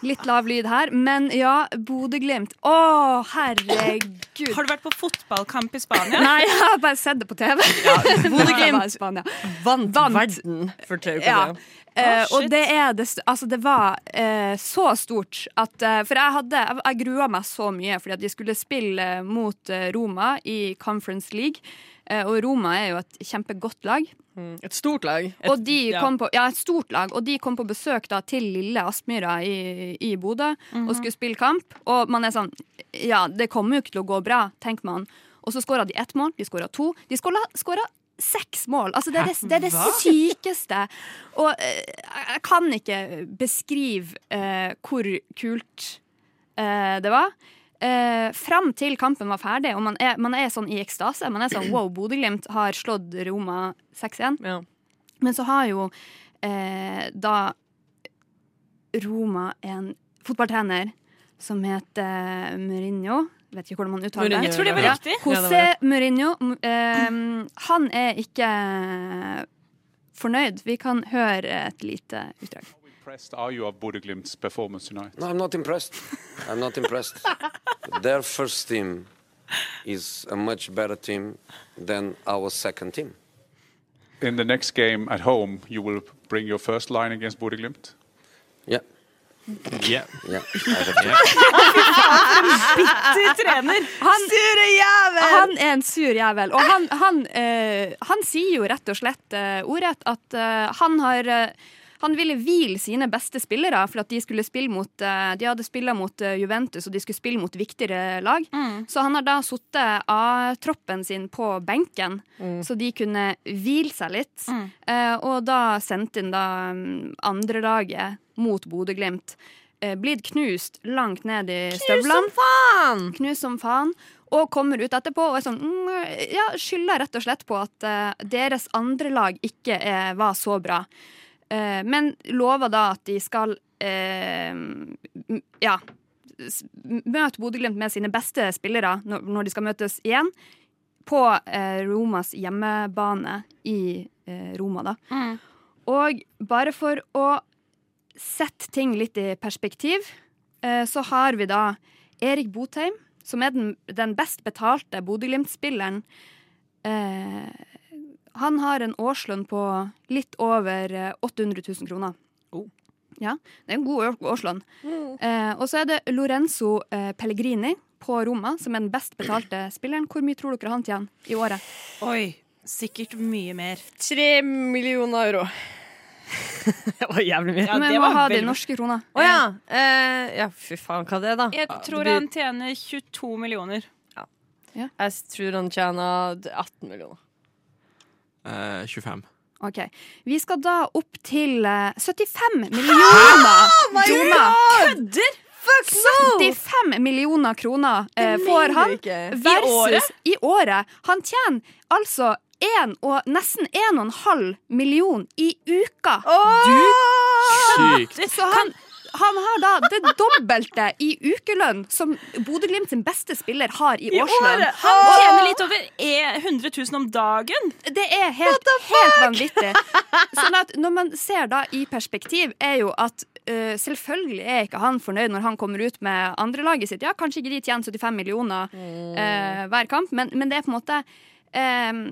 Speaker 8: Litt lav lyd her, men ja, Bodø-Glimt. Å, herregud.
Speaker 7: har du vært på fotballkamp i Spania?
Speaker 8: Nei, jeg har bare sett det på TV.
Speaker 6: Bodø-Glimt.
Speaker 8: Bare Spania.
Speaker 6: Vant,
Speaker 8: Vant.
Speaker 6: verden for tre uker
Speaker 8: Ja.
Speaker 6: siden.
Speaker 8: Eh,
Speaker 7: shit.
Speaker 8: og det er det st- Altså, det var eh, så stort at eh, For jeg hadde Jeg, jeg grua meg så mye fordi at de skulle spille eh, mot eh, Roma i Conference League. Eh, og Roma er jo et kjempegodt lag.
Speaker 6: Et stort lag. Et,
Speaker 8: og de kom på, ja, et stort lag, og de kom på besøk da, til lille Aspmyra i, i Bodø og skulle spille kamp. Og man er sånn Ja, det kommer jo ikke til å gå bra, tenker man. Og så skåra de ett mål, de skåra to. De skåra seks mål! Altså, det er det, det, er det sykeste. Og eh, jeg kan ikke beskrive eh, hvor kult eh, det var. Eh, fram til kampen var ferdig, og man er, man er sånn i ekstase. Man er sånn wow, Bodø-Glimt har slått Roma 6-1.
Speaker 6: ja.
Speaker 8: Men så har jo eh, da Roma en fotballtrener som heter Mourinho. Vet ikke hvordan man uttaler
Speaker 6: Mourinho,
Speaker 8: det.
Speaker 7: Jeg tror det var
Speaker 6: Ja.
Speaker 7: riktig.
Speaker 6: Ja, det
Speaker 8: José
Speaker 6: var det.
Speaker 8: Mourinho. m- Eh, han er ikke eh, fornøyd. Vi kan høre et lite utdrag.
Speaker 12: impressed are you of Bodø Glimt's performance tonight?
Speaker 13: No, I'm not impressed. I'm not impressed. Their first team is a much better team than our second team.
Speaker 12: In the next game at home, you will bring your first line against Bodø Glimt.
Speaker 13: Yeah.
Speaker 4: Yeah.
Speaker 13: Yeah, I have to.
Speaker 7: Bitter trener.
Speaker 8: Han,
Speaker 7: Sure jævel!
Speaker 8: Han er en sur jævel. Og han, han, eh, han sier jo rett og slett eh, ordrett at eh, han har eh, han ville hvile sine beste spillere, for at de skulle spille mot eh, De hadde spilla mot eh, Juventus, og de skulle spille mot viktigere lag.
Speaker 6: Mm.
Speaker 8: Så han har da sittet A-troppen sin på benken,
Speaker 6: Mm.
Speaker 8: så de kunne hvile seg litt.
Speaker 6: Mm.
Speaker 8: Eh, og da sendte inn da mm, andrelaget mot Bodø-Glimt. Eh, blitt knust langt ned i støvlene.
Speaker 6: som faen!
Speaker 8: Knust som faen. Og kommer ut etterpå og er sånn mm, Ja, skylder rett og slett på at eh, deres andre lag ikke eh, var så bra. Eh, men lover da at de skal eh, m- Ja. s- Møte Bodø-Glimt med sine beste spillere når, når de skal møtes igjen. På eh, Romas hjemmebane i eh, Roma, da.
Speaker 7: Mm.
Speaker 8: Og bare for å sette ting litt i perspektiv, eh, så har vi da Erik Botheim, som er den, den best betalte Bodø-Glimt-spilleren. Eh, han har en årslønn på litt over eh, 800 000 kroner. Ja, det er en god år- årslønn. Eh, og så er det Lorenzo eh, Pellegrini på Roma, som er den best betalte spilleren. Hvor mye tror dere han tjener i året?
Speaker 7: Oi, sikkert mye mer.
Speaker 6: Tre millioner euro. det var jævlig mye.
Speaker 8: Ja, Men det må var ha det i veldig- norske kroner.
Speaker 6: Å ja. Eh, ja, fy faen, hva det er, da?
Speaker 7: Jeg tror han tjener 22 millioner.
Speaker 6: Jeg tror han tjener 18 millioner.
Speaker 4: Eh, 25.
Speaker 8: Ok, Vi skal da opp til eh, 75 millioner
Speaker 6: my
Speaker 8: kroner.
Speaker 6: God!
Speaker 8: Kødder!
Speaker 6: Fuck no!
Speaker 8: 75 millioner kroner
Speaker 6: Det
Speaker 8: eh,
Speaker 6: mener
Speaker 8: får
Speaker 6: du
Speaker 8: han
Speaker 6: ikke. I
Speaker 8: versus
Speaker 6: året?
Speaker 8: i året. Han tjener altså en og, nesten 1,5 million i uka. Du
Speaker 4: Sykt.
Speaker 8: Så han, han har da det dobbelte i ukelønn som Bodø-Glimt sin beste spiller har i,
Speaker 7: I
Speaker 8: årslønn.
Speaker 7: året? Han tjener litt
Speaker 8: over 100 000 om dagen! Det er helt, helt vanvittig. Sånn at når man ser da i perspektiv, er jo at øh, selvfølgelig er ikke han fornøyd når han kommer ut med andrelaget sitt. Ja, kanskje ikke de tjener 75 millioner øh, hver kamp, men, men det er på en måte ehm,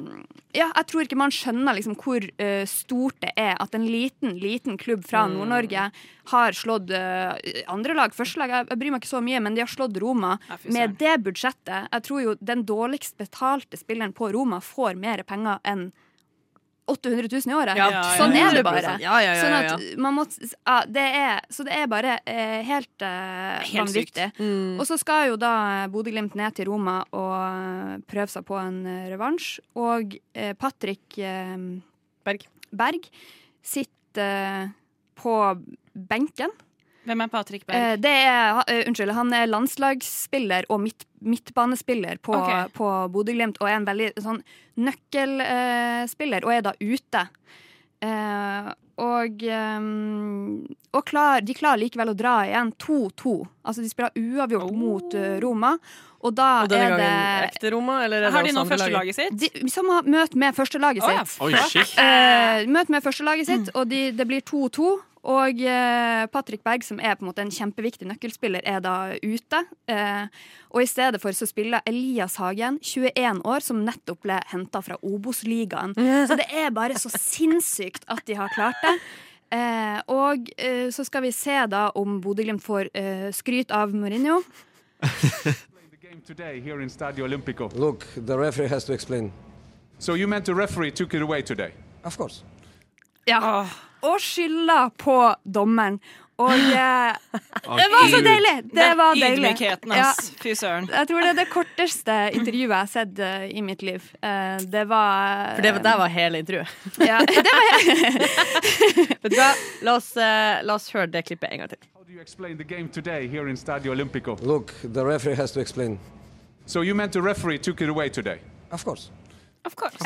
Speaker 8: ja, jeg tror ikke man skjønner liksom hvor øh, stort det er at en liten liten klubb fra
Speaker 6: Mm.
Speaker 8: Nord-Norge har slått øh, andre lag. Første lag, jeg, jeg bryr meg ikke så mye, men de har slått Roma
Speaker 6: fy søren.
Speaker 8: med det budsjettet. Jeg tror jo den dårligst betalte spilleren på Roma får mer penger enn 800 000 i året.
Speaker 6: Ja, ja, ja.
Speaker 8: sånn er det
Speaker 6: 100%.
Speaker 8: bare.
Speaker 6: Ja, ja, ja,
Speaker 8: Sånn at
Speaker 6: ja.
Speaker 8: man må, ja, det er, så det er bare eh, helt, eh,
Speaker 6: Helt sykt.
Speaker 8: vanvittig.
Speaker 6: Mm.
Speaker 8: Og så skal jo da eh, Bodø-Glimt ned til Roma og eh, prøve seg på en eh, revansj. Og eh, Patrick eh,
Speaker 6: Berg.
Speaker 8: sitter eh, på benken.
Speaker 7: Hvem er Patrick
Speaker 8: Eh,
Speaker 7: Berg?
Speaker 8: det er, ha- eh, unnskyld, han er landslagsspiller og midt, midtbanespiller på,
Speaker 7: Ok.
Speaker 8: på Bodø-Glimt, og er en veldig sånn nøkkelspiller, og er da ute. Eh, og ehm, og klar, de klarer likevel å dra igjen 2-2. Altså de spiller uavgjort mot eh, Roma, og da
Speaker 6: Oh. Og denne
Speaker 8: er det
Speaker 6: gangen ekte Roma? Eller er det også andre laget?
Speaker 8: De, som har møtt med førstelaget
Speaker 6: Å ja,
Speaker 8: sitt.
Speaker 6: Oi, fuck. shit.
Speaker 8: Eh, møtt med førstelaget sitt, og de, det blir 2-2. Og eh, Patrick Berg, som er på en måte en kjempeviktig nøkkelspiller, er da ute. Eh, og i stedet for så spiller Elias Hagen, 21 år, som nettopp ble henta fra Obos-ligaen. Så det er bare så sinnssykt at de har klart det. Eh, og eh, så skal vi se da om Bodø-Glimt får eh, skryt av Mourinho.
Speaker 12: Today here in Stadio Olimpico.
Speaker 9: Look, the referee has to explain.
Speaker 12: So you meant the referee took it away today?
Speaker 9: Of course.
Speaker 8: Ja. Og skylda på dommeren. Og eh, det var så
Speaker 7: Gud.
Speaker 8: deilig! Det
Speaker 7: Den
Speaker 8: var deilig.
Speaker 7: Ydmykheten hans. Fy søren.
Speaker 8: Jeg tror det er det korteste intervjuet jeg har sett eh, i mitt liv. Eh, det var
Speaker 6: For det der var hele intervjuet.
Speaker 8: Ja, det
Speaker 6: Vet du hva? La oss, eh, la oss høre det klippet en gang til.
Speaker 12: How do you explain the game today here in Stadio Olimpico?
Speaker 9: Look, the referee has to explain.
Speaker 12: So you meant the referee took it away today?
Speaker 9: Of course.
Speaker 8: Of course.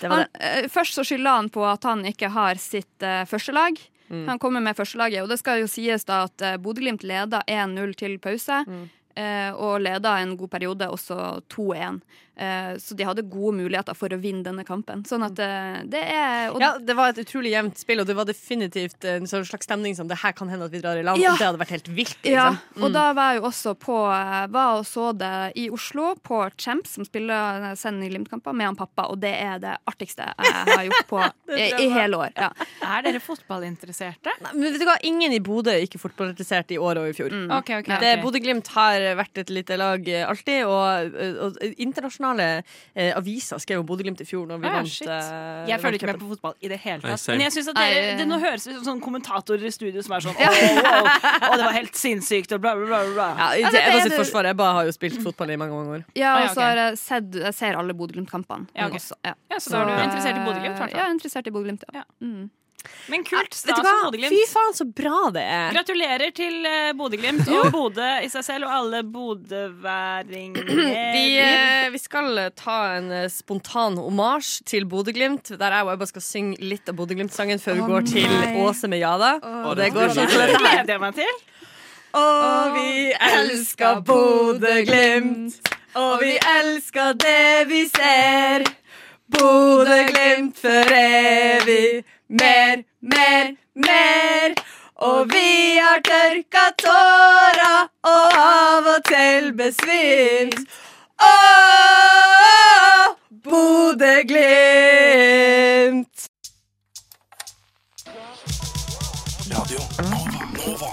Speaker 6: Det var
Speaker 8: Han,
Speaker 6: det.
Speaker 8: eh, først så skylder han på at han ikke har sitt eh, førstelag.
Speaker 6: Mm.
Speaker 8: eh,
Speaker 6: Mm.
Speaker 8: Han kommer med førstelaget, og det skal jo sies da at uh, Bodø-Glimt leder 1-0 til pause. eh, og leda en god periode, også 2-1. Eh, så de hadde gode muligheter for å vinne denne kampen. Sånn at eh, det er og-
Speaker 6: Ja, Det var et utrolig jevnt spill, og det var definitivt en sånn slags stemning som det her kan hende at vi drar i land.
Speaker 8: Ja.
Speaker 6: og Det hadde vært helt vilt.
Speaker 8: Ja,
Speaker 6: Liksom.
Speaker 7: Mm.
Speaker 8: og da var jeg jo også på eh, Var og så det i Oslo, på Champs, som spiller sender Glimt-kamper, med han pappa, og det er det artigste jeg har gjort på
Speaker 6: Det
Speaker 8: i,
Speaker 6: tror jeg
Speaker 8: i
Speaker 6: var.
Speaker 8: hele år. Ja.
Speaker 7: Er dere fotballinteresserte?
Speaker 6: Nei, Men vet du hva, Ingen i Bodø er ikke fotballinteressert i år og i fjor.
Speaker 7: Mm. Ok, ok,
Speaker 6: Det
Speaker 7: ok.
Speaker 6: Bodø-Glimt har vært et lite lag eh, alltid, og, og, og internasjonale eh, aviser skrev om Bodø-Glimt i fjor når vi
Speaker 7: Ah,
Speaker 6: vant.
Speaker 7: shit.
Speaker 6: eh,
Speaker 7: Jeg følger ikke med
Speaker 6: verdenscupen.
Speaker 7: på fotball i det hele
Speaker 6: Nei,
Speaker 7: tatt.
Speaker 6: same.
Speaker 7: Men jeg synes at
Speaker 6: Nei,
Speaker 7: dere,
Speaker 6: eh.
Speaker 7: det nå høres ut som sånne kommentatorer i studio som er sånn Å, wow, wow, det var helt sinnssykt, og bla, bla, bla. bla.
Speaker 6: Ja, altså til Ebba sitt
Speaker 8: det-
Speaker 6: forsvar. Ebba har jo spilt fotball i mange mange år.
Speaker 8: Ja, og så har jeg sett Jeg ser alle Bodø-Glimt-kampene
Speaker 6: Ja, ok.
Speaker 8: også. Ja.
Speaker 7: Ja, så da er du
Speaker 8: eh,
Speaker 7: interessert i Bodø-Glimt, i hvert fall.
Speaker 8: Ja, interessert i Bodø-Glimt, ja. Mm.
Speaker 7: Men kult.
Speaker 6: Vet
Speaker 7: Stas
Speaker 6: du
Speaker 7: med
Speaker 6: hva? Fy
Speaker 7: Bodø-Glimt.
Speaker 6: faen, så bra det er!
Speaker 7: Gratulerer til eh, Bodø-Glimt og Bodø i seg selv og alle bodøværinger.
Speaker 6: Vi, eh, vi skal eh, ta en eh, spontan omasj til Bodø-Glimt. Der jeg og Ebba skal synge litt av Bodø-Glimt-sangen før vi
Speaker 7: Å,
Speaker 6: går til
Speaker 7: nei.
Speaker 6: Åse med Jada.
Speaker 7: Å,
Speaker 6: Og
Speaker 7: det
Speaker 6: det går
Speaker 7: gleder
Speaker 6: sånn
Speaker 7: jeg
Speaker 6: som
Speaker 7: meg
Speaker 6: dette
Speaker 7: til.
Speaker 6: her.
Speaker 7: Det gleder jeg meg til.
Speaker 6: Og vi elsker Bodø-Glimt, og vi elsker det vi ser. Bodø-Glimt for evig. Mer, mer, mer. Og vi har tørka tårer og av og til besvimt. Å, Bodø-Glimt!
Speaker 14: Radio Nova. Nova.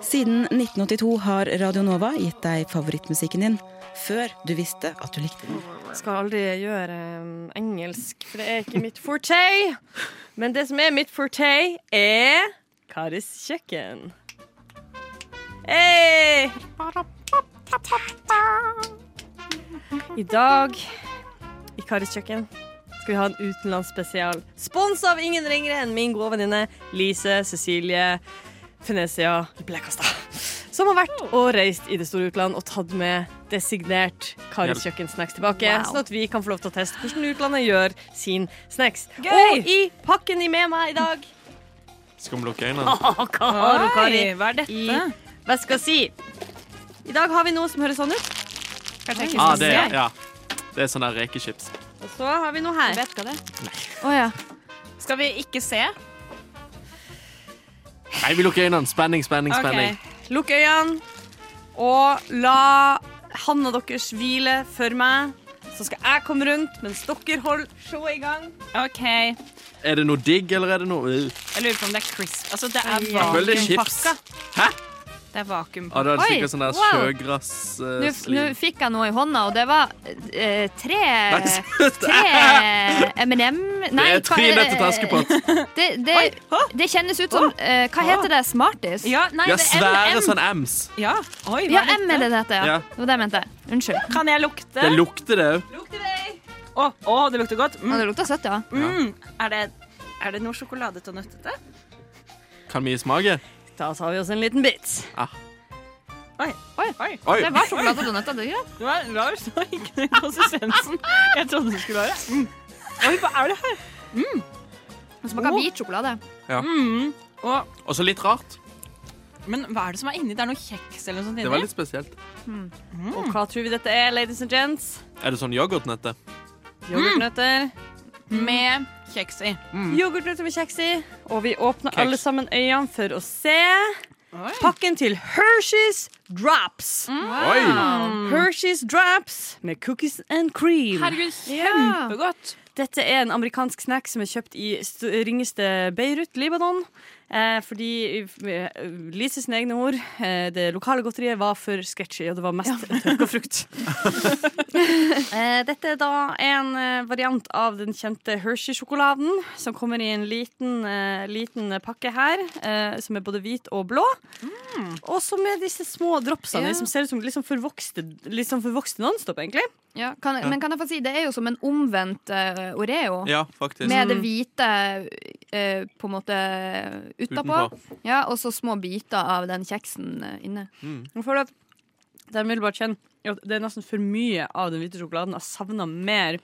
Speaker 15: Siden 1982 har Radio Nova gitt deg favorittmusikken din før du visste at du likte den.
Speaker 6: Skal aldri gjøre um, engelsk, for det er ikke mitt forte. Men det som er mitt forte, er Karis kjøkken. Hey! I dag i Karis kjøkken skal vi ha en utenlandsspesial. Spons av ingen ringere enn min gode venninne Lise Cecilie Fenesia Blekastad. Som har vært og reist i det store utland og tatt med designert Karis kjøkkensnacks tilbake.
Speaker 7: Wow.
Speaker 6: Sånn at vi kan få lov til å teste hvordan utlandet gjør sin snacks.
Speaker 7: Gøy!
Speaker 6: Og i pakken i med meg i dag
Speaker 4: Skal vi lukke øynene?
Speaker 6: Åh, hva har du, Kari?
Speaker 7: Oi, hva er dette?
Speaker 6: I, hva skal jeg si? I dag har vi noe som høres sånn ut. Kanskje
Speaker 4: Ah, det, er- ja. det er sånn der rekechips.
Speaker 6: Og så har vi noe her. Vet hva det
Speaker 7: Skal vi ikke se?
Speaker 4: Nei, vi lukker øynene. Spenning, spenning, spenning.
Speaker 6: Lukk øynene og la handa deres hvile for meg. Så skal jeg komme rundt mens dere holder showet i gang.
Speaker 7: OK.
Speaker 4: Er det noe digg, eller er det noe uh,
Speaker 7: Jeg lurer på om det er crisp. Altså, det er
Speaker 4: Følg det chips.
Speaker 7: vakuumpakka.
Speaker 4: Hæ?
Speaker 7: Det er
Speaker 4: Ah,
Speaker 7: vakuumpakka.
Speaker 4: det er
Speaker 8: Oi,
Speaker 4: sikkert sånn der eh,
Speaker 8: wow. Nå f- nå
Speaker 4: sjøgrasslim.
Speaker 8: fikk jeg noe i hånda, og det var eh, tre
Speaker 4: Nei, slutt.
Speaker 8: Tre M&M Nei,
Speaker 4: det er tre
Speaker 8: hva-
Speaker 4: nøtter til Askepott.
Speaker 8: Det, det, det kjennes ut som eh, Hva heter det? Smarties?
Speaker 4: Ja, svære sånn M's.
Speaker 7: Ja, Oi,
Speaker 8: ja M er det det heter.
Speaker 4: Ja.
Speaker 8: Ja. Det var det jeg mente. Unnskyld.
Speaker 7: Kan jeg lukte?
Speaker 4: Det lukter det òg.
Speaker 7: Å, å, det lukter godt. Mm.
Speaker 8: Ja, det lukter søtt, ja.
Speaker 7: Mm. Er, det, er det noe sjokoladete og nøttete?
Speaker 4: Kan vi gi smake?
Speaker 6: Da tar vi oss en liten bit.
Speaker 4: Ah.
Speaker 7: Oi. Oi.
Speaker 4: Oi. Det var sjokolade
Speaker 8: og nøtter. Det
Speaker 7: var rar, så det var ikke den konsistensen jeg trodde det skulle være. Mm. Oi, hva er det her? Mm.
Speaker 8: Det smaker hvit sjokolade.
Speaker 4: Ja.
Speaker 7: Mm. Og,
Speaker 4: Og så litt rart.
Speaker 7: men hva er det som er inni? Det er noe kjeks eller noe sånt
Speaker 4: Det
Speaker 7: inni?
Speaker 4: var litt spesielt.
Speaker 6: Og hva tror vi dette er, ladies and gents?
Speaker 4: Er det sånn yoghurtnøtte?
Speaker 6: Yoghurtnøtter
Speaker 7: med kjeks i.
Speaker 6: Yoghurtnøtter med kjeks i. Og vi åpner
Speaker 4: Kjeks.
Speaker 6: alle sammen øynene for å se pakken til Hershey's Drops.
Speaker 7: Oi. Wow.
Speaker 6: Hershey's Drops med cookies and cream.
Speaker 7: Herregud, kjempegodt.
Speaker 6: Dette er en amerikansk snack som er kjøpt i st- ringeste Beirut, Libanon. Eh, fordi eh, Lise sine egne ord, eh, det lokale godteriet var for sketchy, og det var mest tørka frukt. Eh, Dette er da en eh, variant av den kjente Hershey-sjokoladen, som kommer i en liten, eh, liten pakke her, eh, som er både hvit og blå. Og så med disse små dropsene,
Speaker 8: Ja.
Speaker 6: som ser ut som liksom forvokste, liksom forvokste Nonstop, egentlig.
Speaker 8: Ja, kan,
Speaker 6: Ja.
Speaker 8: Men kan jeg få si, det er jo som en omvendt eh, Oreo.
Speaker 6: Ja, faktisk.
Speaker 8: Med det
Speaker 6: Mm.
Speaker 8: hvite eh, på en måte eh, utapå.
Speaker 6: Utenpå.
Speaker 8: Ja, og så små biter av den kjeksen eh, inne.
Speaker 6: Jeg føler at det er umiddelbart kjenn ja, Det er nesten for mye av den hvite sjokoladen. Jeg savner mer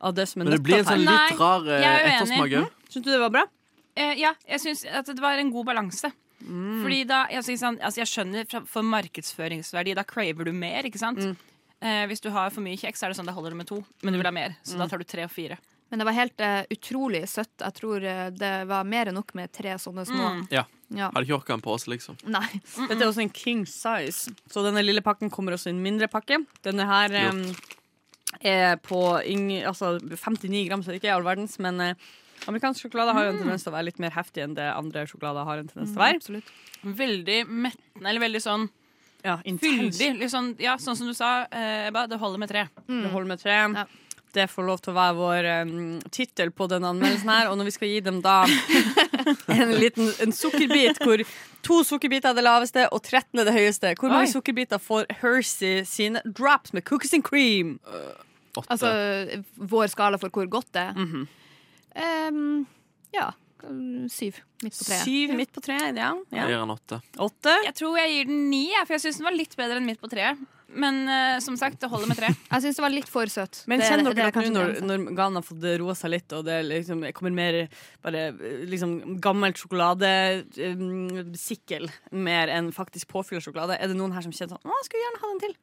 Speaker 6: av det som er
Speaker 4: sånn
Speaker 7: Hm?
Speaker 4: Men det blir en sånn litt rar, eh, ettersmak,
Speaker 6: Syns du det var bra?
Speaker 7: Mm. eh, ja, jeg syns at det var en god balanse.
Speaker 4: Mm.
Speaker 7: Fordi da, altså, ikke sant? Altså, jeg skjønner fra- for markedsføringsverdi, da craver du mer, ikke sant?
Speaker 4: Mm.
Speaker 7: Eh, hvis du har for mye kjeks, så er det sånn, da holder det med to, men du vil ha mer, så
Speaker 4: Mm.
Speaker 7: da tar du tre og fire.
Speaker 8: Men det var helt eh, utrolig søtt. Jeg tror eh, det var mer enn nok med tre sånne små.
Speaker 4: Ja.
Speaker 8: Ja.
Speaker 4: Hadde ikke orka en pose, liksom.
Speaker 8: Nei.
Speaker 6: Dette er også en king size, så denne lille pakken kommer også i en mindre pakke. Denne her em, er på yng- altså 59 gram, så det er ikke all verdens, men eh, amerikansk sjokolade har jo en tendens til å være litt mer heftig enn det andre sjokolader har en tendens til å være.
Speaker 7: Veldig mettende, eller veldig sånn
Speaker 6: ja, intens.
Speaker 7: Fyldig. Litt sånn, ja, sånn som du sa, eh, Ebba, det holder med tre.
Speaker 8: Mm.
Speaker 6: Det holder med tre. Det får lov til å være vår um, tittel på denne anmeldelsen her. Og når vi skal gi dem da en liten en sukkerbit hvor to sukkerbiter er det laveste og 13 er det høyeste, hvor mange
Speaker 8: Oi.
Speaker 6: sukkerbiter får Hersey sine drops med cookies and cream?
Speaker 8: Altså vår skala for hvor godt det er. Em, Ehm, ja. Syv. Midt på treet.
Speaker 6: Syv midt på treet, ja. ja.
Speaker 4: Gir en åtte.
Speaker 6: Åtte?
Speaker 7: Jeg tror jeg gir den ni, jeg, for jeg syns den var litt bedre enn midt på treet. Men eh, som sagt, det holder med tre.
Speaker 8: Jeg syns det var litt for søt.
Speaker 6: Men
Speaker 8: Det-
Speaker 6: kjenner
Speaker 8: det er
Speaker 6: dere at
Speaker 8: kanskje
Speaker 6: nå når,
Speaker 8: det eneste.
Speaker 6: når Ghana har fått roa seg litt, og det er liksom, kommer mer bare, liksom, gammelt sjokoladesikkel mer enn faktisk påfyll av sjokolade, er det noen her som kjenner sånn Å, jeg skulle gjerne ha den til.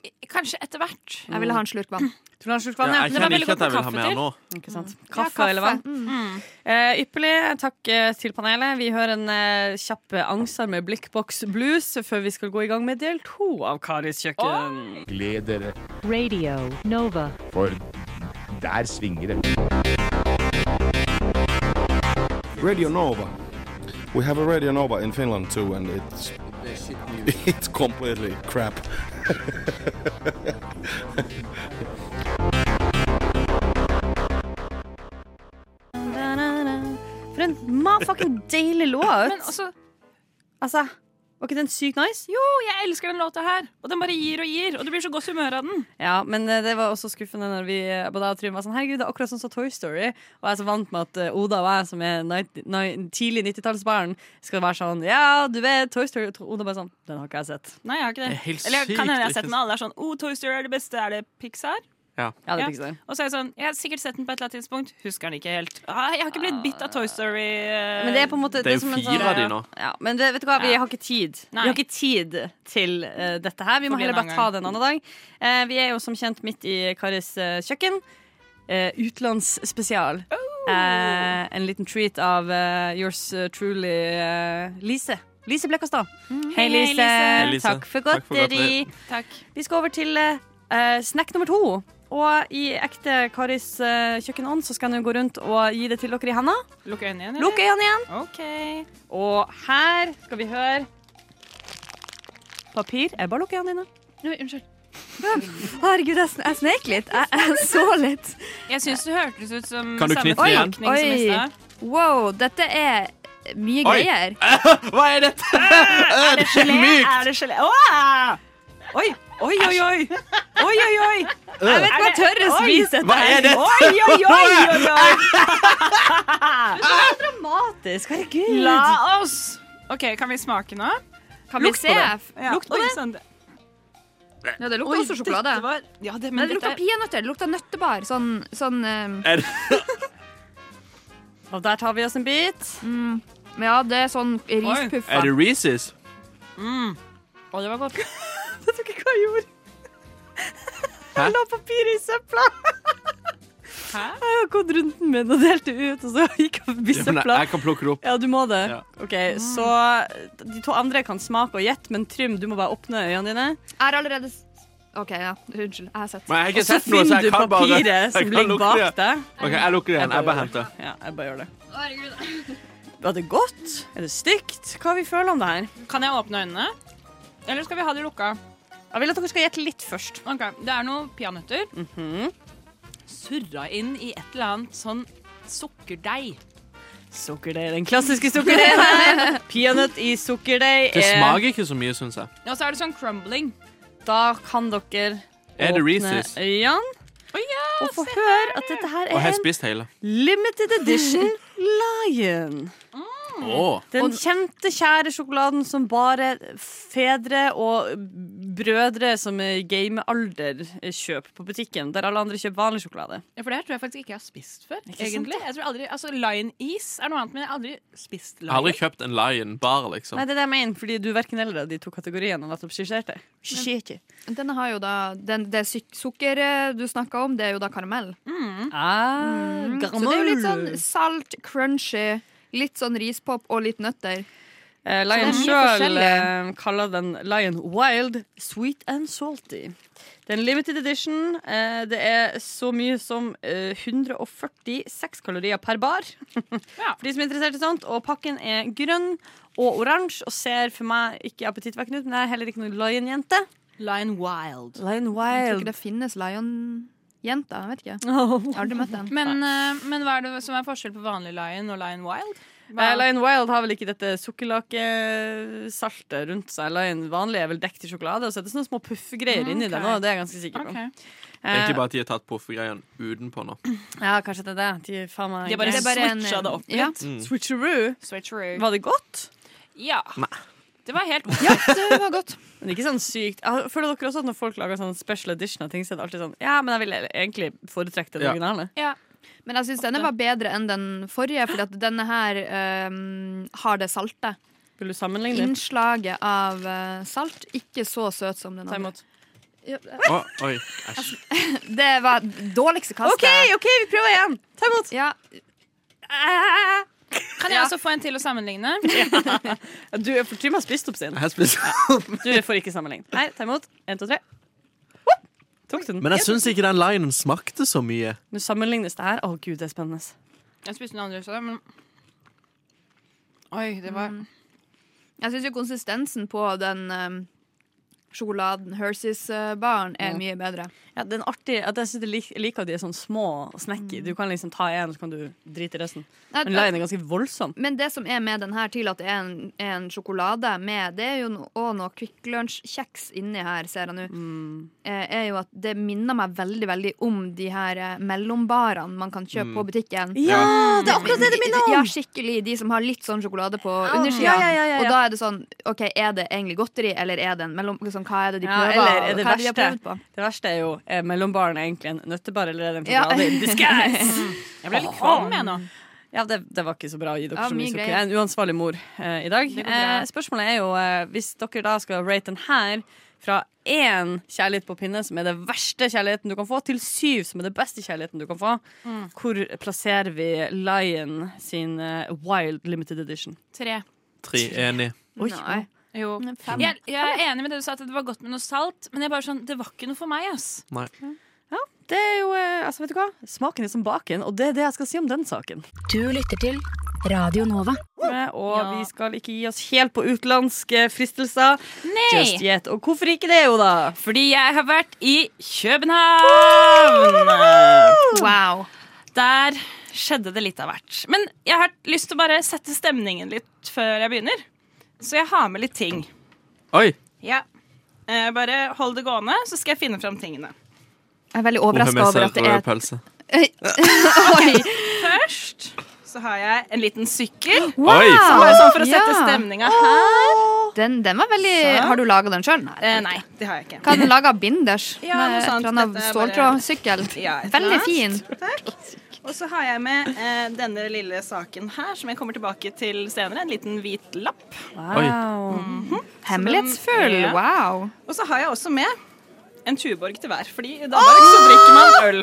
Speaker 7: Kanskje etter hvert.
Speaker 8: Jeg ville ha en slurk vann.
Speaker 6: Du vil ha en slurk
Speaker 4: Ja,
Speaker 6: vann?
Speaker 4: jeg kjenner ikke at jeg vil ha mer nå.
Speaker 6: Ikke sant?
Speaker 8: Mm.
Speaker 6: Kaffe,
Speaker 8: Ja,
Speaker 6: eller hva?
Speaker 8: kaffe. Mm.
Speaker 6: Eh, ypperlig. Takk eh, til panelet. Vi hører en eh, kjapp angser med blikkboks blues før vi skal gå i gang med del to av Karis kjøkken.
Speaker 16: Gled dere,
Speaker 6: Radio Nova.
Speaker 16: for der svinger det. Radio Nova. We have a Radio Nova in Finland too, and it's it's completely crap.
Speaker 6: For en ma-fucking deilig låt!
Speaker 7: Men også-
Speaker 6: altså, var ikke den sykt nice?
Speaker 7: Jo, jeg elsker den låta her. Og den bare gir og gir, og du blir så godt humør av den.
Speaker 6: Ja, men eh, det var også skuffende når vi eh, både jeg og Trym var sånn Herregud, det er akkurat sånn som Toy Story. Og jeg er så vant med at eh, Oda og jeg, som er ni- ni- tidlig 90-tallsbarn, skal være sånn Ja, du vet Toy Story. Og Oda bare sånn Den har ikke jeg sett.
Speaker 7: Nei, jeg har ikke
Speaker 6: Det
Speaker 7: det.
Speaker 6: er helt
Speaker 7: Eller
Speaker 6: sykt liksom.
Speaker 7: kan hende jeg har
Speaker 6: ikke
Speaker 7: sett den, og alle er sånn oh, Toy Story er det beste. Er det Pixar?
Speaker 4: Ja.
Speaker 6: Ja, det er Pixar.
Speaker 7: Og så er jeg sånn Jeg har sikkert sett den på et eller annet tidspunkt. Husker den ikke helt. Ah, jeg har ikke blitt bitt av Toy Story. eh,
Speaker 6: Men det er på en måte
Speaker 4: Det er jo
Speaker 6: som en sånn-
Speaker 4: fire av de nå.
Speaker 6: Ja, men det, vet du hva, vi
Speaker 7: Ja.
Speaker 6: har ikke tid
Speaker 7: Nei.
Speaker 6: Vi har ikke tid til eh, dette her Vi må
Speaker 7: Får bli
Speaker 6: heller bare
Speaker 7: en annen
Speaker 6: ta
Speaker 7: gang.
Speaker 6: det en annen dag Eh, Vi er jo som kjent midt i Karis eh, kjøkken Eh, Utlandsspesial
Speaker 7: Oh!
Speaker 6: Eh, En liten treat av eh, yours eh, truly eh, Lise Lise Blekkastad Hei
Speaker 7: Mm. Hei,
Speaker 6: Lise.
Speaker 7: Lise. Hei, Lise.
Speaker 6: Takk for
Speaker 7: Takk for
Speaker 6: godteri Vi skal over til eh, snack nummer to Og i ekte Karis eh, kjøkkenånd Så skal jeg nå gå rundt og gi det til dere i hendene
Speaker 7: Lukk øynene igjen.
Speaker 6: Lukk øynene igjen.
Speaker 7: Ok.
Speaker 6: Og her skal vi høre Papir. Jeg bare lukker øynene dine.
Speaker 7: Unnskyld.
Speaker 8: Herregud, jeg, sn jeg snek litt. Jeg, jeg så litt.
Speaker 7: Jeg syns det hørtes ut som
Speaker 4: Kan du
Speaker 7: samme
Speaker 4: knytte igjen?
Speaker 7: tolkning som i stad.
Speaker 8: Wow, dette er mye
Speaker 4: Oi.
Speaker 8: greier.
Speaker 4: Hva er dette?
Speaker 7: Er det gelé?
Speaker 4: Mykt.
Speaker 7: Er det gelé? Åh! Oi, oi, oi, oi. Oi, oi, oi.
Speaker 8: Jeg vet ikke om jeg tør å
Speaker 7: Oi.
Speaker 8: spise dette.
Speaker 7: Hva
Speaker 8: her.
Speaker 7: er dette? Oi, oi, oi, oi, oi.
Speaker 6: dramatisk. Herregud.
Speaker 7: La oss. OK, kan vi smake nå?
Speaker 8: Kan vi
Speaker 7: Lukt på
Speaker 8: se?
Speaker 7: det. Ja.
Speaker 8: Lukt på
Speaker 7: Oi,
Speaker 8: det.
Speaker 7: sånn.
Speaker 8: Ja, det lukter
Speaker 7: Oi,
Speaker 8: også sjokolade.
Speaker 7: dette var- ja, det,
Speaker 8: men
Speaker 7: men
Speaker 8: det lukta
Speaker 7: dette er-
Speaker 8: peanøtter. Det lukta nøttebar. Sånn, sånn ehm,
Speaker 4: Er
Speaker 6: Og der tar vi oss en bit.
Speaker 8: mm, Ja, det er sånn rispuffa.
Speaker 4: Er det Reeses?
Speaker 7: Mm. Å, det var godt.
Speaker 6: Vet dere hva jeg gjorde?
Speaker 4: Hæ?
Speaker 6: Jeg la papir i søpla. Jeg har gått rundt den min og delt det ut, og så gikk jeg forbi
Speaker 4: Ja, men
Speaker 6: søpla.
Speaker 4: jeg kan plukke det opp.
Speaker 6: Ja, du må det.
Speaker 4: Ja.
Speaker 6: OK, så de to andre kan smake og gjette, men Trym, du må bare åpne øynene dine.
Speaker 8: Jeg har allerede s- OK, ja. Unnskyld. Jeg har sett.
Speaker 4: Men jeg har ikke
Speaker 6: Og så
Speaker 4: sett noe, så
Speaker 6: finner
Speaker 4: jeg
Speaker 6: du
Speaker 4: kan bare jeg
Speaker 6: papiret som
Speaker 4: kan
Speaker 6: ligger
Speaker 4: lukke det.
Speaker 6: bak deg.
Speaker 4: Ok, Jeg lukker det igjen. Jeg
Speaker 6: bare
Speaker 4: bare
Speaker 6: gjør det.
Speaker 4: henter.
Speaker 6: Ja, jeg bare gjør det. Var det godt? Er det stygt? Hva vi føler om det her?
Speaker 7: Kan jeg åpne øynene? Eller skal vi ha de lukka?
Speaker 6: Jeg vil at dere skal gjette litt først.
Speaker 7: Ok, Det er noen peanøtter
Speaker 8: Mhm.
Speaker 7: surra inn i et eller annet sånn sukkerdeig.
Speaker 6: Sukkerdeig. Den klassiske sukkerdeigen. Peanøtt i sukkerdeig.
Speaker 4: Det
Speaker 6: er-
Speaker 4: smaker ikke så mye, syns jeg.
Speaker 7: Og så er det sånn crumbling.
Speaker 6: Eh, Da kan dere
Speaker 4: Er det
Speaker 6: åpne
Speaker 4: Reese's?
Speaker 6: øynene og få høre at dette her
Speaker 4: Og jeg
Speaker 6: er
Speaker 4: har
Speaker 6: en
Speaker 4: spist hele.
Speaker 6: limited edition lion.
Speaker 4: Åh.
Speaker 6: Den kjente, kjære sjokoladen som bare fedre og brødre som er gamealder eh, kjøper på butikken, der alle andre kjøper vanlig sjokolade.
Speaker 7: Ja, for det her tror jeg faktisk ikke jeg har spist før.
Speaker 6: sant,
Speaker 7: egentlig. Jeg tror aldri, altså Lion is er noe annet, men jeg har aldri spist
Speaker 4: Jeg
Speaker 7: lion.
Speaker 4: har aldri kjøpt en Lion bar, liksom.
Speaker 6: Nei, det er det jeg mener, fordi du verken eller av de to kategoriene har nettopp skissert det. Skisserte.
Speaker 8: Denne har jo da den, Det syk- sukkeret du snakka om, det er jo da karamell.
Speaker 6: Ah,
Speaker 8: Mm. Så det er jo
Speaker 6: gammel.
Speaker 8: litt sånn salt, crunchy, litt sånn rispop og litt nøtter.
Speaker 6: Eh,
Speaker 8: Så det er
Speaker 6: Lion
Speaker 8: mye
Speaker 6: sjøl
Speaker 8: forskjellig.
Speaker 6: eh, kaller den Lion Wild Sweet and Salty. Det er en limited edition. Eh, det er så mye som eh, 146 kalorier per bar. For de som er interessert i sånt. Og pakken er grønn og oransje og ser for meg ikke appetittvekkende ut, men jeg er heller ikke noen lion-jente.
Speaker 7: Lion Wild.
Speaker 6: Lion
Speaker 8: Jeg tror
Speaker 6: Wild.
Speaker 8: ikke det finnes lionjenter. Jeg vet ikke. Jeg har aldri møtt en.
Speaker 7: Men, eh, men hva er det som er forskjell på vanlig lion og lion wild?
Speaker 6: Eh, Lion Wild har vel ikke dette sukkerlakesaltet rundt seg. Lion vanlig er vel dekt i sjokolade, og så er det sånne små puffgreier
Speaker 7: Mm,
Speaker 6: inni den
Speaker 7: ok.
Speaker 6: òg. Det er jeg ganske sikker på. Eh,
Speaker 7: Ok.
Speaker 4: Det er egentlig bare at de har tatt poffegreiene utenpå nå.
Speaker 6: Ja, kanskje det er det. De, faen meg,
Speaker 7: De har bare
Speaker 6: greier.
Speaker 7: switcha det opp
Speaker 6: Ja.
Speaker 7: litt.
Speaker 4: Mm.
Speaker 6: Switcheroo.
Speaker 7: Switcheroo.
Speaker 6: Var det godt?
Speaker 7: Ja. Det var helt
Speaker 6: det var godt. Men ikke sånn sykt. Jeg Føler dere også at når folk lager sånn special edition av ting, så er det alltid sånn Ja, men jeg ville egentlig foretrekke den
Speaker 8: Ja.
Speaker 6: originale.
Speaker 8: Men jeg syns denne var bedre enn den forrige, Fordi at denne her ehm, har det salte.
Speaker 6: Vil du sammenligne?
Speaker 8: Innslaget av eh, salt. Ikke så søt som den
Speaker 6: Ta
Speaker 8: andre.
Speaker 6: imot.
Speaker 8: Ja,
Speaker 4: Å, oi. Æsj.
Speaker 8: Det var dårligste kastet.
Speaker 6: OK, ok, vi prøver igjen! Ta imot.
Speaker 8: Ja.
Speaker 7: Kan jeg også få en til å sammenligne?
Speaker 6: Du, for Trym har spist opp sin.
Speaker 4: Jeg har spist
Speaker 6: Du får ikke sammenligne. Nei, ta imot. Én, to, tre. Whoop! Tok du den?
Speaker 4: Men jeg syns ikke den linen smakte så mye.
Speaker 6: Nå sammenlignes det her. Å, gud, det er spennende.
Speaker 7: Jeg spiste den andre også, men Oi, det var
Speaker 8: Jeg syns jo konsistensen på den ehm, sjokoladen, Herces-baren, er
Speaker 6: Ja.
Speaker 8: mye bedre.
Speaker 6: Ja, det er en artig, at jeg synes det lik, jeg liker at de er sånn små og snacky. Du kan liksom ta en, så kan du drite i resten.
Speaker 8: Nei,
Speaker 6: Men Lion er ganske voldsom.
Speaker 8: Men det som er med den her til at det er en, er en sjokolade med, det er jo no, og noe Quick Lunch-kjeks inni her, ser jeg nå,
Speaker 6: Mm.
Speaker 8: eh, er jo at det minner meg veldig veldig om de her eh, mellombarene man kan kjøpe
Speaker 6: Mm.
Speaker 8: på butikken.
Speaker 6: Ja, det er akkurat det det minner om!
Speaker 8: Ja, skikkelig. De som har litt sånn sjokolade på
Speaker 6: Ja.
Speaker 8: undersida.
Speaker 6: Ja, ja, ja, ja, ja.
Speaker 8: Og da er det sånn, OK, er det egentlig godteri, eller er det en mellom... Liksom, hva er det de
Speaker 6: Ja,
Speaker 8: prøver?
Speaker 6: eller er det
Speaker 8: hva er de har
Speaker 6: verste?
Speaker 8: prøvd på?
Speaker 6: Det verste er jo eh, mellombaren er egentlig en nøttebar eller er det en
Speaker 8: Ja.
Speaker 6: sjokolade in disguise.
Speaker 7: Jeg ble litt kvalm, jeg nå.
Speaker 6: Ja, det, det var ikke så bra å gi dere
Speaker 7: Ja,
Speaker 6: så
Speaker 7: mye
Speaker 6: mye sukker.
Speaker 7: greier.
Speaker 6: Jeg er en uansvarlig mor eh, i dag.
Speaker 7: Det går bra.
Speaker 6: Eh, spørsmålet er jo, eh, hvis dere da skal rate den her fra én kjærlighet på pinne, som er det verste kjærligheten du kan få, til syv, som er det beste kjærligheten du kan få,
Speaker 7: Mm.
Speaker 6: hvor plasserer vi Lion sin eh, Wild Limited Edition?
Speaker 7: Tre.
Speaker 4: Tre enig.
Speaker 6: Oi,
Speaker 7: Nei. Jo.
Speaker 6: fem.
Speaker 7: Jeg, jeg er enig med det du sa, at det var godt med noe salt, men jeg er bare sånn, det var ikke noe for meg. ass
Speaker 4: Nei.
Speaker 6: Ja, det er jo eh, Altså, vet du hva? Smaken er som baken, og det er det jeg skal si om den saken.
Speaker 17: Du lytter til Radio Nova.
Speaker 6: Eh, Og vi skal ikke gi oss helt på utenlandske fristelser.
Speaker 7: Nei.
Speaker 6: Just yet. Og hvorfor ikke det, jo da?
Speaker 7: Fordi jeg har vært i København!
Speaker 8: Wow.
Speaker 7: Der skjedde det litt av hvert. Men jeg har lyst til å bare sette stemningen litt før jeg begynner. Så jeg har med litt ting.
Speaker 4: Oi.
Speaker 7: Ja. Eh, bare hold det gående, så skal jeg finne fram tingene.
Speaker 8: Jeg er veldig
Speaker 4: Hun har
Speaker 8: overraska
Speaker 4: med
Speaker 8: over
Speaker 4: seg
Speaker 8: at det
Speaker 4: rød
Speaker 8: er
Speaker 4: pølse.
Speaker 7: Ok. Først så har jeg en liten sykkel.
Speaker 4: Wow. Oi.
Speaker 7: Som er sånn for å
Speaker 8: Ja.
Speaker 7: sette stemninga her.
Speaker 8: Den, den var veldig
Speaker 7: Så.
Speaker 8: Har du laga den sjøl?
Speaker 7: Eh, nei, det har jeg ikke.
Speaker 8: Hva er den laga av? Binders?
Speaker 7: Ja,
Speaker 8: Nei,
Speaker 7: noe sånt.
Speaker 8: fra en av
Speaker 7: Dette er bare-
Speaker 8: Ståltrådsykkel?
Speaker 7: Ja, et eller
Speaker 8: Veldig
Speaker 7: annet.
Speaker 8: fin.
Speaker 7: Og så har jeg med eh, denne lille saken her, som jeg kommer tilbake til senere. En liten hvit lapp.
Speaker 4: Ah.
Speaker 7: Mhm.
Speaker 8: Hemmelighetsfull.
Speaker 7: Ja.
Speaker 8: Wow.
Speaker 7: Og så har jeg også med en Tuborg til hver, fordi da bare så drikker man øl.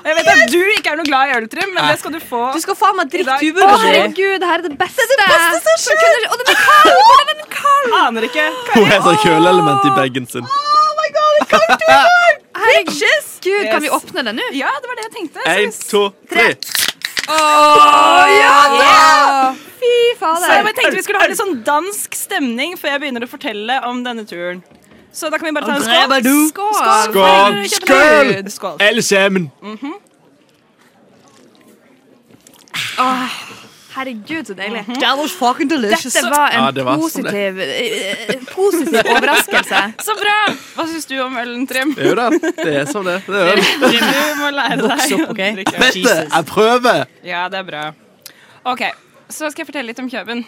Speaker 7: Og jeg vet at du ikke er noe glad i øl, Trym, men det skal du få.
Speaker 6: Du skal faen meg drikke
Speaker 8: Å, herregud, her er det beste! Det er det beste som skjer! Og den er kald! Hvordan er den kald?
Speaker 7: Aner ikke.
Speaker 4: Hun har et sånt kjøleelement i bagen sin.
Speaker 8: Oh Herregud, kan vi
Speaker 7: Yes.
Speaker 8: åpne den nå?
Speaker 7: Ja, det var det jeg tenkte.
Speaker 4: Én, to, tre.
Speaker 8: ja da! Fy fader.
Speaker 7: Så jeg bare tenkte vi skulle ha litt sånn dansk stemning før jeg begynner å fortelle om denne turen. Så da kan vi bare ta en
Speaker 4: André
Speaker 7: skål.
Speaker 4: Bardou.
Speaker 7: Skål!
Speaker 4: Skål!
Speaker 7: Skål! Skål.
Speaker 4: Alle sammen.
Speaker 7: Mhm.
Speaker 8: Åh, herregud, så deilig.
Speaker 6: That was fucking delicious.
Speaker 8: Dette var en
Speaker 4: Ja, det var sånn
Speaker 8: positiv, eh, eh, positiv overraskelse.
Speaker 7: Så bra! Hva syns du om ølen, Trym?
Speaker 4: Jo da, det er som det. Det er øl.
Speaker 7: Trym, du må lære
Speaker 4: Voks
Speaker 7: deg
Speaker 4: opp,
Speaker 7: å drikke øl.
Speaker 4: Vette, jeg prøver!
Speaker 7: Ja, det er bra. OK, så skal jeg fortelle litt om Kjøben.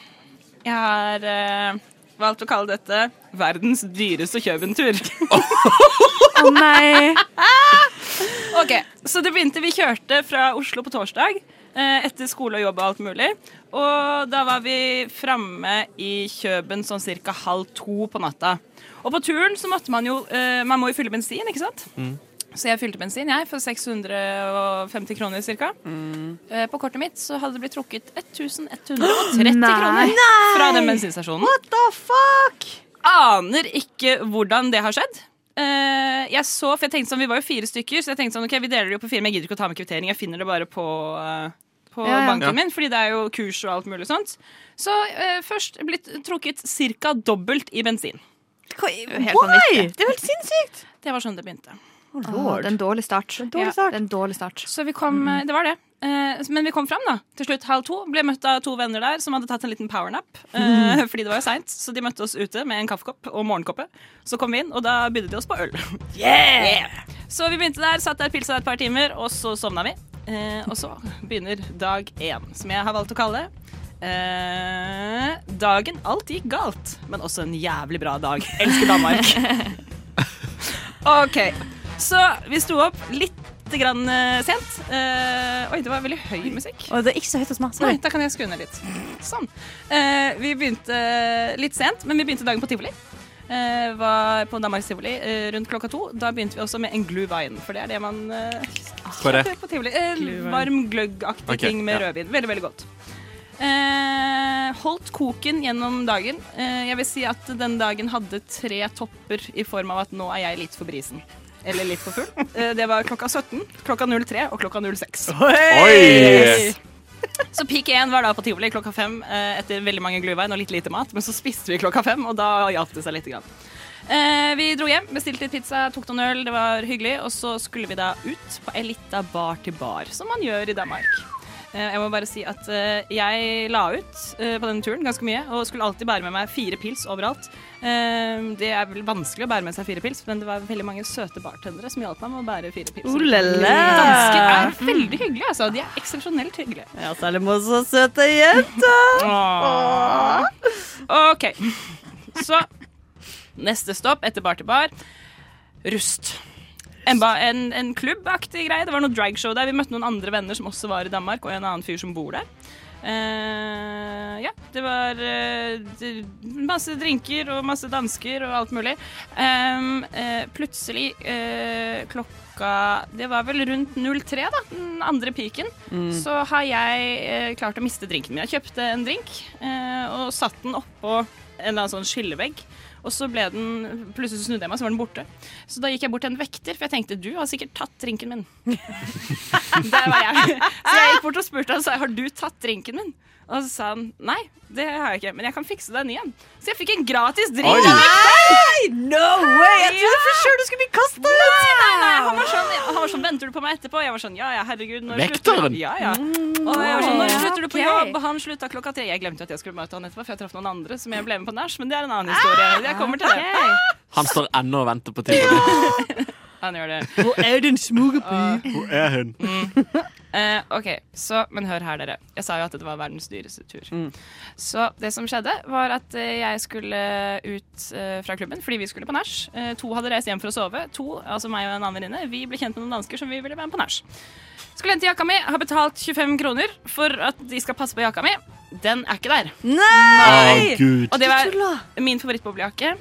Speaker 7: Jeg har eh, valgt å kalle dette verdens dyreste kjøpentur.
Speaker 8: Å nei!
Speaker 7: Ok, så det begynte Vi kjørte fra Oslo på torsdag eh, etter skole og jobb og alt mulig. Og da var vi framme i Kjøben sånn cirka halv to på natta. Og på turen så måtte man jo eh, Man må jo fylle bensin, ikke sant?
Speaker 6: Mm.
Speaker 7: Så jeg fylte bensin jeg for 650 kroner ca.
Speaker 6: Mm.
Speaker 7: Eh, På kortet mitt så hadde det blitt trukket 1130
Speaker 6: Nei.
Speaker 7: kroner
Speaker 6: Nei.
Speaker 7: fra den bensinstasjonen. What the fuck? Aner ikke hvordan det har skjedd. Eh, jeg så, for jeg tenkte sånn, Vi var jo fire stykker, så jeg tenkte sånn, ok, vi deler det jo på fire. Men jeg gidder ikke å ta med kvittering. Jeg finner det bare på, eh, på
Speaker 6: Ja, ja.
Speaker 7: banken
Speaker 6: Ja.
Speaker 7: min, fordi det er jo kurs og alt mulig sånt. Så eh, først blitt trukket ca. dobbelt i bensin.
Speaker 8: Why?
Speaker 7: Det er helt sinnssykt! Det var sånn det begynte.
Speaker 8: Åh, det er en dårlig start.
Speaker 7: dårlig
Speaker 8: Ja, det er en dårlig start.
Speaker 7: Så vi kom, eh, det var det. Eh, Men vi kom fram da, til slutt halv to. Ble møtt av to venner der som hadde tatt en liten powernap. eh, Fordi det var jo seint, så de møtte oss ute med en kaffekopp og morgenkoppe. Så kom vi inn, og da bydde de oss på øl.
Speaker 6: Yeah!
Speaker 7: Så vi begynte der, satt der, pilsa et par timer, og så sovna vi. Eh, Og så begynner dag én, som jeg har valgt å kalle eh, dagen alt gikk galt, men også en jævlig bra dag. Elsker Danmark. OK. Så vi sto opp litt grann eh, sent. Eh, oi, det var veldig høy musikk.
Speaker 6: Og det er ikke så høyt hos meg.
Speaker 7: Nei, da kan jeg skru ned litt. Sånn. Eh, vi begynte litt sent, men vi begynte dagen på tivoli. Eh, var på Danmarks tivoli eh, rundt klokka to. Da begynte vi også med en glühwein, for det er det man eh,
Speaker 4: Hva er det?
Speaker 7: kjøper på tivoli. Eh,
Speaker 4: Glühwein.
Speaker 7: varm gløggaktig
Speaker 4: Ok,
Speaker 7: ting med
Speaker 4: ja.
Speaker 7: rødvin. Veldig, veldig godt. Eh, holdt koken gjennom dagen. Eh, jeg vil si at den dagen hadde tre topper i form av at nå er jeg litt for brisen. Eller litt for full. Eh, det var klokka 17, klokka 03 og klokka 06.
Speaker 6: Oi!
Speaker 7: Så peak 1 var da på tivoli klokka fem eh, etter veldig mange glühwein og litt lite mat. Men så spiste vi klokka fem, og da hjalp det seg litt. Grann. Eh, vi dro hjem, bestilte litt pizza, tok noen øl, det var hyggelig. Og så skulle vi da ut på ei lita bar til bar, som man gjør i Danmark. Eh, jeg må bare si at eh, jeg la ut eh, på denne turen ganske mye, og skulle alltid bære med meg fire pils overalt. Eh, det er vel vanskelig å bære med seg fire pils, men det var veldig mange søte bartendere som hjalp meg med å bære fire pils.
Speaker 6: Oh la la.
Speaker 7: Dansker er veldig hyggelige, altså. De er eksepsjonelt hyggelige.
Speaker 6: Ja, særlig med så søte jenter.
Speaker 7: Åh. OK. Så neste stopp etter bar til bar. Rust. En, ba, en, en klubbaktig greie. Det var noe dragshow der. Vi møtte noen andre venner som også var i Danmark, og en annen fyr som bor der. Eh, ja, det var eh, d- masse drinker og masse dansker og alt mulig. Em, eh, plutselig eh, klokka Det var vel rundt 03, da, den andre piken,
Speaker 6: Mm.
Speaker 7: så har jeg eh, klart å miste drinken min. Jeg kjøpte en drink eh, og satt den oppå en eller annen sånn skillevegg. Og så ble den, plutselig så snudde jeg meg, så var den borte. Så da gikk jeg bort til en vekter, for jeg tenkte du har sikkert tatt drinken min. Der var jeg. Så jeg gikk bort og spurte han, sa jeg, har du tatt drinken min? Og så sa han nei, det har jeg ikke, men jeg kan fikse deg en ny en. Så jeg fikk en gratis drink.
Speaker 6: Oi.
Speaker 7: av vekteren.
Speaker 6: No way! Jeg trodde for sure du skulle bli kastet
Speaker 7: Nei, nei, nei,
Speaker 6: ut.
Speaker 7: han var sånn, han var sånn, venter du på meg etterpå? Jeg var sånn, ja, ja, herregud. når slutter du?»
Speaker 6: Vekteren?
Speaker 7: Ja, ja. Og jeg var sånn, når slutter du på
Speaker 6: Ok.
Speaker 7: jobb? Og han slutta klokka tre. Jeg glemte jo at jeg skulle møte han etterpå, for jeg traff noen andre som jeg ble med på nach, men det er en annen historie. Jeg kommer til det.
Speaker 4: Han står ennå og venter på tivoli.
Speaker 7: Han gjør det.
Speaker 6: Hvor er den smugeby?
Speaker 4: Hvor er hun?
Speaker 7: Eh, ok, så, Men hør her, dere. Jeg sa jo at det var verdens dyreste tur. Så det som skjedde, var at eh, jeg skulle ut eh, fra klubben fordi vi skulle på nach. Eh, to hadde reist hjem for å sove. To, altså meg og en annen venninne, vi ble kjent med noen dansker som vi ville være med på nach. Skulle hente jakka mi. Har betalt 25 kroner for at de skal passe på jakka mi. Den er ikke der.
Speaker 6: Nei! Å, Gud.
Speaker 7: Og det var
Speaker 6: Du
Speaker 7: min favorittboblejakke.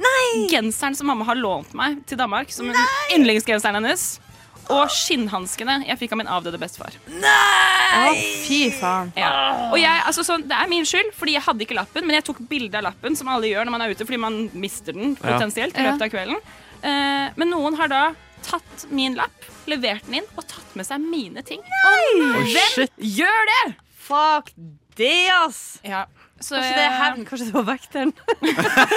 Speaker 7: Genseren som mamma har lånt meg til Danmark, som yndlingsgenseren hennes. Og skinnhanskene jeg fikk av min avdøde bestefar.
Speaker 6: Å, fy faen.
Speaker 4: Ah.
Speaker 7: Ja. Og jeg, altså sånn, Det er min skyld, fordi jeg hadde ikke lappen, men jeg tok bilde av lappen, som alle gjør når man er ute, fordi man mister den
Speaker 6: Ja.
Speaker 7: potensielt i
Speaker 6: Ja.
Speaker 7: løpet av kvelden. Eh, men noen har da tatt min lapp, levert den inn og tatt med seg mine ting.
Speaker 6: Oi,
Speaker 7: Hvem
Speaker 6: shit.
Speaker 7: gjør det?!
Speaker 6: Fuck det, ass!
Speaker 7: Ja. Så
Speaker 6: Kanskje altså, det er hevn. Kanskje det var vekteren.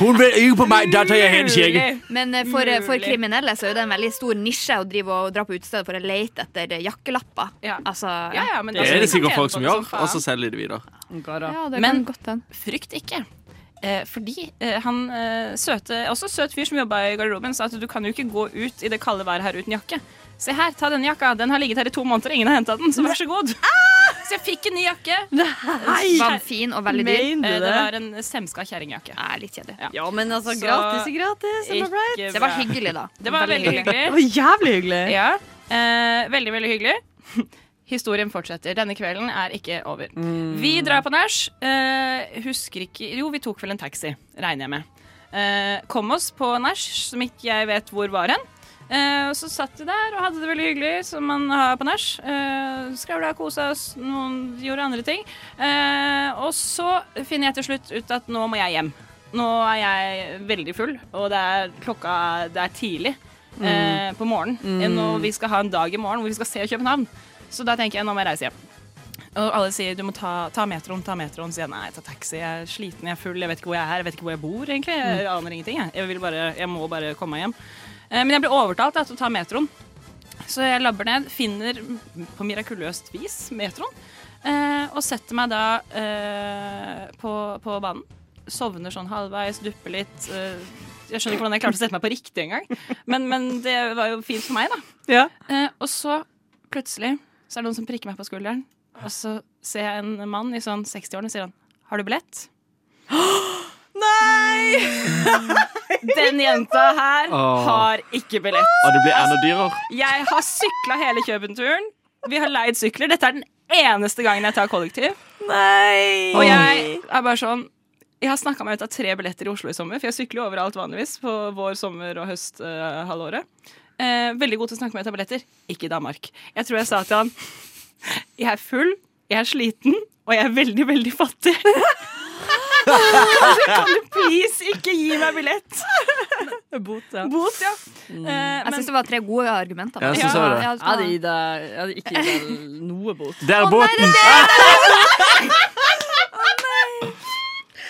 Speaker 4: Hun vil øye på meg! Der tar jeg hele skjeggen.
Speaker 8: Men eh, for, for
Speaker 6: Mulig.
Speaker 8: kriminelle så er jo det en veldig stor nisje å drive og dra på utestedet for å lete etter eh, jakkelapper. Altså,
Speaker 7: Ja, ja, men
Speaker 4: Altså,
Speaker 6: Oh
Speaker 4: Det er det sikkert folk som gjør, og så selger de det videre.
Speaker 8: Ja, det kan
Speaker 7: men
Speaker 8: godt hende.
Speaker 7: frykt ikke. Eh, fordi eh, han eh, søte, også søt fyr som jobba i garderoben, sa at du kan jo ikke gå ut i det kalde været her uten jakke. Se her, ta denne jakka. Den har ligget her i to måneder, ingen har henta den, så vær så god. Så jeg fikk en ny jakke.
Speaker 8: Nei! Var den fin og veldig dyr?
Speaker 7: Eh,
Speaker 8: Mener du
Speaker 7: Det
Speaker 8: det? Ah,
Speaker 7: var en semska kjerringjakke.
Speaker 8: Litt kjedelig.
Speaker 7: Ja.
Speaker 6: men altså, gratis er gratis, am I right?
Speaker 7: ikke
Speaker 6: Det var
Speaker 7: bra.
Speaker 6: hyggelig, da.
Speaker 7: Det var
Speaker 6: Veldig
Speaker 7: veldig hyggelig.
Speaker 6: hyggelig. Det var jævlig hyggelig.
Speaker 7: Ja. Eh, veldig, veldig hyggelig. Historien fortsetter. Denne kvelden er ikke over. Vi drar på nach. Eh, husker ikke Jo, vi tok vel en taxi, regner jeg med. Eh, kom oss på nach, som ikke jeg vet hvor var hen. Eh, og så satt vi der og hadde det veldig hyggelig, som man har på nach. Eh, Skravla, kosa oss, noen gjorde andre ting. Eh, og så finner jeg til slutt ut at nå må jeg hjem. Nå er jeg veldig full, og det er klokka Det er tidlig eh,
Speaker 6: Mm.
Speaker 7: på morgenen.
Speaker 6: Mm.
Speaker 7: Når vi skal ha en dag i morgen hvor vi skal se København. Så da tenker jeg nå må jeg reise hjem. Og alle sier du må ta, ta metroen, ta metroen. Så sier jeg nei, ta taxi. Jeg er sliten, jeg er full, jeg vet ikke hvor jeg er, jeg vet ikke hvor jeg bor egentlig. Jeg
Speaker 6: Mm.
Speaker 7: aner ingenting, jeg. Jeg, vil bare, jeg må bare komme meg hjem. Eh, Men jeg ble overtalt da, til å ta metroen. Så jeg labber ned, finner på mirakuløst vis metroen. eh, Og setter meg da eh, på, på banen. Sovner sånn halvveis, dupper litt. eh, Jeg skjønner ikke hvordan jeg klarte å sette meg på riktig engang, men, men det var jo fint for meg, da. Eh, og så plutselig så er det noen som prikker meg på skulderen. Og så ser jeg en mann i sånn 60-årene og sier han Har du billett? Nei! Den jenta her
Speaker 4: Åh.
Speaker 7: har ikke billett.
Speaker 4: Og det blir enda dyrere.
Speaker 7: Jeg har sykla hele Købenturen. Vi har leid sykler. Dette er den eneste gangen jeg tar kollektiv.
Speaker 6: Nei!
Speaker 7: Og jeg er bare sånn Jeg har snakka meg ut av tre billetter i Oslo i sommer, for jeg sykler jo overalt vanligvis på vår, sommer og høst eh, halvåret. Eh, veldig god til å snakke meg ut av billetter. Ikke i Danmark. Jeg tror jeg sa til han Jeg er full, jeg er sliten, og jeg er veldig, veldig fattig. kan du please ikke gi meg billett?
Speaker 6: Bot, ja.
Speaker 7: Bot, ja. Mm. Eh, Altså,
Speaker 8: Jeg syns det var tre gode argumenter.
Speaker 4: Jeg synes også det.
Speaker 8: Ja,
Speaker 6: Jeg hadde gitt deg jeg hadde ikke gitt deg noe bot.
Speaker 4: Der er båten!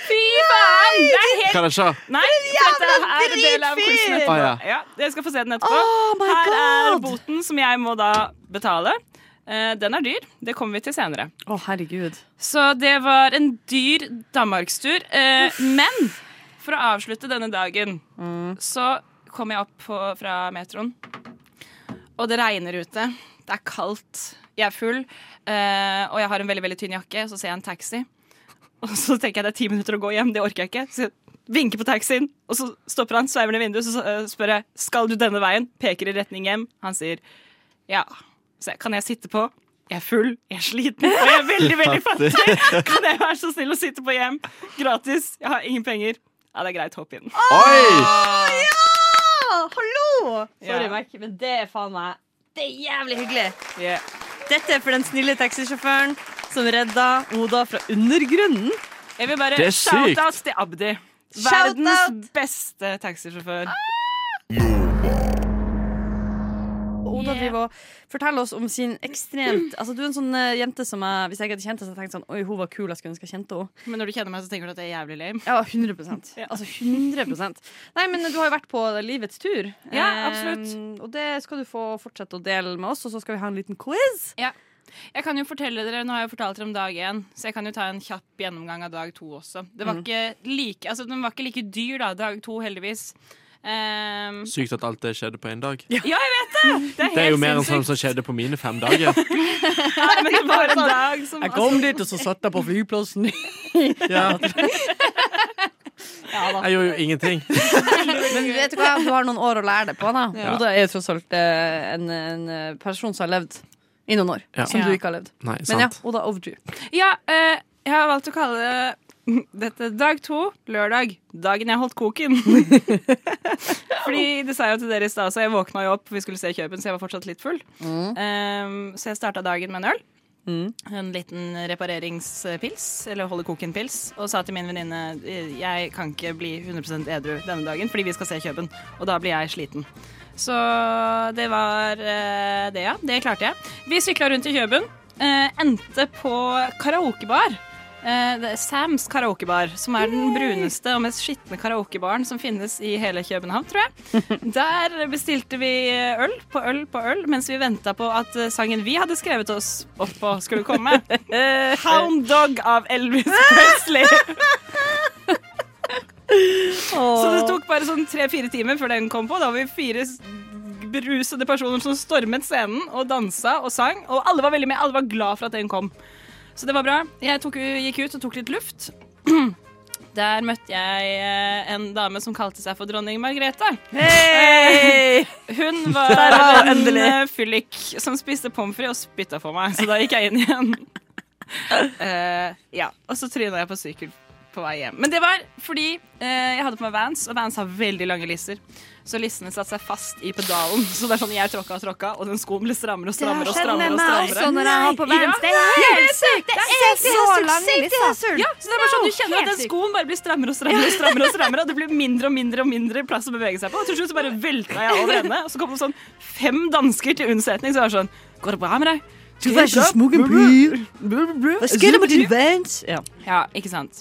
Speaker 7: Fy faen! Det er helt
Speaker 4: Kan jeg se?
Speaker 7: Nei, for dette her er del av
Speaker 6: dritfyr!
Speaker 7: quizen etterpå.
Speaker 4: Å, ja.
Speaker 7: ja, dere skal få se den etterpå.
Speaker 6: Oh
Speaker 7: her er boten som jeg må da betale. Eh, den er dyr. Det kommer vi til senere.
Speaker 6: Å, herregud.
Speaker 7: Så det var en dyr danmarkstur. Eh, men for å avslutte denne dagen, så kom jeg opp på, fra metroen, og det regner ute. Det er kaldt. Jeg er full, eh, og jeg har en veldig veldig tynn jakke. Så ser jeg en taxi, og så tenker jeg det er ti minutter å gå hjem. Det orker jeg ikke. Så jeg vinker på taxien, og så stopper han, sveiver ned vinduet, så eh, spør jeg skal du denne veien. Peker i retning hjem. Han sier ja. Så jeg, kan jeg sitte på? Jeg er full, jeg er sliten, og jeg er veldig veldig fattig. Kan jeg være så snill å sitte på hjem? Gratis. Jeg har ingen penger. Ja, det er greit. Hopp inn.
Speaker 6: Oi! Ja! Hallo! Sorry,
Speaker 7: Ja.
Speaker 6: Mac, men det er faen meg Det er jævlig hyggelig.
Speaker 7: Yeah.
Speaker 6: Dette er for den snille taxisjåføren som redda Oda fra undergrunnen.
Speaker 7: Jeg vil bare
Speaker 6: Det er sykt.
Speaker 7: shout-out til Abdi.
Speaker 6: Shout-out!
Speaker 7: Verdens beste taxisjåfør.
Speaker 6: Oda driver og forteller oss om sin ekstremt Altså, Du er en sånn eh, jente som jeg, hvis jeg ikke hadde kjent henne, så hadde jeg tenkt sånn Oi, hun var kul, jeg skulle ønske jeg kjente henne.
Speaker 7: Men når du kjenner meg, så tenker du at jeg er jævlig lame.
Speaker 6: Ja, 100 Altså 100 Nei, men du har jo vært på livets tur.
Speaker 7: Ja,
Speaker 6: Eh,
Speaker 7: absolutt.
Speaker 6: og det skal du få fortsette å dele med oss, og så skal vi ha en liten quiz.
Speaker 7: Ja. Jeg kan jo fortelle dere, Nå har jeg fortalt dere om dag én, så jeg kan jo ta en kjapp gjennomgang av dag to også. Det var
Speaker 4: Mm.
Speaker 7: ikke like, altså, den var ikke like dyr, da, dag to, heldigvis. Ehm,
Speaker 4: Sykt at alt det skjedde på én dag.
Speaker 7: ja, jeg vet det! Det er, helt
Speaker 4: Det er jo mer enn sånn
Speaker 7: sinnssykt.
Speaker 4: som skjedde på mine fem dager.
Speaker 7: Nei, men det var en dag som
Speaker 18: Jeg kom dit, og så satt jeg på flyplassen.
Speaker 4: Ja,
Speaker 6: Ja, da.
Speaker 4: jeg gjorde jo ingenting.
Speaker 6: Men vet du hva, du har noen år å lære det på. da
Speaker 4: Ja.
Speaker 6: Oda er jo tross alt eh, en, en eh, person som har levd i noen år.
Speaker 4: Ja.
Speaker 6: Som du
Speaker 4: Ja.
Speaker 6: ikke har levd.
Speaker 4: Nei,
Speaker 6: Men ja,
Speaker 4: sant.
Speaker 6: Oda overdue.
Speaker 7: Ja, eh, jeg har valgt å kalle dette dag to, lørdag. Dagen jeg holdt koken. Fordi det sa jeg jo til dere i stad, så jeg våkna jo opp, vi skulle se Kjøpen, så jeg var fortsatt litt full. Eh, så jeg starta dagen med en øl. En liten repareringspils, eller holde koken-pils, og sa til min venninne eh, jeg kan ikke bli 100 edru denne dagen fordi vi skal se Kjøpen, og da blir jeg sliten. Så det var eh, det, ja. Det klarte jeg. Vi sykla rundt i Kjøben. eh, endte på karaokebar. Eh, det er Sams karaokebar, som er den bruneste og mest skitne karaokebaren som finnes i hele København, tror jeg. Der bestilte vi øl på øl på øl mens vi venta på at eh, sangen vi hadde skrevet oss opp på, skulle komme. Eh, Hound Dog av Elvis Presley. Så det tok bare sånn tre-fire timer før den kom på. Da var vi fire s- berusede personer som stormet scenen og dansa og sang. Og alle var veldig med. Alle var glad for at den kom. Så det var bra. Jeg tok, gikk ut og tok litt luft. Der møtte jeg eh, en dame som kalte seg for dronning Margrethe.
Speaker 6: Hei!
Speaker 7: Eh, Hun
Speaker 6: Der var
Speaker 7: var
Speaker 6: hun
Speaker 7: en
Speaker 6: endelig.
Speaker 7: eh, fyllik som spiste pommes frites og spytta på meg, så da gikk jeg inn igjen. Eh, ja, Og så tryna jeg på sykkel på vei hjem. Men det var fordi eh, jeg hadde på meg Vans, og Vans har veldig lange lisser. Så lissene satte seg fast i pedalen. Så det er sånn jeg tråkka og tråkka, og den skoen ble strammere og strammere. og strammere og strammere
Speaker 8: Det er helt sykt! Det er så lang liste.
Speaker 7: ja, så det er bare sånn, Du kjenner at den skoen bare blir strammere og strammere, og strammere, og strammere, og det blir mindre og mindre og mindre plass å bevege seg på. Og til slutt så bare velta jeg over ende, og så kom det sånn fem dansker til unnsetning. Så jeg var sånn Går det bra med deg?
Speaker 6: Du er så smug en bly. Hva skal du med din vans? Ja.
Speaker 7: Ja, ikke sant.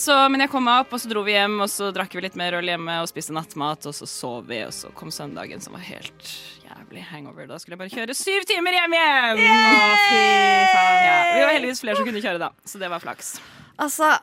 Speaker 7: Så, men jeg kom meg opp, og så dro vi hjem, og så drakk vi litt mer øl hjemme og spiste nattmat, og så sov vi, og så kom søndagen, som var helt jævlig hangover. Da skulle jeg bare kjøre syv timer hjem igjen! Å, fy faen. Ja, vi var heldigvis flere som kunne kjøre, da, så det var flaks.
Speaker 6: Altså,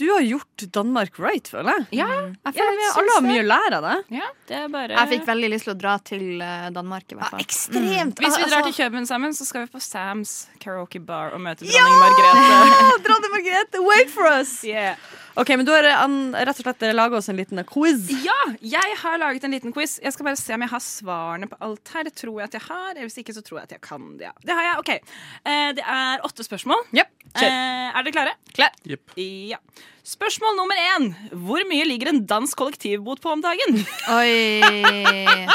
Speaker 6: du har gjort Danmark right, føler jeg.
Speaker 7: Ja,
Speaker 6: jeg føler
Speaker 8: jeg
Speaker 6: vi
Speaker 8: syns
Speaker 6: alle har mye
Speaker 8: det.
Speaker 6: å lære av det.
Speaker 7: Mm. Ja, det er bare
Speaker 8: Jeg fikk veldig lyst til å dra til eh, Danmark, i hvert fall.
Speaker 7: Mm. Hvis
Speaker 6: Altså,
Speaker 7: vi drar til København sammen, så skal vi på Sams karaoke bar og møte dronning
Speaker 6: Ja!
Speaker 7: Margrethe.
Speaker 6: Dronning Margrethe, wait for us!
Speaker 7: Yeah.
Speaker 6: Ok, men Du har eh, an- rett og slett laga oss en liten quiz.
Speaker 7: Ja, jeg har laget en liten quiz. Jeg skal bare se om jeg har svarene på alt her. Det tror jeg at jeg har. Hvis ikke, så tror jeg at jeg kan det. Ja. Det har jeg, ok. Eh, Det er åtte spørsmål.
Speaker 6: kjør.
Speaker 7: Eh, Er dere klare?
Speaker 6: Klar.
Speaker 7: Ja. Spørsmål nummer én. Hvor mye ligger en dansk kollektivbot på om dagen?
Speaker 8: Mm. Oi.
Speaker 6: Eh.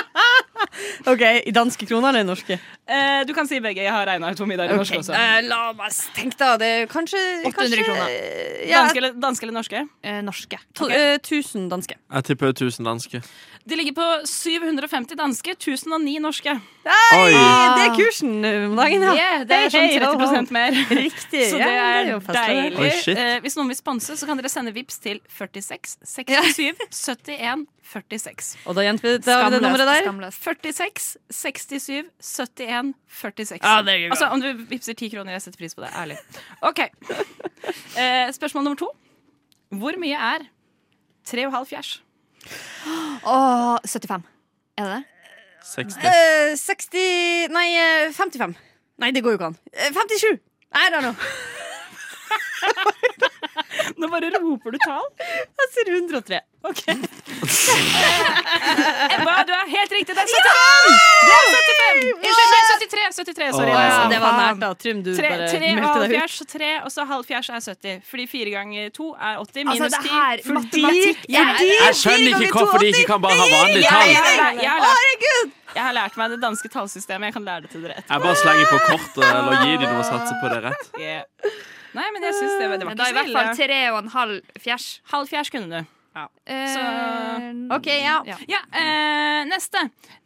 Speaker 6: Ok, I danske kroner eller norske?
Speaker 7: Eh, Du kan si begge. Jeg har regna ut hvor mye det er i norsk også.
Speaker 6: eh, la meg s- tenke, da. Det er kanskje
Speaker 8: 800 kroner.
Speaker 6: Ja,
Speaker 7: Danske eller, danske eller norske?
Speaker 8: norske.
Speaker 6: to- eh, 1000 danske.
Speaker 4: Jeg tipper 1000 danske.
Speaker 7: De ligger på 750 danske, 1009 norske.
Speaker 4: Oi.
Speaker 6: Eh, Det er kursen om dagen, ja.
Speaker 7: Yeah, det er sånn
Speaker 6: Hei, hei, ho, ho.
Speaker 7: 30 mer.
Speaker 6: Riktig.
Speaker 7: Så
Speaker 6: ja,
Speaker 7: det er
Speaker 6: jo fast, det.
Speaker 7: deilig.
Speaker 4: Oi, shit.
Speaker 7: Eh, hvis noen vil sponse, så kan dere sende vips til 46 67 71 46.
Speaker 6: Og da gjenter vi da har vi det nummeret der.
Speaker 8: Skamløst.
Speaker 7: 46 67 71 46.
Speaker 6: Ja, det er jo bra.
Speaker 7: altså, om du vipser 10 kroner, jeg setter pris på det. Ærlig. OK. Eh, spørsmål nummer to. Hvor mye er 3,5 fjæsj?
Speaker 8: Åh, 75. Er det det?
Speaker 4: 60.
Speaker 6: Eh, 60 Nei, eh, 55. Nei, det går jo ikke an. Eh, 57! I don't know.
Speaker 7: Nå bare roper du tall.
Speaker 6: Jeg sier 103.
Speaker 7: OK. Eh, Ebba, Eh, du er helt riktig. Det er 75! Det er 75! Unnskyld, det er 73. 73, sorry.
Speaker 6: Åh,
Speaker 7: Ja,
Speaker 6: det var nært, da. Trym, du
Speaker 7: Tre,
Speaker 6: bare
Speaker 7: tre og
Speaker 6: meldte deg ut.
Speaker 7: halvfjerds og tre, og så halvfjerds er 70. Fordi fire ganger to er 80. Minus
Speaker 8: Altså, det
Speaker 7: ti.
Speaker 8: her,
Speaker 7: Fordi-
Speaker 8: matematikk
Speaker 7: Jeg-
Speaker 8: Fordi-
Speaker 4: Jeg skjønner ikke hvorfor de ikke kan bare ha vanlige
Speaker 7: jeg,
Speaker 4: tall.
Speaker 7: har lært- jeg, har lært,
Speaker 6: Herregud!
Speaker 7: jeg har lært meg det danske tallsystemet. Jeg kan lære det til dere etterpå.
Speaker 4: Jeg bare slenger på kortet eller gir de noe og satser på det rett.
Speaker 7: Yeah. Nei, men jeg syns det, var- det var
Speaker 8: Men da
Speaker 7: ikke
Speaker 8: er i hvert fall
Speaker 7: så ille.
Speaker 8: tre og en halv fjers.
Speaker 7: Halvfjerds kunne du. Så-
Speaker 8: OK, ja.
Speaker 7: Ja, eh, neste.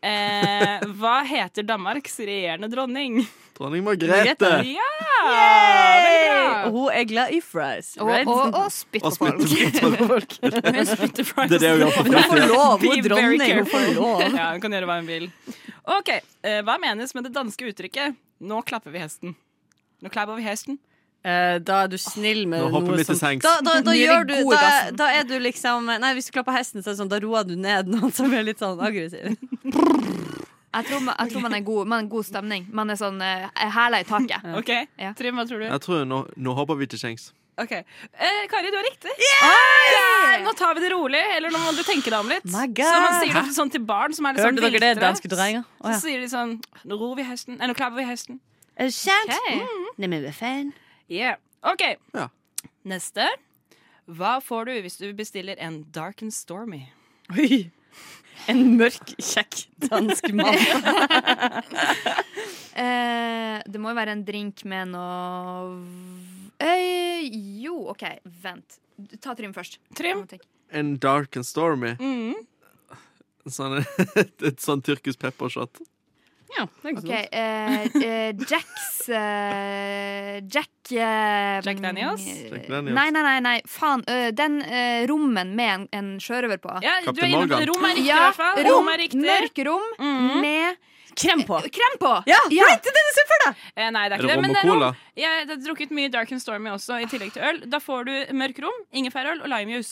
Speaker 7: Eh, hva heter Danmarks regjerende dronning?
Speaker 4: Dronning Margrethe.
Speaker 7: Ja! veldig bra.
Speaker 6: Og hun er glad i fries.
Speaker 8: Og,
Speaker 6: Right?
Speaker 8: og, og spytt på
Speaker 4: Og
Speaker 8: folk.
Speaker 4: spytte på folk.
Speaker 7: Hun spytter fries.
Speaker 4: Det er det hun gjør på
Speaker 6: Hun får
Speaker 4: fritida.
Speaker 6: lov. Hun
Speaker 7: Be
Speaker 6: er
Speaker 7: very
Speaker 6: dronning. Hun får
Speaker 7: careful.
Speaker 6: lov.
Speaker 7: Ja, hun kan gjøre hva hun vil. Ok, eh, Hva menes med det danske uttrykket 'nå klapper vi hesten'? Nå klapper vi hesten.
Speaker 6: Eh, da er du snill med
Speaker 4: Nå hopper
Speaker 6: noe
Speaker 4: vi til
Speaker 6: som-
Speaker 4: sengs.
Speaker 6: Da, da, da,
Speaker 8: Nå er vi
Speaker 6: gjør du,
Speaker 8: gode i
Speaker 6: da,
Speaker 8: gassen.
Speaker 6: da er du liksom Nei, hvis du klapper hesten, så er det sånn, da roer du ned noen som er litt sånn aggressiv.
Speaker 8: Jeg tror, man, jeg tror man, er god, man er god stemning. Man er sånn uh, hæla i taket.
Speaker 7: Ok,
Speaker 8: Ja.
Speaker 7: Trym, hva tror du?
Speaker 4: Jeg tror nå, nå hopper vi til skjenks.
Speaker 7: Ok, eh, Kari, du har riktig. Yes! Nå tar vi det rolig, eller nå må du tenke deg om litt.
Speaker 6: My God.
Speaker 7: Så man sier det ofte sånn til barn som er litt sånn
Speaker 6: Hørte dere det,
Speaker 7: viltre.
Speaker 6: danske drenger? Å, ja.
Speaker 7: Så sier de sånn 'nå ror vi hesten', nei, 'nå klapper vi hesten'.
Speaker 6: Er det kjent?
Speaker 8: Ok.
Speaker 6: Neimen, hva faen?
Speaker 7: Yeah. Ok,
Speaker 4: Ja.
Speaker 7: neste. Hva får du hvis du bestiller en dark and stormy?
Speaker 6: Oi. En mørk, kjekk dansk mann.
Speaker 8: Eh, det må jo være en drink med noe eh, Jo, OK, vent. Du- Ta Trym først. Jeg
Speaker 7: Trym?
Speaker 8: må tenke.
Speaker 4: En dark and stormy.
Speaker 7: Mm.
Speaker 4: Sånn, et sånn tyrkisk peppershot.
Speaker 6: Ja, det er ikke så
Speaker 8: OK.
Speaker 6: dumt.
Speaker 8: Eh, eh, Jacks eh, Jack eh,
Speaker 7: Jack Daniels?
Speaker 4: Jack Daniels.
Speaker 8: Nei, nei, nei. nei. Faen. eh, den eh, rommen med en, en sjørøver på.
Speaker 7: Ja, du er
Speaker 4: Kaptein
Speaker 7: inne på
Speaker 4: Morgan.
Speaker 7: Rom er riktig, i
Speaker 8: Ja,
Speaker 7: hvert fall.
Speaker 8: rom,
Speaker 7: Rom er riktig.
Speaker 8: mørk rom
Speaker 7: Mhm.
Speaker 8: med
Speaker 6: Krem på.
Speaker 8: krem på!
Speaker 6: Ja, right, det er det du ser for deg!
Speaker 7: Eh, nei, det er
Speaker 4: Er
Speaker 7: ikke
Speaker 4: det
Speaker 7: det.
Speaker 4: rom
Speaker 7: Men
Speaker 4: og
Speaker 7: det er rom.
Speaker 4: cola?
Speaker 7: Jeg har drukket mye Dark and Stormy også, i tillegg til øl. Da får du mørk rom, ingefærøl og limejus.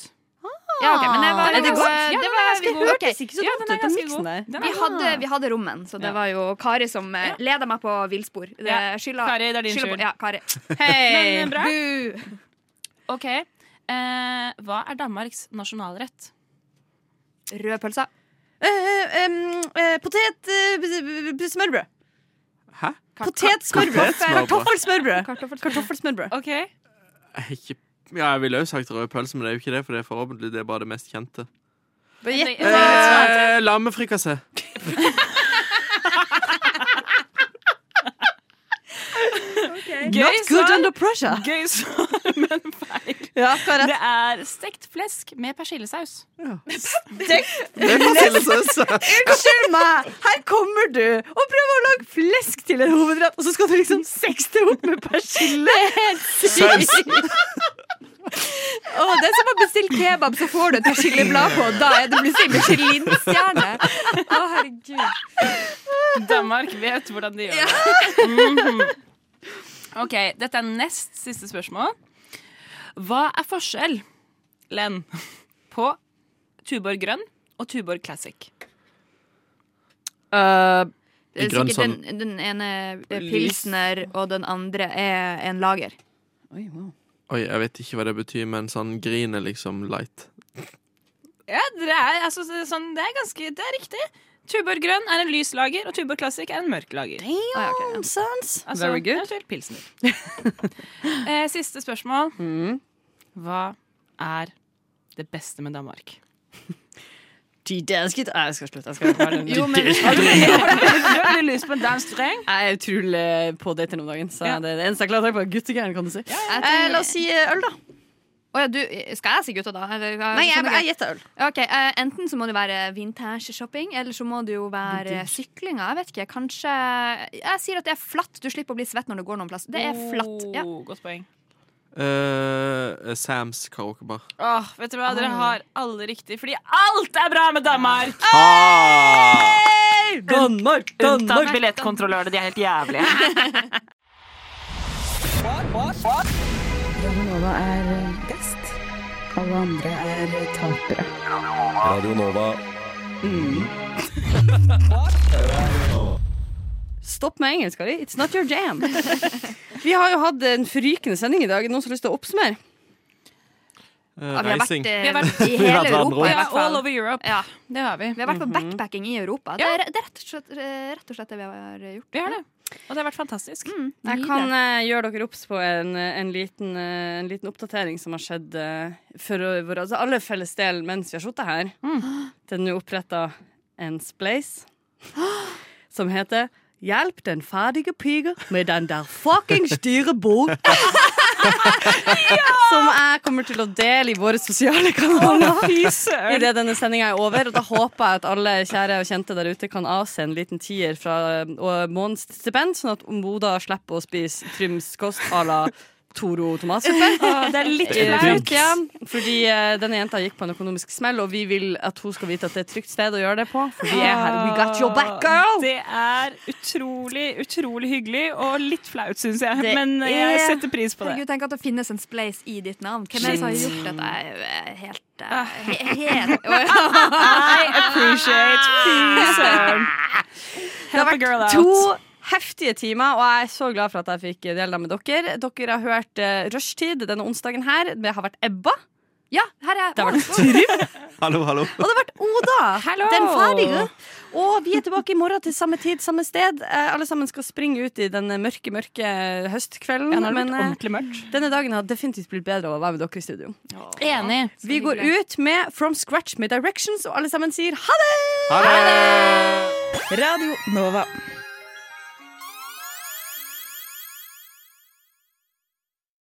Speaker 8: Ja, ok,
Speaker 19: men det var-
Speaker 8: det
Speaker 19: det
Speaker 8: var,
Speaker 19: var-
Speaker 8: det
Speaker 19: det
Speaker 8: var
Speaker 19: var-
Speaker 8: ganske
Speaker 19: det
Speaker 8: god.
Speaker 19: hørtes ikke så
Speaker 8: Ja,
Speaker 19: dumt ut,
Speaker 8: den er
Speaker 19: den
Speaker 8: ganske
Speaker 19: miksen
Speaker 8: god.
Speaker 19: der. Den
Speaker 8: Vi
Speaker 19: var-
Speaker 8: hadde, vi hadde rommen, så det
Speaker 19: Ja.
Speaker 8: var jo Kari som eh, leda meg på villspor. Det
Speaker 7: Ja.
Speaker 8: skylda-
Speaker 7: Kari, det er din
Speaker 8: skylda på-
Speaker 7: skyld.
Speaker 8: Ja, Kari.
Speaker 7: Hei,
Speaker 8: Men, eh, bra.
Speaker 7: OK. Eh, hva er Danmarks nasjonalrett?
Speaker 8: Rød pølse.
Speaker 6: Eh, em, eh, potet eh, b- b- b- smørbrød.
Speaker 4: Hæ?
Speaker 6: Potetsmørbrød.
Speaker 4: Kartoffelsmørbrød.
Speaker 6: Kartoffelsmørbrød. Kartoffelsmørbrød.
Speaker 4: Ikke, ja, jeg ville også sagt rød pølse, men det er jo ikke det, for det er forhåpentlig det er bare det mest kjente.
Speaker 6: Bare gjett på hva-
Speaker 4: Eh, Lammefrikassé.
Speaker 6: Not good
Speaker 7: svar.
Speaker 6: under pressure.
Speaker 7: Gøy svar, men feil.
Speaker 6: Ja, hva er rett?
Speaker 7: det er stekt flesk med persillesaus.
Speaker 6: Stekt
Speaker 7: Med persillesaus.
Speaker 6: Unnskyld meg! Her kommer du og prøver å lage flesk til en hovedrett, og så skal du liksom seks det opp med persille!
Speaker 8: Saus. Å, det er som å bestille kebab, så får du et persilleblad på. Da er det plutselig Michelin-stjerne. Å, herregud.
Speaker 7: Danmark vet hvordan de gjør det. Mhm. OK, dette er nest siste spørsmål. Hva er forskjell, Len, på Tuborg grønn og Tuborg classic?
Speaker 6: Eh,
Speaker 8: Det er
Speaker 4: Grønn
Speaker 8: sikkert den,
Speaker 4: sånn.
Speaker 8: den ene er pilsner, og den andre er en lager.
Speaker 4: Oi, jeg vet ikke hva det betyr, men sånn grin er liksom light.
Speaker 7: Ja, dere er, altså, så- sånn, det er ganske Det er riktig. Tuborg grønn er en lys lager, og Tuborg classic er en mørk lager.
Speaker 6: Damn, sons.
Speaker 7: Altså,
Speaker 6: Very good.
Speaker 7: Eventuelt pilsner. eh, siste spørsmål.
Speaker 6: Mm.
Speaker 7: Hva er det beste med Danmark?
Speaker 6: De danske Nei, jeg skal slutte. Jeg skal være den-
Speaker 7: Jo, men- De danske-
Speaker 6: Har du- har du-
Speaker 7: Har du lyst på en dansk dreng?
Speaker 6: Jeg er utrolig på date om dagen, så det er det eneste jeg klarer å tenke på. Guttegæren, kan du si. Eh,
Speaker 8: Jeg tenker-
Speaker 6: la oss si eh, øl, da. Sånn
Speaker 8: Å ja, du, skal jeg si gutta, da? Eller,
Speaker 6: Nei, jeg- jeg gjetter øl.
Speaker 8: Ok, eh, Enten så må det være vintage-shopping, eller så må det jo være syklinga. Jeg vet ikke, kanskje Jeg sier at det er flatt. Du slipper å bli svett når du går noen plass. Det er flatt. Ja.
Speaker 7: Oh, godt poeng.
Speaker 4: Eh, Sams karaokebar.
Speaker 7: Åh, vet du hva, Dere har alle riktig, fordi alt er bra med Danmark!
Speaker 6: Danmark,
Speaker 7: Unntatt billettkontrollørene. De er helt jævlige.
Speaker 20: Radionova er best. Alle andre er tapere.
Speaker 9: Radio Nova.
Speaker 6: Stopp med engelsk, Kari. It's not your jam. Vi har jo hatt en forrykende sending i dag. Noen som har lyst til å oppsummere?
Speaker 8: Ja, vi har vært, eh,
Speaker 7: Vi har vært
Speaker 8: i hele Europa. i
Speaker 7: Ja,
Speaker 8: hvert fall.
Speaker 7: all over Mhm. Europe.
Speaker 8: Ja.
Speaker 7: Det har vi.
Speaker 8: Vi har vært på backpacking i Europa. Det er, det er rett, og slett, eh, rett og slett det vi har gjort.
Speaker 7: Vi har det. Mm. Og det har vært fantastisk.
Speaker 6: Jeg kan eh, gjøre dere obs på en, en, liten, eh, en liten oppdatering som har skjedd eh, for å- vår altså alle felles del mens vi har sittet her.
Speaker 7: Mm.
Speaker 6: Det er nå oppretta en spleis som heter 'Hjelp den ferdige pige med den der fuckings dyre båt'. Som jeg kommer til å dele i våre sosiale kanaler
Speaker 7: Å, fy søren.
Speaker 6: idet denne sendinga er over. Og da håper jeg at alle kjære og kjente der ute kan avse en liten tier fra og månedens stipend, sånn at Moda slipper å spise Trymskost à la Toro tomatsuppe.
Speaker 7: Å, det er litt
Speaker 6: I
Speaker 7: flaut.
Speaker 6: framtida. Fordi eh, denne jenta gikk på en økonomisk smell, og vi vil at hun skal vite at det er et trygt sted å gjøre det på. For vi er her. We got your back, girl!
Speaker 7: Det er utrolig, utrolig hyggelig, og litt flaut, syns jeg.
Speaker 8: Det
Speaker 7: Men
Speaker 8: er-
Speaker 7: jeg setter pris på det.
Speaker 8: Herregud, tenk at det finnes en spleis i ditt navn. Hvem er det som har
Speaker 7: Shit. Ah.
Speaker 8: gjort dette? Jeg er jo, eh, Helt, eh, he- helt
Speaker 7: I appreciate. Fy søren.
Speaker 6: Det har
Speaker 7: Help a girl
Speaker 6: vært
Speaker 7: out.
Speaker 6: to heftige timer, og jeg er så glad for at jeg fikk dele det med dere. Dere har hørt uh, Rushtid denne onsdagen her. Det har vært Ebba.
Speaker 8: Ja, her er jeg.
Speaker 6: Det har vært Trym.
Speaker 4: Hallo, hallo.
Speaker 6: Og det har vært Oda. Den ferdige. Og vi er tilbake i morgen til samme tid, samme sted. Eh, alle sammen skal springe ut i den mørke, mørke høstkvelden.
Speaker 7: Ja, nå har det blitt
Speaker 6: eh,
Speaker 7: ordentlig mørkt.
Speaker 6: denne dagen har definitivt blitt bedre av å være med dere i studio.
Speaker 7: Enig.
Speaker 6: Vi går ut med From Scratch med Directions, og alle sammen sier ha det!
Speaker 20: Radio Nova.